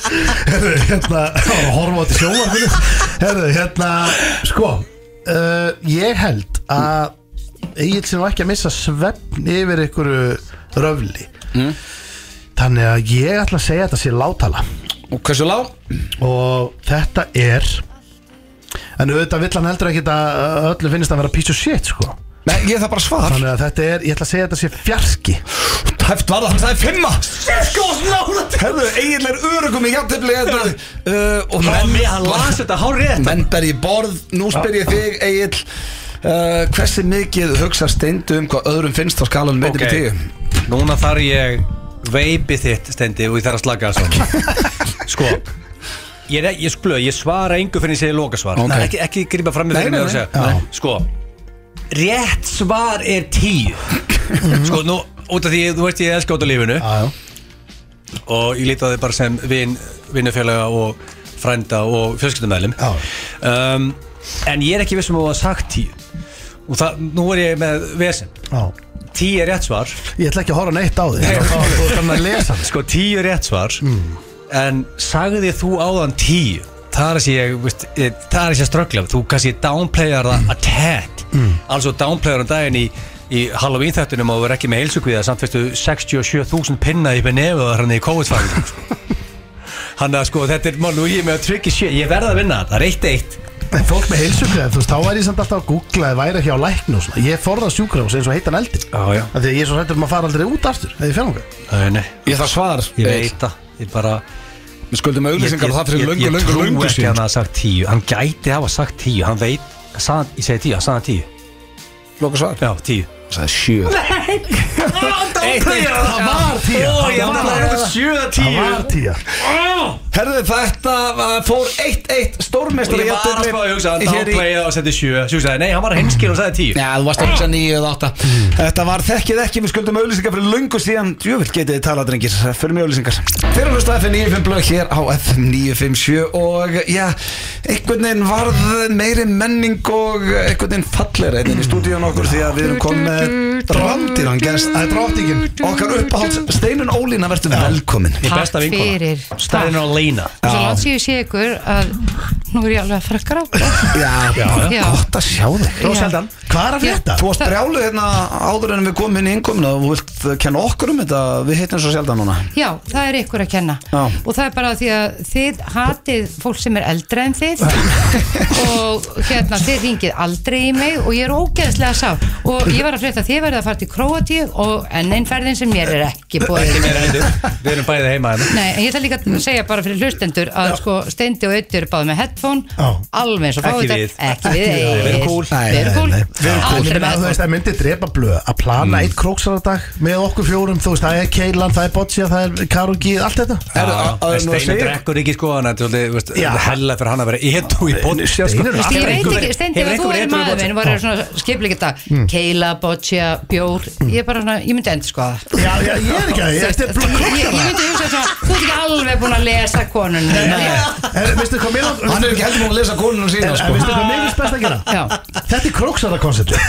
Speaker 3: Herru, [LAUGHS] hérna, að horfa á þetta sjóa Herru, hérna, sko uh, Ég held að Egil sé nú ekki að missa svefn yfir einhverju röfli Þannig að ég ætla að segja þetta sé látala
Speaker 1: Og hversu lág?
Speaker 3: Og þetta er En auðvitað vill hann heldur ekkit að að öllum finnist að vera piece of shit sko
Speaker 1: Nei, ég þarf bara svar
Speaker 3: Þannig að þetta er, ég ætla að segja þetta sé fjarki
Speaker 1: Hæft var það, hann sagði fimma
Speaker 2: sko,
Speaker 1: Sérskóðs nálætt Herðu, eiginlega er örugum í
Speaker 2: [LAUGHS]
Speaker 1: játtifli þetta uh, Og menn,
Speaker 2: Hann las þetta hár rétt
Speaker 1: menn ber ég borð Nú spyr ég þig, Egil uh, Hversi mikið hugsa steindu um hvað öðrum finnst á skalanum 1 okay. til 10
Speaker 2: Núna þarf ég Veipið þitt stendi og ég þarf að slaka það [LAUGHS] svo Sko Ég, er- ég, sklu, ég svara engu fyrir ég segi lokasvar
Speaker 1: Ok.
Speaker 2: okay. ekki, ekki grípa fram með
Speaker 1: Nei,
Speaker 2: fyrir
Speaker 1: nei,
Speaker 2: mig og
Speaker 1: nei.
Speaker 2: segja Sko Rétt svar er [LAUGHS] tíu Sko, nú, út af því, þú veist ég elska út af lífinu
Speaker 3: Aðjó
Speaker 2: og ég líti á þið bara sem vin, vinnufélaga og frænda og fjölskyldumæðlum
Speaker 3: Já.
Speaker 2: um, en ég er ekki vissum að það sagt tíu og það, nú er ég með vesen
Speaker 3: Já
Speaker 2: tíu er rétt svar
Speaker 3: Ég ætla ekki að horfa neitt á þig Þú ert hann að lesa
Speaker 2: sko tíu er rétt svar en sagði þú áðan tíu það er að sé ég, veist, eh, það er að sé að ströggla þú kannski downplayar það að tag mm. alveg downplayar um daginn í, í Halloween þættunum og verður
Speaker 1: [LAUGHS]
Speaker 2: ekki með heilsugviða samt fyrstu 67.000 pinna í benefið og sko. hann í COVID-fagin Þannig að sko þetta er mál og ég með að tryggja sjö Ég verða að vinna þetta, það er eitt eitt
Speaker 3: En fólk með heilsugræð, þú veist, þá væri ég samt alltaf að googla eða væri ekki á læknu og svona. Ég forðast sjúkrafs eins og heitan eldin.
Speaker 2: Já, já.
Speaker 3: Af Því að ég er svo hættur um að fara aldrei út aftur, eða ég fer nokkað.
Speaker 2: Nei, nei,
Speaker 1: Ég þarf svar
Speaker 2: ég
Speaker 1: Egill.
Speaker 2: veit það Ég bara
Speaker 1: Við skuldum
Speaker 2: Ég, ég,
Speaker 1: auðlýsingar og það
Speaker 2: ég,
Speaker 1: fyrir löngu,
Speaker 2: ég
Speaker 1: löngu,
Speaker 2: trú
Speaker 1: löngu
Speaker 2: ekki að hann
Speaker 1: síðan
Speaker 2: hafa sagt tíu Hann gæti hafa sagt tíu, hann veit sað, Ég segi tíu, hann sagði tíu
Speaker 1: Loka svar
Speaker 2: Já, tíu
Speaker 1: Það er sjö
Speaker 2: Eitt, eitt,
Speaker 3: Það var tíja.
Speaker 2: Ó, ég var
Speaker 3: það
Speaker 2: bara sjöða
Speaker 3: Það
Speaker 2: tíu
Speaker 3: var tíja.
Speaker 1: Herðu þetta uh, fór 1-1
Speaker 2: Og
Speaker 1: stórmestari
Speaker 2: ég var að spá að hugsa hann downplaya og setja sjö Sjúk sagði, nei, hann var hinskir og sagði tíu
Speaker 1: Já, þú varst að hugsa 9 eða 8 Ah. Hmm. Þetta var þekkið ekki, við skuldum auðlýsingar fyrir löngu síðan Jöfnvill getið þið talað, drengir, fyrir mig auðlýsingar Þeir eru hlusta F95 blöð hér á F957 Og já, einhvern veginn varð meiri menning og einhvern veginn fallir einnig í stúdíun okkur Því að við erum komið með drandir, hann gerst
Speaker 3: Það er dróttingin.
Speaker 1: Okkar uppáhalds, Steinun Ólína, verður velkomin
Speaker 2: Mín besta
Speaker 5: Takk
Speaker 2: vinkona.
Speaker 5: fyrir.
Speaker 2: Stærðin á leina
Speaker 5: Svo látt ég sé ykkur að nú er ég alveg að fara að gráta.
Speaker 1: Já,
Speaker 5: Já.
Speaker 1: gott að sjá þig
Speaker 5: Já.
Speaker 2: Róseldan
Speaker 3: Hvað er að frétta?
Speaker 1: Þú varst brjálu hérna áður en við komum inn í inkominu og þú vilt kenna okkur um þetta, við hittum svo sjaldan núna
Speaker 5: Já, það er ykkur að kenna.
Speaker 1: Já.
Speaker 5: Og það er bara því að þið hatið fólk sem er eldra en þið og hérna þið ringið aldrei í mig og ég er ógeðslega sá. Og ég var að frétta að þið verðið að fara til Kroatíu og enn einn ferðin sem mér er ekki búið.
Speaker 2: Mér heldur, Við erum bæðið heima hérna
Speaker 5: Nei, en ég ætla líka að segja bara fyrir hlustendur að sko Steindi og Öttur báði með headphone
Speaker 3: Já.
Speaker 5: alveg eins og
Speaker 2: Ekki
Speaker 5: fáið
Speaker 2: við.
Speaker 5: ekki við,
Speaker 2: Ekki við. Við erum cool.
Speaker 5: við erum kúl
Speaker 3: Við erum kúl.
Speaker 5: aldrei
Speaker 3: Þú veist,
Speaker 5: með headphone
Speaker 3: það myndi drepa blöð að plana eitt króksar á dag með okkur fjórum, þú veist, það er Keilan, það er Boccia, það er Karungi, allt þetta.
Speaker 1: Er- á- áður en þú
Speaker 2: Steinu
Speaker 1: segir-
Speaker 2: drekkur ekki sko hann Það
Speaker 3: Já.
Speaker 2: er hella fyrir hann að vera Étu í bótt
Speaker 3: Steinunn er
Speaker 5: Ég veit ekki, Steindi,
Speaker 2: Hefur
Speaker 5: að þú
Speaker 2: einhver étu
Speaker 5: verið
Speaker 2: í
Speaker 5: maður minn
Speaker 2: bótt
Speaker 5: var svona skipleik þetta keila, boccia, bjór ég er bara svona, ég myndi endur sko það
Speaker 3: Já, já, ég er ekki að, ég er
Speaker 5: Ég- ég ég
Speaker 3: króksar
Speaker 5: myndi hugsa svona, þú ert ekki alveg búin að lesa konun
Speaker 3: Vistu hvað mér langt?
Speaker 1: Hann er ekki heldur múin að lesa konunum
Speaker 3: En,
Speaker 1: sína
Speaker 3: en
Speaker 1: sko.
Speaker 3: veistu hvað mér finnst best að gera?
Speaker 5: Já.
Speaker 3: Þetta er króksara konceptu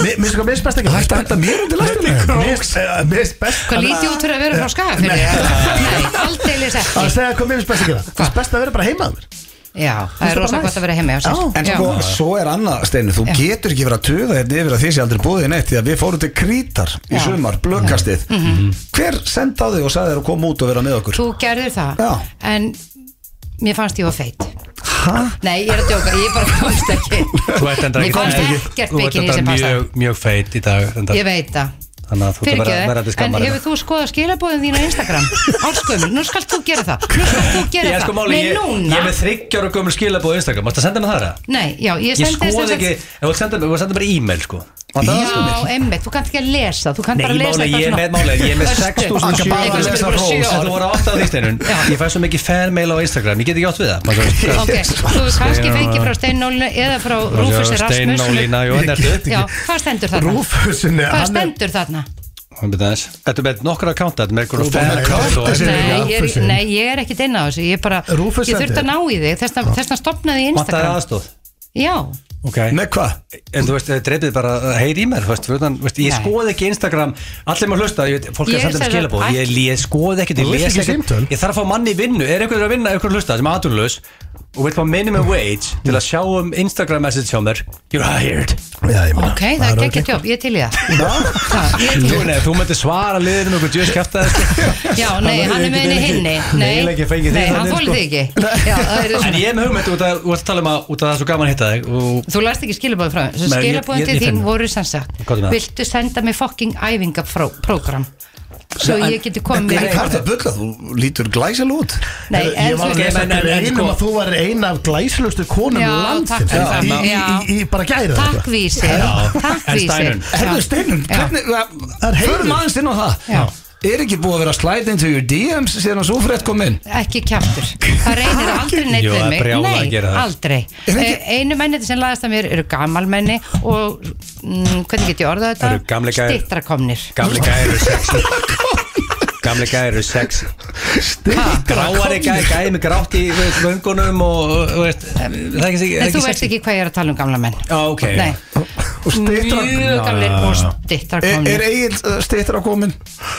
Speaker 3: Mér finnst hvað mér finnst best að gera
Speaker 1: Hættu að henda mér undir lestina.
Speaker 3: Mér finnst- eh, mér finnst best
Speaker 5: hvað lítið út fyrir að vera frá skaga fyrir Nei, aldrei lesa
Speaker 3: Að
Speaker 5: ekki
Speaker 3: segja hvað mér finnst best að gera Það er best að vera bara heima að mér
Speaker 5: Já, það er
Speaker 3: bara
Speaker 5: rosa
Speaker 3: næs.
Speaker 5: gott að vera heima hjá sér.
Speaker 3: Já.
Speaker 1: En
Speaker 5: Já.
Speaker 1: sko, svo er annað Steinu, þú
Speaker 5: Já.
Speaker 1: getur ekki verið að töða hérna yfir að því sé aldrei búið í neitt Því að við fórum til Krítar í
Speaker 5: Já. Mhm.
Speaker 1: sumar, blökkastið Hver sendaði þig og sagði þér að koma út og vera með okkur?
Speaker 5: Þú gerðir það
Speaker 1: Já.
Speaker 5: En mér fannst ég var feitt
Speaker 1: Hæ?
Speaker 5: Nei, ég er að djóka, ég bara komst ekki
Speaker 2: Þú ert enda
Speaker 5: Mér
Speaker 2: ekki
Speaker 5: fannst
Speaker 2: þannig.
Speaker 5: ekkert
Speaker 2: Þú ert
Speaker 5: bikini
Speaker 2: enda
Speaker 5: sem passaði.
Speaker 2: mjög- Mjög feit í dag enda.
Speaker 5: Ég veit það
Speaker 2: Þannig að þú ert að vera- hérna. vera til
Speaker 5: Fyrirgeðu, en
Speaker 2: skammar
Speaker 5: hefur þú skoðað skilabóðin þín á
Speaker 2: [LAUGHS]
Speaker 5: Instagram? Árskömmul, nú skalt þú gera það Nú skalt þú gera
Speaker 2: Ég er
Speaker 5: það
Speaker 2: sko máli
Speaker 5: Nei,
Speaker 2: Ég ég
Speaker 5: núna
Speaker 2: er með þryggjára gömur skilabóð á Instagram Mást að senda mig það það?
Speaker 5: Nei, já, ég
Speaker 2: Ég
Speaker 5: sendi þess
Speaker 2: skoði
Speaker 5: að-
Speaker 2: ekki Ég var senda mig, ég var senda bara e-mail sko
Speaker 5: Já, emmitt, þú kannt ekki að lesa Þú kannt
Speaker 2: Nei,
Speaker 5: bara að lesa
Speaker 2: máli, ég er með máli Ég er með 6700
Speaker 5: Eitthvað sem er bara sjö
Speaker 2: Þetta
Speaker 5: ár
Speaker 2: voru átt á því steinun Ég fæ svo mikið fanmail á Instagram Ég get ekki átt við það Maður svo-
Speaker 5: Ok, þú kannski fengið frá Steinólina eða frá Rúfusi Rasmus
Speaker 2: Steinólína, jú, hann ertu
Speaker 5: Já, hvað stendur þarna?
Speaker 3: Rúfusinni
Speaker 5: Hvað stendur þarna?
Speaker 2: Hann byrði aðeins Þetta er með nokkra akkánta Þetta er með einhverja
Speaker 3: Þú er með
Speaker 2: fan-account
Speaker 3: account,
Speaker 2: og-
Speaker 3: þessi-
Speaker 5: Nei, ég er,
Speaker 3: Rúfusin.
Speaker 5: nei, ég er ekkit inn á þessu Ég, bara,
Speaker 3: Rúfus
Speaker 5: ég þurfti
Speaker 3: sendi.
Speaker 5: að ná í þig Þessna, þessna stopnaði ég
Speaker 2: Vantar
Speaker 5: Instagram
Speaker 2: aðstóð
Speaker 5: Já,
Speaker 2: Ok
Speaker 1: Með hvað?
Speaker 2: En þú veist, dreipið bara að heyri í mér þú veist, fyrir utan, þú veist, Ég
Speaker 5: Nei.
Speaker 2: skoði ekki Instagram Allir maður hlusta Ég veit, fólk er
Speaker 5: Ég
Speaker 2: að senda mér
Speaker 5: sagði-
Speaker 2: skilabóð Ég, ég skoði ekkert,
Speaker 3: Þú
Speaker 2: Ég
Speaker 3: veist
Speaker 2: les
Speaker 3: ekki
Speaker 2: ekkert
Speaker 3: símtöl.
Speaker 2: Ég þarf að fá manni í vinnu Er einhverjur að vinna Einhverjur hlusta sem er atunlaus Og vil fá minimum wage Til að sjá um Instagram message hjá mér You're hired
Speaker 5: ok, það er geggjart jobb, ég er til í
Speaker 2: [LAUGHS]
Speaker 5: það Það, ég er til í
Speaker 2: Þú,
Speaker 5: það.
Speaker 2: nei, þú mætti svara liðinu Okkur djöðs kæfta þessu
Speaker 5: Já, nei, hann er með henni hinni
Speaker 2: Nei,
Speaker 5: Nei,
Speaker 2: ekki fengið
Speaker 5: nei
Speaker 2: þig
Speaker 5: hann
Speaker 2: þannig,
Speaker 5: þólið
Speaker 2: sko.
Speaker 5: þig ekki Já,
Speaker 2: [LAUGHS]
Speaker 5: það er
Speaker 2: En
Speaker 5: svona
Speaker 2: ég hef með hugmynd út að, út að tala um að, út að það er svo gaman að hitta þig og
Speaker 5: Þú last ekki skilabóðin frá
Speaker 2: Nei, ég- ég-
Speaker 5: Skilabóðin
Speaker 2: ég
Speaker 5: til
Speaker 2: finn
Speaker 5: þín
Speaker 2: það.
Speaker 5: voru sem sagt
Speaker 2: Hvað er það?
Speaker 5: Viltu senda mig fokking æfingaprógram Svo
Speaker 2: Nei, en-
Speaker 5: ég geti
Speaker 1: Hvað
Speaker 5: komið mér
Speaker 1: er
Speaker 5: í-
Speaker 1: það að bulla? Þú lítur glæsal út
Speaker 5: Nei,
Speaker 3: Ég
Speaker 5: en
Speaker 3: var
Speaker 5: þú
Speaker 3: að
Speaker 2: Ok,
Speaker 3: lesa
Speaker 2: en-
Speaker 3: til
Speaker 2: en- en
Speaker 3: einum
Speaker 2: sko-
Speaker 3: að þú var eina af glæslustu konum
Speaker 5: Já, takk
Speaker 3: landsins
Speaker 5: fyrir
Speaker 3: Í-
Speaker 5: það.
Speaker 3: í- í- í- í- bara gæra
Speaker 5: Takk vísi Takk
Speaker 2: En
Speaker 5: vísi
Speaker 2: Steinunn.
Speaker 1: Herðu Steinun,
Speaker 5: Já.
Speaker 1: hvernig
Speaker 3: Það er heiður.
Speaker 1: Förum aðeins inn á það
Speaker 5: Já.
Speaker 1: Er ekki búið að vera slide into your DMs síðan að svo frétt kom inn?
Speaker 5: ekki kjaftur það reynir aldrei neitt
Speaker 2: Jú,
Speaker 5: við
Speaker 2: það er
Speaker 5: mig
Speaker 2: brjálað að
Speaker 5: nei,
Speaker 2: gera það.
Speaker 5: aldrei
Speaker 1: Er ekki-
Speaker 5: Eh, einu menniti sem laðast að mér eru gamalmenni og mm, hvernig get ég orðað
Speaker 2: Eru
Speaker 5: þetta
Speaker 2: gamli gæjar-
Speaker 5: stittakomnir
Speaker 2: gamli gæri eru sexy Gamli gæri eru sexy Gráari gæri, gæri með grátt í þú veist, vöngunum og og veist, eh, það er ekki, er
Speaker 5: en
Speaker 2: ekki
Speaker 5: þú veist
Speaker 2: sexy
Speaker 5: ekki hvað ég er að tala um gamla menn
Speaker 2: Já, ok
Speaker 5: nei,
Speaker 1: Og styttra
Speaker 5: mjög gamlir og
Speaker 1: Er, er
Speaker 5: stittakomnir
Speaker 1: Egil uh, styttra komin?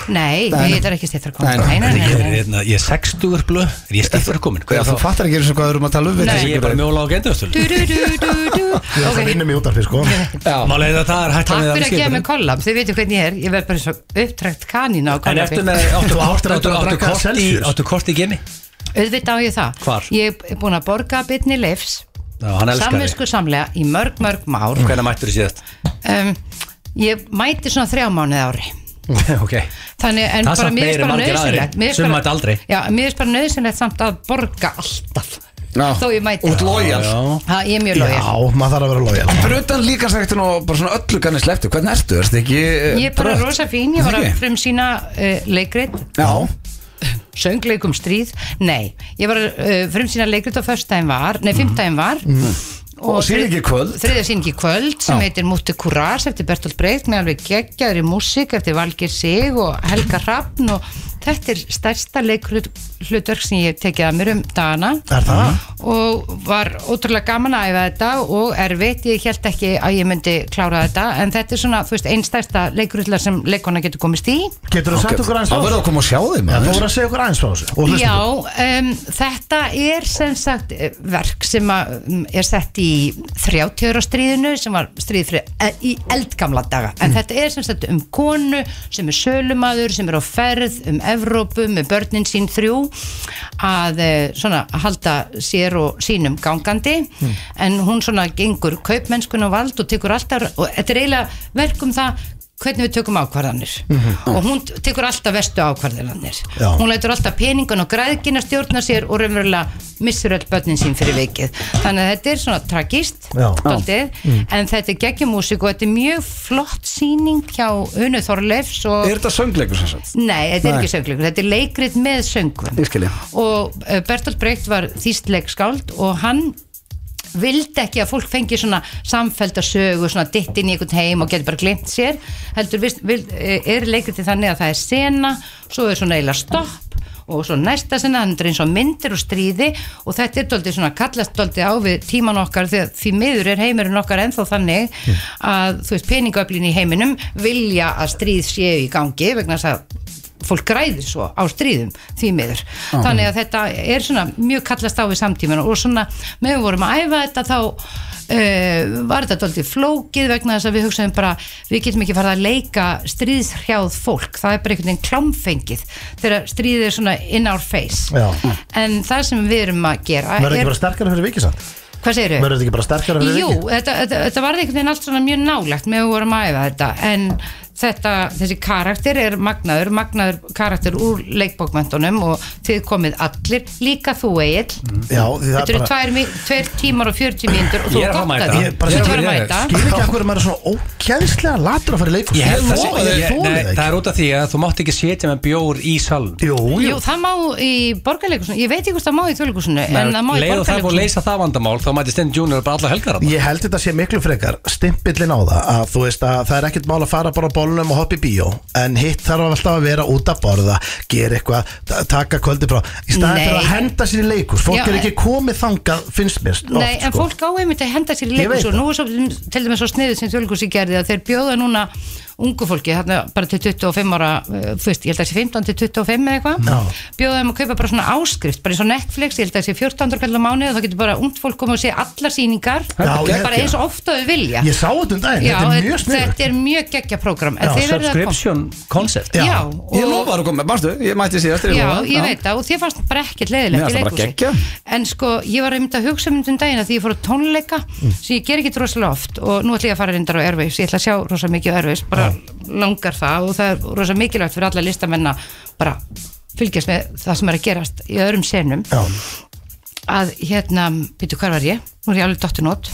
Speaker 5: nei,
Speaker 1: nei.
Speaker 5: ég er
Speaker 1: Nei,
Speaker 5: ekki stittakomnir
Speaker 1: nei.
Speaker 5: nei, nei,
Speaker 2: Ég er,
Speaker 5: nei, nei.
Speaker 2: hérna, ég er sextugur blöð Er ég stiftur komin?
Speaker 1: Já,
Speaker 2: Hvað er
Speaker 1: þú
Speaker 2: það?
Speaker 1: fattar ekki eins og hvað við erum að tala um við
Speaker 5: Nei.
Speaker 1: þessi
Speaker 2: Ég er bara mjóla á gendustul
Speaker 5: Du, du, du, du, du.
Speaker 3: Ég er það
Speaker 5: Okay.
Speaker 3: vinnum í útarfi sko
Speaker 1: Já,
Speaker 2: Málega það það er hægt
Speaker 5: takk
Speaker 2: að
Speaker 5: fyrir að gefa
Speaker 2: skipinu.
Speaker 5: mig kollab þið veitum hvernig ég er, ég verð bara svo upptrækt kanína á
Speaker 2: En
Speaker 5: kollabi
Speaker 2: eftir með áttu
Speaker 3: Þú
Speaker 2: kort
Speaker 3: áttir að drekka
Speaker 2: áttu- áttu kort í-
Speaker 3: Celsius.
Speaker 2: Áttu kort í gemi
Speaker 5: auðvitað á ég það
Speaker 2: Hvar?
Speaker 5: Ég er búin að borga bitni leifs
Speaker 2: Já, hann elskar þig. Mm.
Speaker 5: samvisku samlega í mörg mörg már
Speaker 2: Hvernig mættur þú síðast?
Speaker 5: um, Ég mæti svona þrjá mánuð ári
Speaker 2: [LAUGHS] ok.
Speaker 5: Þannig
Speaker 2: Það
Speaker 5: en bara
Speaker 2: samt
Speaker 5: mér
Speaker 2: meira
Speaker 5: er
Speaker 2: en
Speaker 5: bara
Speaker 2: margir aðrir.
Speaker 5: nöðsynlegt
Speaker 2: Sum mæta aldrei.
Speaker 5: Já, mér er bara nöðsynlegt samt að borga alltaf Þó ég mæti
Speaker 1: Út lojal
Speaker 5: Ha, Ég er mjög
Speaker 3: Já,
Speaker 5: lója
Speaker 3: maður þarf að vera lojal
Speaker 1: Fyrir utan líkansræktun og bara svona öllu kannist leftu Hvernig ertu? Ertu ekki eh,
Speaker 5: Ég er bara
Speaker 1: brött?
Speaker 5: rosa fín, ég var að
Speaker 1: Ekki?
Speaker 5: frumsýna uh, leikrit
Speaker 1: Já,
Speaker 5: söngleikum stríð, nei ég var uh, frumsýna leikrit á föstudaginn var nei, fimmtaginn var
Speaker 1: Mhm. Og sýning í kvöld.
Speaker 5: þriðja sýning í kvöld sem
Speaker 1: Já.
Speaker 5: heitir Mútti Kurás eftir Bertolt Breit með alveg geggjaðri músík eftir Valgir Sig og Helga Hrafn og þetta er stærsta leikhlutverk sem ég hef tekið að mér um dana
Speaker 3: Er það?
Speaker 5: og var ótrúlega gaman að æfa þetta og erfitt, ég held ekki að ég myndi klára þetta en þetta er svona, þú veist, einn stærsta leikrutla sem leikona getur komist í
Speaker 3: Getur þú
Speaker 1: ok.
Speaker 3: sett okkur aðeins
Speaker 1: Þá
Speaker 3: frá
Speaker 1: verður að
Speaker 3: þessu?
Speaker 1: koma og sjá þig
Speaker 3: Já, Þú
Speaker 1: maður
Speaker 3: voru að segja okkur aðeins frá þessu Og hlusta
Speaker 5: Já, um, þetta er sem sagt eh, verk sem að, um, er sett í 30 ára stríðinu sem var stríð fyrir, e, í eldgamla daga en
Speaker 3: Mm.
Speaker 5: þetta er sem sagt um konu sem er sölumadur, sem er á ferð um Evrópu með börnin sín þrjú að eh, svona halda sér og sínum gangandi
Speaker 3: Mm.
Speaker 5: en hún svona gengur kaupmennskun og vald og tekur alltaf og þetta er eiginlega verk um það hvernig við tökum ákvarðanir og hún tekur alltaf vestu ákvarðanir
Speaker 3: Mhm. Já.
Speaker 5: hún lætur alltaf peningun og græðkina stjórna sér og raunverulega missur öll börnin sín fyrir vikið þannig að þetta er svona tragist
Speaker 3: Já.
Speaker 5: daldið, en þetta er geggjumúsík og þetta er mjög flott sýning hjá Unu Þorleifs og
Speaker 1: Er þetta söngleikur sem sagt?
Speaker 5: Nei, þetta er
Speaker 1: Nei.
Speaker 5: ekki söngleikur, þetta er leikrit með söngum
Speaker 1: Ég skil ég.
Speaker 5: Og eh, Bertolt Brecht var þýst leikskáld og hann vildi ekki að fólk fengi svona samfælda sögu, svona ditt inn í einhvern heim og getur bara glimt sér heldur vill, vill, eh, er leikritið þannig að það er sena svo er svona eiginlega stopp og svo næsta sena, þannig er eins og myndir og stríði og þetta er doldið svona kallast doldið á við tíman okkar því að því miður er heimurinn okkar ennþá þannig að þú veist peningöflin í heiminum vilja að stríð séu í gangi vegna þess að fólk græðir svo á stríðum því miður, þannig að þetta er svona mjög kallast á við samtímanu og svona meðan við vorum að æfa þetta þá uh, var þetta aldrei flókið vegna þess að við hugsaðum bara við getum ekki farið að leika stríðshrjáð fólk það er bara einhvern veginn klámfengið þegar stríðið er svona in our face
Speaker 3: Já.
Speaker 5: en það sem við erum að gera
Speaker 3: Verður ekki
Speaker 5: er,
Speaker 3: bara sterkara fyrir vikið samt?
Speaker 5: hvað segir
Speaker 3: Verður þetta ekki bara sterkara fyrir
Speaker 5: Jú,
Speaker 3: vikið?
Speaker 5: þetta, þetta, þetta varði einhvern veginn allt svona mjög nálegt með að við vorum að æfa þetta en þetta, þessi karakter er magnaður, magnaður karakter úr leikbókmentunum og þið komið allir, líka þú Egil
Speaker 3: Já, því það
Speaker 5: Þetta
Speaker 3: er
Speaker 5: eru
Speaker 3: bara
Speaker 5: tveir, mi- tveir tímar og 40 mínútur og þú
Speaker 2: Ég er að fara að
Speaker 5: gott
Speaker 2: mæta.
Speaker 5: því.
Speaker 3: Ég bara
Speaker 5: Þú
Speaker 3: skil-
Speaker 5: ert að
Speaker 2: ég-
Speaker 5: mæta
Speaker 3: Skil ekki af hverju maður er svona ókjæðslega latur að fara í leikur
Speaker 2: Ég held það
Speaker 3: lofa
Speaker 2: sé-
Speaker 3: þér,
Speaker 2: ég-
Speaker 3: þolið
Speaker 2: nei,
Speaker 3: það
Speaker 2: Það
Speaker 3: ekki
Speaker 2: er út af því að þú mátt ekki setja með bjór í salun
Speaker 3: Jú,
Speaker 5: Jú,
Speaker 3: jú
Speaker 5: það má í borgarleikusinu, ég veit ekki hvort það má í þjóðleikusinu en það má í
Speaker 2: Leið og það er búið að
Speaker 5: borgarleikusinu
Speaker 2: leysa það vandamál þá mæti Sten Junior bara alla helgar hann
Speaker 3: Ég held þetta sé miklu frekar stimpillin á það að þú veist að það er ekkert mál að fara bara á bólunum og hoppa í bíó en hitt þarf alltaf að vera út að borða gera eitthvað, ta- taka kvöldi frá í staðin
Speaker 5: Nei.
Speaker 3: fyrir að henda sér í leikus fólk
Speaker 5: Já,
Speaker 3: er ekki komið þangað finnst mér oft, sko.
Speaker 5: Nei, en fólk á einmitt að henda sér í
Speaker 3: Ég veit
Speaker 5: leikus og
Speaker 3: það.
Speaker 5: nú er svo, til dæmis svo sniðið sem þjóðleikusi gerði að þeir bjóða núna ungu fólki, þarna bara til 25 ára eh, þú veist, ég held að sé 15 til 25 eða eitthvað,
Speaker 3: Já.
Speaker 5: bjóða þeim að kaupa bara svona áskrift, bara eins og Netflix, ég held að sé 14 kallar mánuð og þá getur bara ungt fólk komið og sé allar sýningar,
Speaker 3: Já, ég-
Speaker 5: bara eins og ofta þau vilja.
Speaker 3: Ég sá þetta um daginn,
Speaker 5: Já,
Speaker 3: þetta er mjög sniður
Speaker 5: þetta er mjög geggja prógram en
Speaker 3: Já,
Speaker 5: þeir verða að koma
Speaker 2: Subscription concept
Speaker 5: Já,
Speaker 1: Ég
Speaker 5: og-
Speaker 1: lofaði að koma, barstu, ég mætti síðast ég
Speaker 5: Já,
Speaker 1: lofaði.
Speaker 5: ég veit það og þér fannst bara ekkert
Speaker 1: Mér
Speaker 5: leiðilegt
Speaker 1: fannst
Speaker 5: í
Speaker 1: það bara
Speaker 5: leikhúsi En sko, ég var einmitt að hugsa um myndum daginn að því ég fór að tónleika
Speaker 1: Mm.
Speaker 5: sem ég ger ekki rosalega oft og nú ætla ég að fara reyndar á Airwaves ég ætla að sjá rosa mikið á Airwaves bara langar það og það er rosa mikilvægt fyrir alla listamenn að bara fylgjast með það sem er að gerast í öðrum senum
Speaker 3: Já,
Speaker 5: að hérna, býtu hvar var ég? Nú er ég alveg dottunót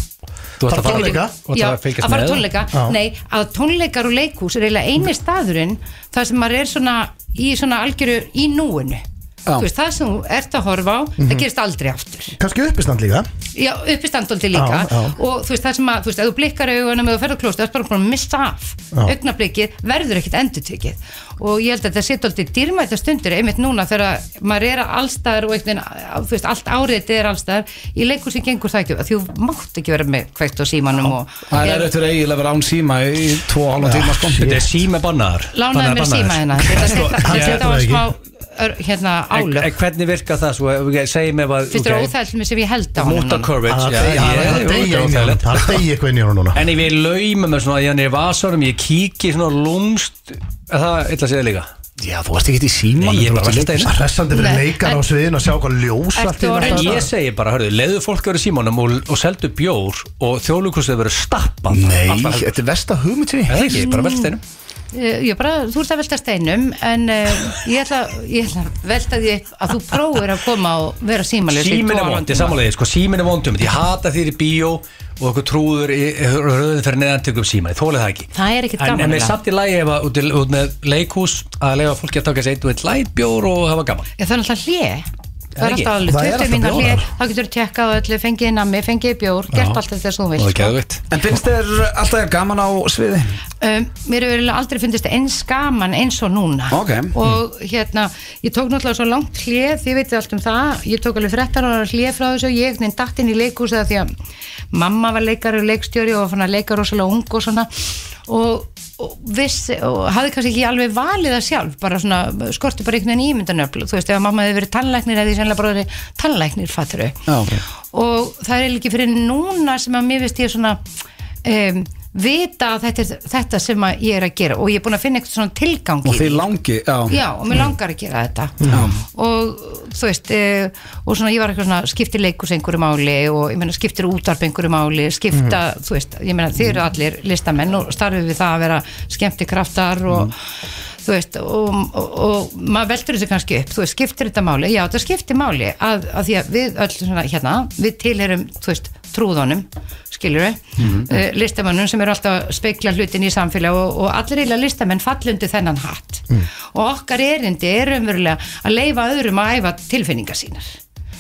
Speaker 2: Þú ert
Speaker 3: Bara
Speaker 2: að fara
Speaker 3: tónleika?
Speaker 2: Þú ert
Speaker 5: Já,
Speaker 2: að fylgjast
Speaker 5: að fara
Speaker 2: með.
Speaker 5: á tónleika
Speaker 3: Já.
Speaker 5: Nei, að tónleikar og leikhús er eiginlega eini staðurinn þar sem maður er svona í svona algjöru í núinu
Speaker 1: Já.
Speaker 5: Þú veist, það sem þú ert að horfa á það gerist aldrei aftur
Speaker 3: kannski uppistand líka
Speaker 5: Já, uppistandolti líka
Speaker 3: Já, já.
Speaker 5: og þú veist það sem að, þú veist, ef þú blikkar augunum eða þú ferð á klóst, það er bara búin að missa af
Speaker 3: Já.
Speaker 5: augnablikið verður ekkit endurtekið og ég held að þetta sé alltaf dýrmæta stundir einmitt núna þegar maður er allstaðar og einhvern veginn, þú veist, allt árið er allstaðar, í leikhúsi gengur það ekki af því þú mátt ekki vera með kveikt á símanum og
Speaker 1: Það er eftir eiginlega að vera án síma í tvo og halvan tíma sko
Speaker 2: Þetta er síma bannaðar
Speaker 5: lánaði mér síma hérna
Speaker 3: Sko, hann
Speaker 5: þetta
Speaker 3: getur
Speaker 5: var
Speaker 3: það
Speaker 5: smá ör, hérna
Speaker 2: En
Speaker 5: álög
Speaker 2: en hvernig virka það svo Segji mig hvað
Speaker 5: finnst þér óþælt með sem ég held á hann
Speaker 2: Múta courage
Speaker 3: Það
Speaker 2: já,
Speaker 3: er
Speaker 2: ég-
Speaker 3: að
Speaker 2: jú, þetta
Speaker 3: deyja
Speaker 2: er
Speaker 3: inn í honum
Speaker 2: óþægilegt.
Speaker 3: Það er að deyja eitthvað inn í honum núna
Speaker 2: En ef ég lauma með svona Þannig í vasanum Ég kíki svona lúmst Það er illa að segja líka
Speaker 1: Já, þú varst ekki í síman
Speaker 2: Nei, ég bara velta einu.
Speaker 3: Hressandi
Speaker 5: Nei,
Speaker 3: fyrir leikar á
Speaker 5: en-
Speaker 3: sviðinu að sjá hvað ljós
Speaker 5: Ertu
Speaker 3: allt í einu
Speaker 5: orðin-
Speaker 2: En
Speaker 3: alltaf.
Speaker 2: ég segi bara, hörðu, leiðu fólk að vera í símanum og, og seldu bjór og þjóðlugkostið verið stappað
Speaker 1: Nei,
Speaker 2: Alltaf-
Speaker 1: þetta er versta hugmynd sem ég
Speaker 2: Nei,
Speaker 1: hef
Speaker 2: ekki, bara velst einum
Speaker 5: Eh, Ég bara, þú ert að velta steinum en uh, ég, ætla, ég ætla að velta því upp að þú prófir að koma og vera símalið
Speaker 2: Símin er vondi, samanlega, sko, símin er vondum Ég hata þér í bíó og okkur trúður í í röðin fyrir neðan tökum síman Ég þóli það ekki
Speaker 5: Það er ekkert
Speaker 2: En,
Speaker 5: gaman
Speaker 2: en ég
Speaker 5: eiginlega.
Speaker 2: satt í lagi ef að út, í- út með leikhús að leiða fólki að taka sér eitt og eitt lætbjór og hafa gaman
Speaker 5: Ég þarf alltaf hlje Það er
Speaker 2: ekki.
Speaker 5: alltaf
Speaker 3: Það er
Speaker 5: alveg 20
Speaker 3: alltaf
Speaker 5: mínar hlje
Speaker 3: bjórar.
Speaker 5: Þá getur þú tjekkað á öllu, fengið nammi, fengið bjór Gert allt þetta sem þú
Speaker 2: Og það er
Speaker 5: vilt sko.
Speaker 2: geðvitt
Speaker 1: En finnst þér alltaf gaman á sviði?
Speaker 5: um, mér hefur eiginlega aldrei fundist eins gaman eins og núna
Speaker 1: Ok.
Speaker 5: og hérna, ég tók náttúrulega svo langt hlið, þið veitir allt um það ég tók alveg 13 ára hlið frá þessu og ég nefn datt inn í leikhús það því að mamma var leikari og leikstjóri og fann að leika rosalega ung og svona og, og viss og hafði kannski ekki alveg valið það sjálf bara svona, skorti bara einhvern veginn ímyndanöfl þú veist, ef að mamma hefði verið tannlæknir eða því sennilega bara verið tannlæknir fatturu
Speaker 1: Já, ok.
Speaker 5: og það er eiginlega ekki fyrir núna sem að mér veist ég svona um, vita að þetta, er þetta sem að ég er að gera og ég er búin að finna eitthvað svona tilgang í
Speaker 1: Og
Speaker 5: því.
Speaker 1: þið langi, já
Speaker 5: já og mér langar að gera þetta og þú veist eh, og svona ég var eitthvað svona skiptir leikus einhverju máli og ég meina skiptir útarp einhverju máli skipta, þú veist, ég meina þið eru allir listamenn og starfið við það að vera skemmtikraftar og þú veist, og, og, og maður veldur þessu kannski upp, þú veist, skiptir þetta máli já, þetta skiptir máli að, að því að við öll svona hérna, við tilherum þú veist, trúðunum, skilur við listamannum Eh, sem eru alltaf að speikla hlutin í samfélag og, og allir eiginlega listamenn fallundi þennan hatt og okkar erindi er umverulega að leifa öðrum að æfa tilfinningar sínar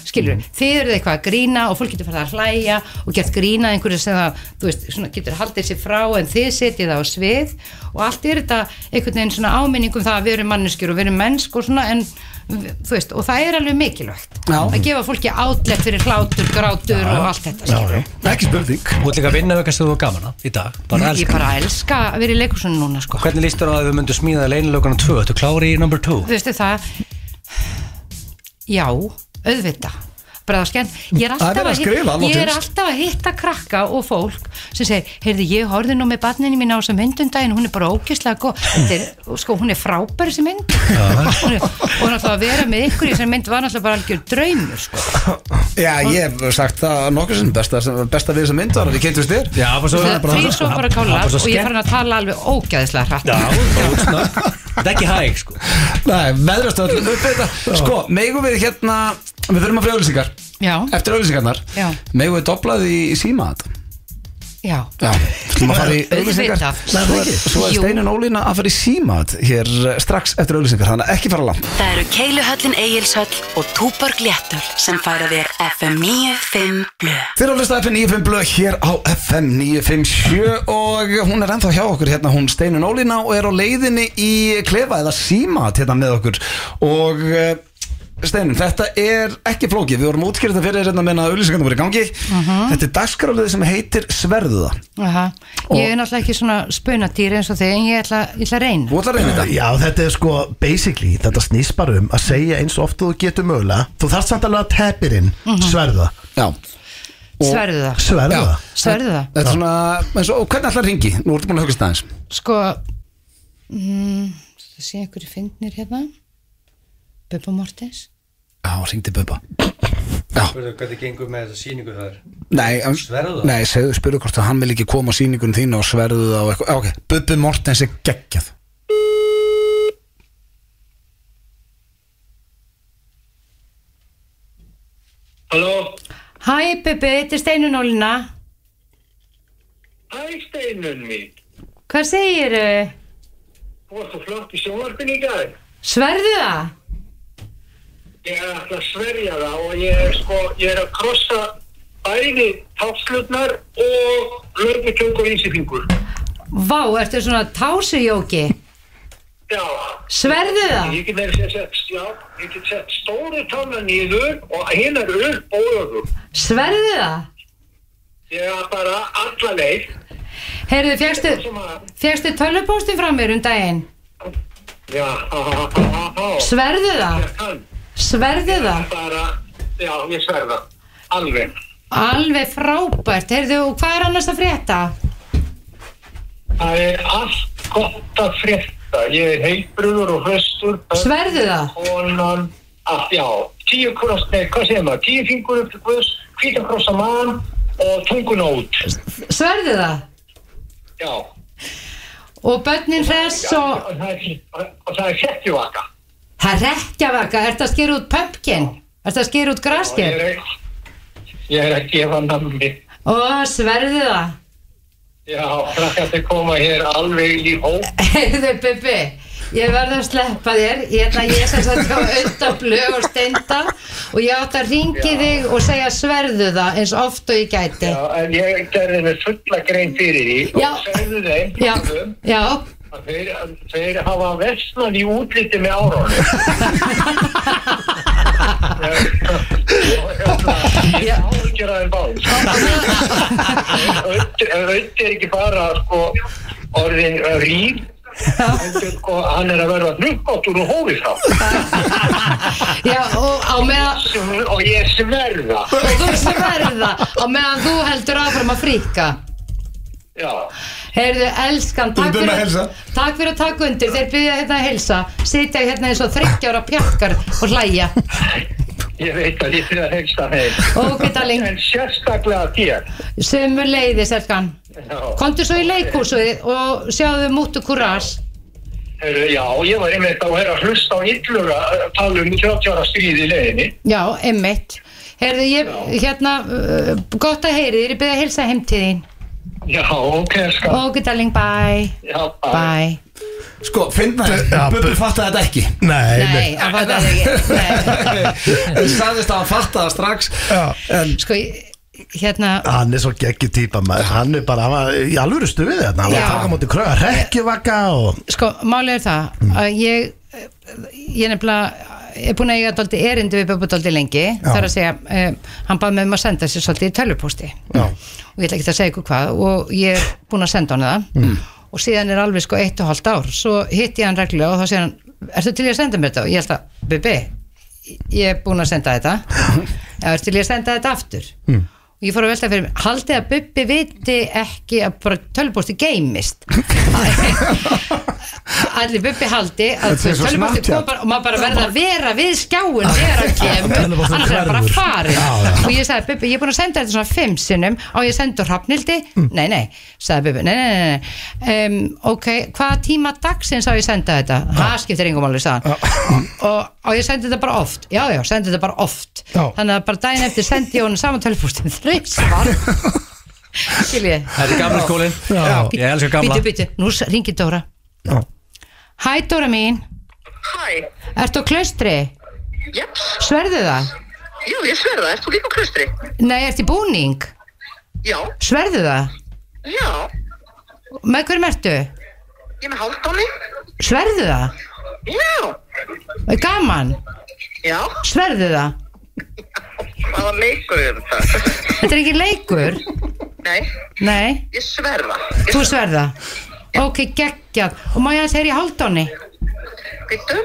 Speaker 5: skilur við, þið eru eitthvað að grína og fólk getur farið að hlæja og gert grína einhverju sem það, þú veist, svona getur haldið sér frá en þið setjið það á svið og allt er þetta einhvern veginn svona áminning um það að við erum manneskjur og við erum mennsk og svona en þú veist, og það er alveg mikilvægt
Speaker 1: Já.
Speaker 5: að gefa fólki átlegt fyrir hlátur, grátur og allt þetta sko.
Speaker 1: Já,
Speaker 5: skilur.
Speaker 1: já. Ekki spurning
Speaker 2: Þú ert líka að vinna við kannski þú var gaman að í dag Bara
Speaker 5: ég
Speaker 2: elskar
Speaker 5: bara elska að vera í leikursunum núna sko.
Speaker 2: Hvernig líst þér á að við myndum smíða leinilökunum 2? Þú klári í number 2?
Speaker 5: þú veistu það já, auðvita bara það er skemmt ég er
Speaker 1: Það er
Speaker 5: alltaf,
Speaker 1: verið að
Speaker 5: að,
Speaker 1: skrifa,
Speaker 5: hitta,
Speaker 1: alveg
Speaker 5: ég er
Speaker 1: til.
Speaker 5: alltaf að hitta krakka og fólk sem segir, heyrði ég horfði nú með barninni mín á þessa myndundaginn, hún er bara ókyslega góð Þetta er, sko, hún er frábær þessi mynd Hún er- og náttúrulega að vera með ykkur í þessari mynd var náttúrulega bara algjör draumur sko.
Speaker 1: Já, ég hef sagt það nokkur sem besta, besta við þessa mynd var að við kynntumst þér
Speaker 2: Já, bara svo
Speaker 5: því svo bara kála
Speaker 2: bara svo
Speaker 5: og ég er
Speaker 2: skemmt.
Speaker 5: farin að tala alveg ógæðislega hratt
Speaker 2: Já, bara útsnögg. þetta er ekki hæg sko
Speaker 1: Nei, veðrast öll upp þetta Sko, megum við hérna Við þurfum að fyrir auðlýsingar
Speaker 5: já,
Speaker 1: Eftir auðlýsingarnar
Speaker 5: Já.
Speaker 1: Megum við doblað í, í síma þetta
Speaker 5: já,
Speaker 1: Já, þurfum að fara í auðlýsingar
Speaker 5: Auðvitað.
Speaker 1: Nei, það ekki Svo er
Speaker 5: Jú.
Speaker 1: Steinin Ólína að fara í síma þetta Hér eh, strax eftir auðlýsingar Þannig að ekki fara langt
Speaker 6: Það eru Keiluhöllin Egilshöll og Túborg Léttöl sem færa þér FM 95 Blöð.
Speaker 1: Þið eru að hlusta FM 95 blöð hér á FM 957 og hún er ennþá hjá okkur hérna, hún Steinun Ólína og er á leiðinni í klefa eða síma hérna með okkur og eh, Steinun, þetta er ekki flókið, við vorum útskýrða fyrir hérna meðan að auðlýsingarnir voru í gangi Þetta er dagskrálið sem heitir Sverðuða
Speaker 5: Aha. ég er náttúrulega ekki svona spunadýr eins og þig en ég ætla, ég ætla að reyna
Speaker 1: Þú ætlar að reyna þetta?
Speaker 3: Já, þetta er sko, basically, þetta snýst bara um að segja eins oft og þú getur mögulega Þú þarft samt alveg að tepir inn,
Speaker 5: Mhm.
Speaker 3: sverða,
Speaker 1: Já
Speaker 5: sverðu það
Speaker 3: sverða
Speaker 1: Já.
Speaker 5: Sverðu það?
Speaker 1: Þetta er svona, eins og og hvernig ætlar að ringi? Nú ertu búin að hugast aðeins
Speaker 5: Sko mm, Það sé einhverju fyndnir hérna Bubba Mortens
Speaker 1: Já, ringdi Bubba Já,
Speaker 2: Hvernig gengur með þessa síningu það er?
Speaker 1: Nei, en-
Speaker 2: Sverðu það?
Speaker 1: Nei, segðu, spyrðu hvort að hann vil ekki koma á sýningun þín og sverðu það og eitthvað Já, Ok, Bubbi Mortens er geggjað
Speaker 7: Halló,
Speaker 5: Hæ Bubbi, þetta er Steinun Ólina
Speaker 7: hæ Steinun mín,
Speaker 5: Hvað segirðu?
Speaker 7: þú varst svo flott í sjónvarpinu í dag.
Speaker 5: Sverðu það?
Speaker 7: Ég er alltaf að sverja það og ég er sko, ég er að krossa bæði tafslutnar og löputjöngu og ísýfingur.
Speaker 5: Vá, ertu svona tásujóki?
Speaker 7: Já,
Speaker 5: Sverðu það?
Speaker 7: ég get verið að setja, já, ég get sett stóru tanna nýður og hinn er upp og öðrum.
Speaker 5: Sverðu það?
Speaker 7: Ég er bara alla leið.
Speaker 5: Heyrðu, fjækstu,
Speaker 7: Sem að,
Speaker 5: fjækstu tölvupóstin frá mér um daginn?
Speaker 7: já, ha, ha, ha, ha, ha.
Speaker 5: Sverðu það?
Speaker 7: Ég kann
Speaker 5: Sverðu það?
Speaker 7: bara, já, ég sverða, alveg.
Speaker 5: Alveg frábært, heyrðu, og hvað er annars að frétta?
Speaker 7: Það er allt gott að frétta. þetta. Ég er heilbrúður og hrestur.
Speaker 5: Sverðu það?
Speaker 7: Konan, að já, tíu kross, nei, hvað segir maður, tíu fingur upp til guðs, hvítan krossa mann og tungun út.
Speaker 5: Sverðu það?
Speaker 7: Já,
Speaker 5: Og börnin hress og
Speaker 7: og það er, og það er hrekkjuvaka.
Speaker 5: Það rekjavaka, ertu að skera út pumpkin? Ertu að skera út
Speaker 7: Og ég
Speaker 5: grasker?
Speaker 7: er ekki, ég er ekki ef hann namni.
Speaker 5: Ó, sverðu það [LAUGHS]
Speaker 7: Já, krakkandi koma hér alveg í hóp.
Speaker 5: Heyrðu Bibi, ég verð að sleppa þér Hérna ég sem sagt á auðtablög og steinda og ég átt að ringi þig og segja sverðu það eins oft og ég gæti
Speaker 7: Já, en ég gerði með fulla grein fyrir því
Speaker 5: Eh. Já.
Speaker 7: og segðu þeim
Speaker 5: Já,
Speaker 7: um,
Speaker 5: já,
Speaker 7: að þeir, að þeir hafa versnað í útliti með árónum.
Speaker 5: Já.
Speaker 7: Ég áhugjur að þeim báð. Ötti er ekki bara sko, orðin rýr, heldur sko, hann er að verða hnukkáttur og hófið þá.
Speaker 5: já og á meðan
Speaker 7: Og ég sverða.
Speaker 5: og þú sverða á meðan þú heldur áfram að fríka
Speaker 7: Já.
Speaker 5: Heyrðu, elskan, takk
Speaker 1: Undir
Speaker 5: fyrir,
Speaker 1: með heilsa.
Speaker 5: takk fyrir að taka undir, þeir byrja hérna að helsa, sitja hérna eins og þryggjára pjakkar og hlæja.
Speaker 7: Ég veit að ég fyrir að hengsta heim.
Speaker 5: Ok, darling.
Speaker 7: En sérstaklega þér.
Speaker 5: Sömu leiðis, Erkan.
Speaker 7: Já.
Speaker 5: Komdu svo í leikhúsið og sjáðu mútu kurás.
Speaker 7: Heyrðu, Já, ég var einmitt að vera að hlusta á illur að tala um 30 ára stríð í leiðinni.
Speaker 5: Já, emmitt. Heyrðu, ég, hérna, uh, gott að heyri þér, ég byrja að helsa heim til þín.
Speaker 7: Já, ok, skal.
Speaker 5: Ok, darling, bye.
Speaker 7: Já,
Speaker 5: Bye.
Speaker 1: Sko, finnaði,
Speaker 3: Já,
Speaker 1: Bubbi
Speaker 3: bu-
Speaker 1: fattaði þetta [LAUGHS] ekki
Speaker 3: Nei,
Speaker 5: Nei, það var það ekki. Nei.
Speaker 1: En sagðist að hann fattaði það strax
Speaker 3: Já.
Speaker 1: [LAUGHS] En
Speaker 5: Sko, ég- hérna,
Speaker 3: Hann er svo geggjur típa maður. Hann er bara, hann var í alvöru stuðið þetta Hann var
Speaker 5: Já.
Speaker 3: að taka móti kröða rekkjuvaka og
Speaker 5: sko, málið er það að ég ég nefnilega er búin að eiga daldi erindi við Bubba daldi lengi þar að segja, um, hann bað mig um að senda sér svolítið í tölvupósti
Speaker 3: Já.
Speaker 5: og ég ætla ekki að segja ykkur hvað og ég er búin að senda hann það og síðan er alveg sko eitt og hálft ár svo hitti ég hann reglulega og þá segir hann ertu til ég að senda mér þetta? og ég held að Bubbi, ég er búin að senda þetta eða ertu til ég að senda þetta aftur og ég fór að velta fyrir mér haldið að Bubbi viti ekki að bara tölvupósti geimist allir Bubbi haldi að
Speaker 1: Þetta er svo
Speaker 5: tölvupósti
Speaker 1: Snapchat.
Speaker 5: kom bara og maður bara verði að vera við skjáin þegar hann kemur,
Speaker 3: Tölvupósturinn
Speaker 5: annars er hann bara
Speaker 3: hverfur.
Speaker 5: farin
Speaker 3: Já, já.
Speaker 5: og ég sagði Bubbi, ég er búin að senda þetta svona fimm sinnum og ég sendi hrafnildi
Speaker 1: Mm.
Speaker 5: nei, nei, sagði Bubbi, nei, nei, nei, nei. Um, ok, hvaða tíma dagsins á ég að senda þetta, það skiptir engum alveg sagðan og, og ég sendi þetta bara oft já, já, sendi þetta bara oft
Speaker 3: Já.
Speaker 5: þannig að bara daginn eftir sendi ég honum saman tölvupóstin
Speaker 1: [LAUGHS]
Speaker 5: þreysvar skiljið
Speaker 2: Þetta er gamla skólinn
Speaker 3: Já.
Speaker 2: Ég elskar gamla
Speaker 5: Bíddu, bíddu, nú ringir Dóra
Speaker 3: Já.
Speaker 5: Hæ Dóra mín,
Speaker 8: Hæ,
Speaker 5: ertu á klaustri?
Speaker 8: jeps,
Speaker 5: Sverðu það?
Speaker 8: jú ég sverða, ert þú líka á klustri?
Speaker 5: Nei, ertu í búning?
Speaker 8: Já,
Speaker 5: Sverðu það?
Speaker 8: já,
Speaker 5: Með hverjum ertu?
Speaker 8: ég er með Haldóni,
Speaker 5: Sverðu það?
Speaker 8: já,
Speaker 5: Gaman,
Speaker 8: já,
Speaker 5: sverðu það?
Speaker 8: hvaða leikur er þetta?
Speaker 5: Þetta er ekki leikur?
Speaker 8: Nei,
Speaker 5: Nei,
Speaker 8: ég sverða, ég
Speaker 5: þú sverða Ok, geggjað Og má ég að segja í haldóni?
Speaker 8: sverða,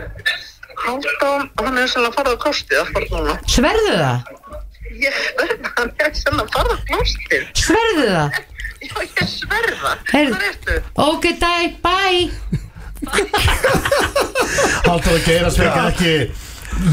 Speaker 8: Haldón, hann er sennilega að fara á kostið, það fara núna.
Speaker 5: Sverðu það?
Speaker 8: Ég [LAUGHS] sverða, hann er sennilega að fara á kostið,
Speaker 5: Sverðu það?
Speaker 8: já ég sverða,
Speaker 5: Heyrðu.
Speaker 8: það ertu.
Speaker 5: Ok, dæ, bæ
Speaker 3: Haldur að geira svega ekki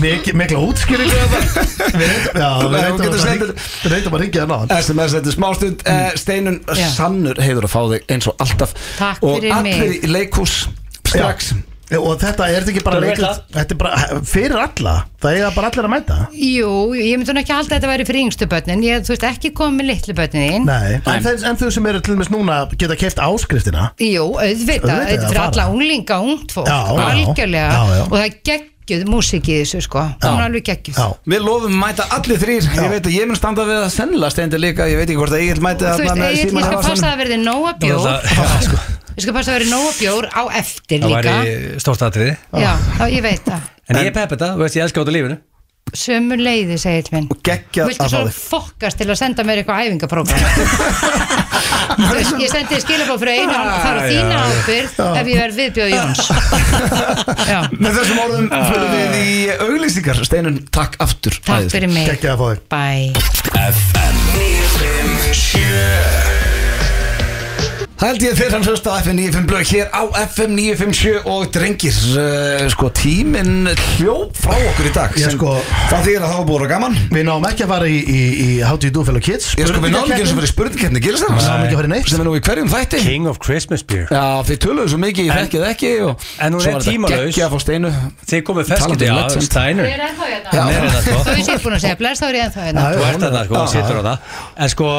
Speaker 3: mikil, mikla útskýringu
Speaker 2: [LAUGHS]
Speaker 3: þetta. Við reyndum- já, við
Speaker 1: Nei, hún
Speaker 3: reyndum
Speaker 1: getur
Speaker 3: að
Speaker 1: sendt-
Speaker 3: hring- við reyndum að ringja hann á hann
Speaker 1: SMS, þetta er smástund eh, Steinun,
Speaker 5: Já.
Speaker 1: sannur heiður að fá þig eins og alltaf
Speaker 5: Takk
Speaker 1: Og
Speaker 5: fyrir mig.
Speaker 1: allir í leikhús strax
Speaker 3: Já, Og þetta er þetta ekki bara
Speaker 2: Þú veit
Speaker 3: leikrit
Speaker 2: það. Mm.
Speaker 3: Þetta er bara fyrir alla Það eiga bara allir að mæta
Speaker 5: Jú, ég myndi nú ekki halda að þetta væri fyrir yngstu börnin ég, Þú veist, ekki komið með litlu börnin þín
Speaker 3: Nei. En, þeir, en þau sem eru til dæmis núna geta keift áskriftina
Speaker 5: Jú, auðvitað,
Speaker 3: Auðvitað,
Speaker 5: þetta er fyrir
Speaker 3: að fara.
Speaker 5: alla unglinga og ungt fólk,
Speaker 3: Já, já.
Speaker 5: algjörlega
Speaker 3: Já, já.
Speaker 5: og það er geggjuð músík í þessu sko, það er alveg geggjuð
Speaker 3: Já.
Speaker 1: Við lofum mæta allir þrýr Ég veit að ég mun standa við að sennilega Steinun líka Ég veit ekki hvort að Egil mæti
Speaker 5: Þú veist,
Speaker 1: þarna með
Speaker 5: ég, ég
Speaker 1: Símon
Speaker 5: skal
Speaker 1: Havason.
Speaker 5: passa að verði nóa bjór
Speaker 2: Það sko.
Speaker 5: Ég skal passa að verði nóa bjór á eftir
Speaker 2: það
Speaker 5: líka
Speaker 2: væri stórt atriði
Speaker 5: Já, þá ég veit það
Speaker 2: En ég er pepp þetta, þú veist ég elskar út á lífinu
Speaker 5: Sömu leiði, segil minn
Speaker 1: Og geggjað
Speaker 5: Viltu
Speaker 1: að fá
Speaker 5: svo
Speaker 1: þig.
Speaker 5: fokkast til að senda mér
Speaker 1: [LAUGHS]
Speaker 5: eitthvað æfingaprógram Ég sendi skilabóð fyrir einu þar á
Speaker 2: Já,
Speaker 5: þína
Speaker 2: já, já.
Speaker 5: ábyrð ef ég verð viðbjóð Jóns
Speaker 1: [LAUGHS]
Speaker 5: Já,
Speaker 1: Með þessum orðum
Speaker 2: Ah.
Speaker 1: fyrir við í auglýsingar Steinun, takk aftur
Speaker 5: takk
Speaker 1: Æðislegt.
Speaker 5: fyrir mig
Speaker 3: Gekkið að fá þig
Speaker 5: Bye
Speaker 4: FM 957
Speaker 1: Það held ég þegar hann hlusta á FM 95 blöð hér á FM 957 og drengir uh, sko tíminn hljóp frá okkur í dag
Speaker 3: Ég
Speaker 1: sem-
Speaker 3: sko-
Speaker 1: það þýðir að það var búið að gaman
Speaker 3: Við náum ekki að fara í, í, í How do you do fellow kids
Speaker 1: Ég sko við náðum ekki eins og fyrir spurningkeppni
Speaker 3: Við náum
Speaker 1: gilsar
Speaker 3: ekki að fara í neitt
Speaker 1: sem er nú í hverjum þætti
Speaker 2: King of Christmas beer
Speaker 1: Já þið töluðu svo mikið, ég þekkið ekki og
Speaker 2: en hún
Speaker 1: svo
Speaker 2: er
Speaker 1: var þetta
Speaker 2: tímalaus.
Speaker 1: geggjað að fá steinu
Speaker 2: Þið komið
Speaker 1: Talandi
Speaker 2: ferskindi
Speaker 1: um
Speaker 2: á
Speaker 1: legend.
Speaker 5: Ég
Speaker 2: Steiner
Speaker 5: er ennþá hérna.
Speaker 1: Já.
Speaker 2: Hún er hérna, sko.
Speaker 5: Þó ég sé búin að segja bless, þá er ég ennþá hérna.
Speaker 2: Þú ert þarna, sko, hún
Speaker 1: Já.
Speaker 2: situr þarna En sko,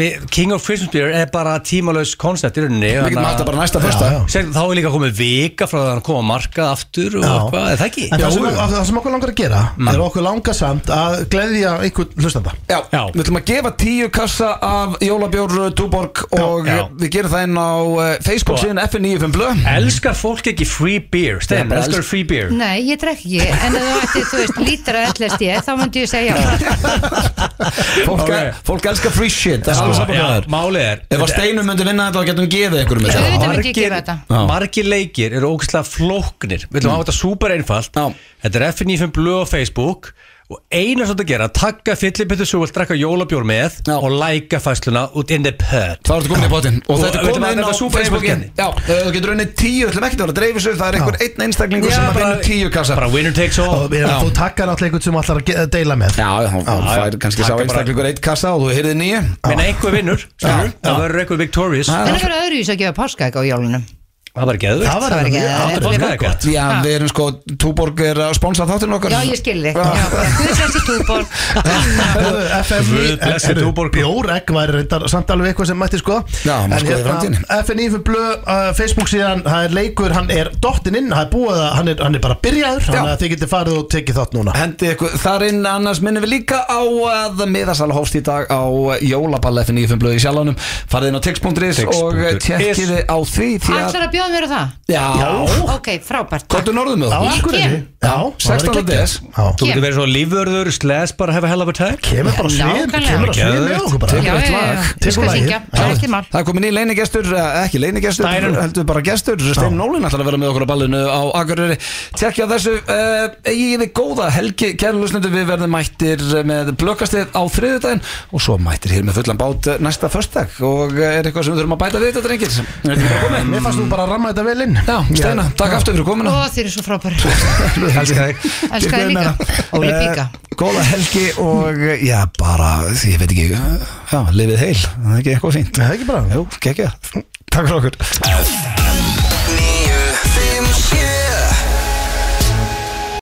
Speaker 2: við, King of Christmas beer er bara tímalaus koncept í rauninni
Speaker 1: Við getum
Speaker 2: þannig að-
Speaker 1: alltaf bara næsta fyrsta
Speaker 3: já.
Speaker 2: Sér, þá er líka komið vika frá það að koma á markað aftur og
Speaker 3: Já.
Speaker 2: eitthvað, er það ekki?
Speaker 3: En það sem,
Speaker 1: Jú, jú.
Speaker 3: það sem okkur langar að gera
Speaker 1: Mm.
Speaker 3: er okkur langar samt að gleðja einhvern hlustanda
Speaker 1: Já,
Speaker 2: Já.
Speaker 1: við ætlum að gefa tíu kassa af Jólabjór eh, Túborg og
Speaker 2: Já.
Speaker 1: við gerum það inn á uh, Facebook
Speaker 2: Sko.
Speaker 1: síðan FM 95 blöð
Speaker 2: Elskar fólk ekki free beer? Stein,
Speaker 1: bara
Speaker 2: elskar
Speaker 1: elsk-
Speaker 2: free beer?
Speaker 5: Nei, ég drekk ekki, en ef þú ætti, þú veist, lítra ellest ég, þá myndi ég segja
Speaker 1: Fólk,
Speaker 2: Ok.
Speaker 1: fólk elskar free shit Það er alveg saman hvað það
Speaker 2: Já,
Speaker 1: er
Speaker 2: málið er
Speaker 1: Ef að Steinum myndi vinna þetta og getum gefið ykkur með
Speaker 5: Auðvitað
Speaker 1: þetta
Speaker 5: myndi ég gera þetta.
Speaker 1: Já. Mm.
Speaker 2: margir leikir eru ógæslega flóknir Við ætlum að hafa þetta super einfalt
Speaker 1: Já.
Speaker 2: Þetta er FNF blöð á Facebook Og eina sem þetta að gera, taka fyllibittu svo vilt drakka jólabjór með
Speaker 1: Já.
Speaker 2: og læka fæsluna út in the pub
Speaker 1: Þá ertu komin í potinn Og
Speaker 2: Og
Speaker 1: þetta er
Speaker 2: auðvitað
Speaker 1: komið
Speaker 2: var
Speaker 1: inn á
Speaker 2: þetta super
Speaker 1: Facebookin
Speaker 2: Facebookin.
Speaker 1: Já, eh, þú getur unnið tíu Það er ekki að vera að dreifu sig Það er einhver einn einstaklingur sem að vinna tíu kassa
Speaker 2: bara winner takes all
Speaker 3: og við erum
Speaker 1: Já.
Speaker 3: þú takkar náttúrulega einhvern sem allar að ge- deila með
Speaker 1: Já, já, þá
Speaker 2: já.
Speaker 1: fær kannski sá
Speaker 2: Taka bara-
Speaker 1: einstaklingur eitt kassa og þú heyrðið nýju
Speaker 2: Minna einhver vinnur, skilur,
Speaker 1: Já.
Speaker 2: það verður einhver victorious
Speaker 1: Já.
Speaker 2: Það
Speaker 5: En það verður öðru ís að gefa páskaegg á jólunum
Speaker 2: var geðvikt
Speaker 3: Það var
Speaker 5: Það var ekki-
Speaker 3: mjög-
Speaker 5: það er-
Speaker 2: gott
Speaker 1: Já,
Speaker 5: Já.
Speaker 1: við erum sko Túborg er að sponsa þáttinn okkar
Speaker 5: Já, ég skil þig
Speaker 1: Já.
Speaker 5: Guðsessi túborg
Speaker 3: Herðu, FM
Speaker 2: Guð blessi
Speaker 3: herðu,
Speaker 2: Túborg.
Speaker 3: Bjóregg væri reyndar samt alveg eitthvað sem mætti sko
Speaker 1: Já, maður
Speaker 3: En
Speaker 1: skoði
Speaker 3: hérna,
Speaker 1: framtíðinni.
Speaker 3: FNF blöð, uh, Facebook síðan, það er leikur, hann er dottinn inn, það er búið að hann er, hann er bara byrjaður Þannig að þið getið farið og tekið þátt núna
Speaker 1: Hendi ykkur þar inn, annars minnum við líka á að miðasala hófst í dag á jólaball F95 blöð í sjálfanum farið inn á tix.is og
Speaker 2: Tix.is.
Speaker 1: tekkiði á því því að
Speaker 5: Ætlar að bjóða mér á það?
Speaker 1: Já,
Speaker 5: Ok, frábært
Speaker 1: Kottu norðum með
Speaker 3: Á
Speaker 1: okkur
Speaker 3: Akureyri
Speaker 5: kem.
Speaker 3: Já,
Speaker 1: 16. des.
Speaker 3: Þú
Speaker 2: Þú getur verið svo lífvörður, slæs bara have a hell of a time
Speaker 3: kemur bara
Speaker 5: Já,
Speaker 3: svið,
Speaker 5: nákvæmlega.
Speaker 3: kemur að svið með
Speaker 2: Geðveikt.
Speaker 3: okkur bara
Speaker 5: Já, já,
Speaker 1: eitt
Speaker 5: já,
Speaker 1: lag.
Speaker 5: já,
Speaker 3: Tekur
Speaker 5: ég skal
Speaker 3: lagið.
Speaker 5: syngja Það er ekki mál
Speaker 1: Það er komin í leinigestur, eh, ekki leinigestur
Speaker 2: Steinun.
Speaker 1: heldur bara gestur, Steinn Nólin ætlar að vera með okkur á ballinu á Akureyri Tjekkja á þessu, uh, eigið þið góða helgi kæru lusnendur, við verðum mættir með blökkastið á þriðudaginn og svo mættir hér með fullan bát eh, næsta förstak og eh, er eitthvað sem við þurfum að bæta við þetta drengir Er þetta ekki komið?
Speaker 3: Mér fannst þú bara að ramma þetta vel inn
Speaker 1: Já, Steina, takk aftur fyrir komuna
Speaker 5: Ó, þið eru svo frábæri
Speaker 1: Elskar þig Eh,
Speaker 5: Elskar þið líka Og ég píka
Speaker 1: Góða helgi og eh, já, bara, ég veit ekki eh, Já, lifið heil, það er ekki eitthvað fínt
Speaker 3: Það er ekki bara
Speaker 1: Jú, gekkja Takk fyrir okkur
Speaker 4: FM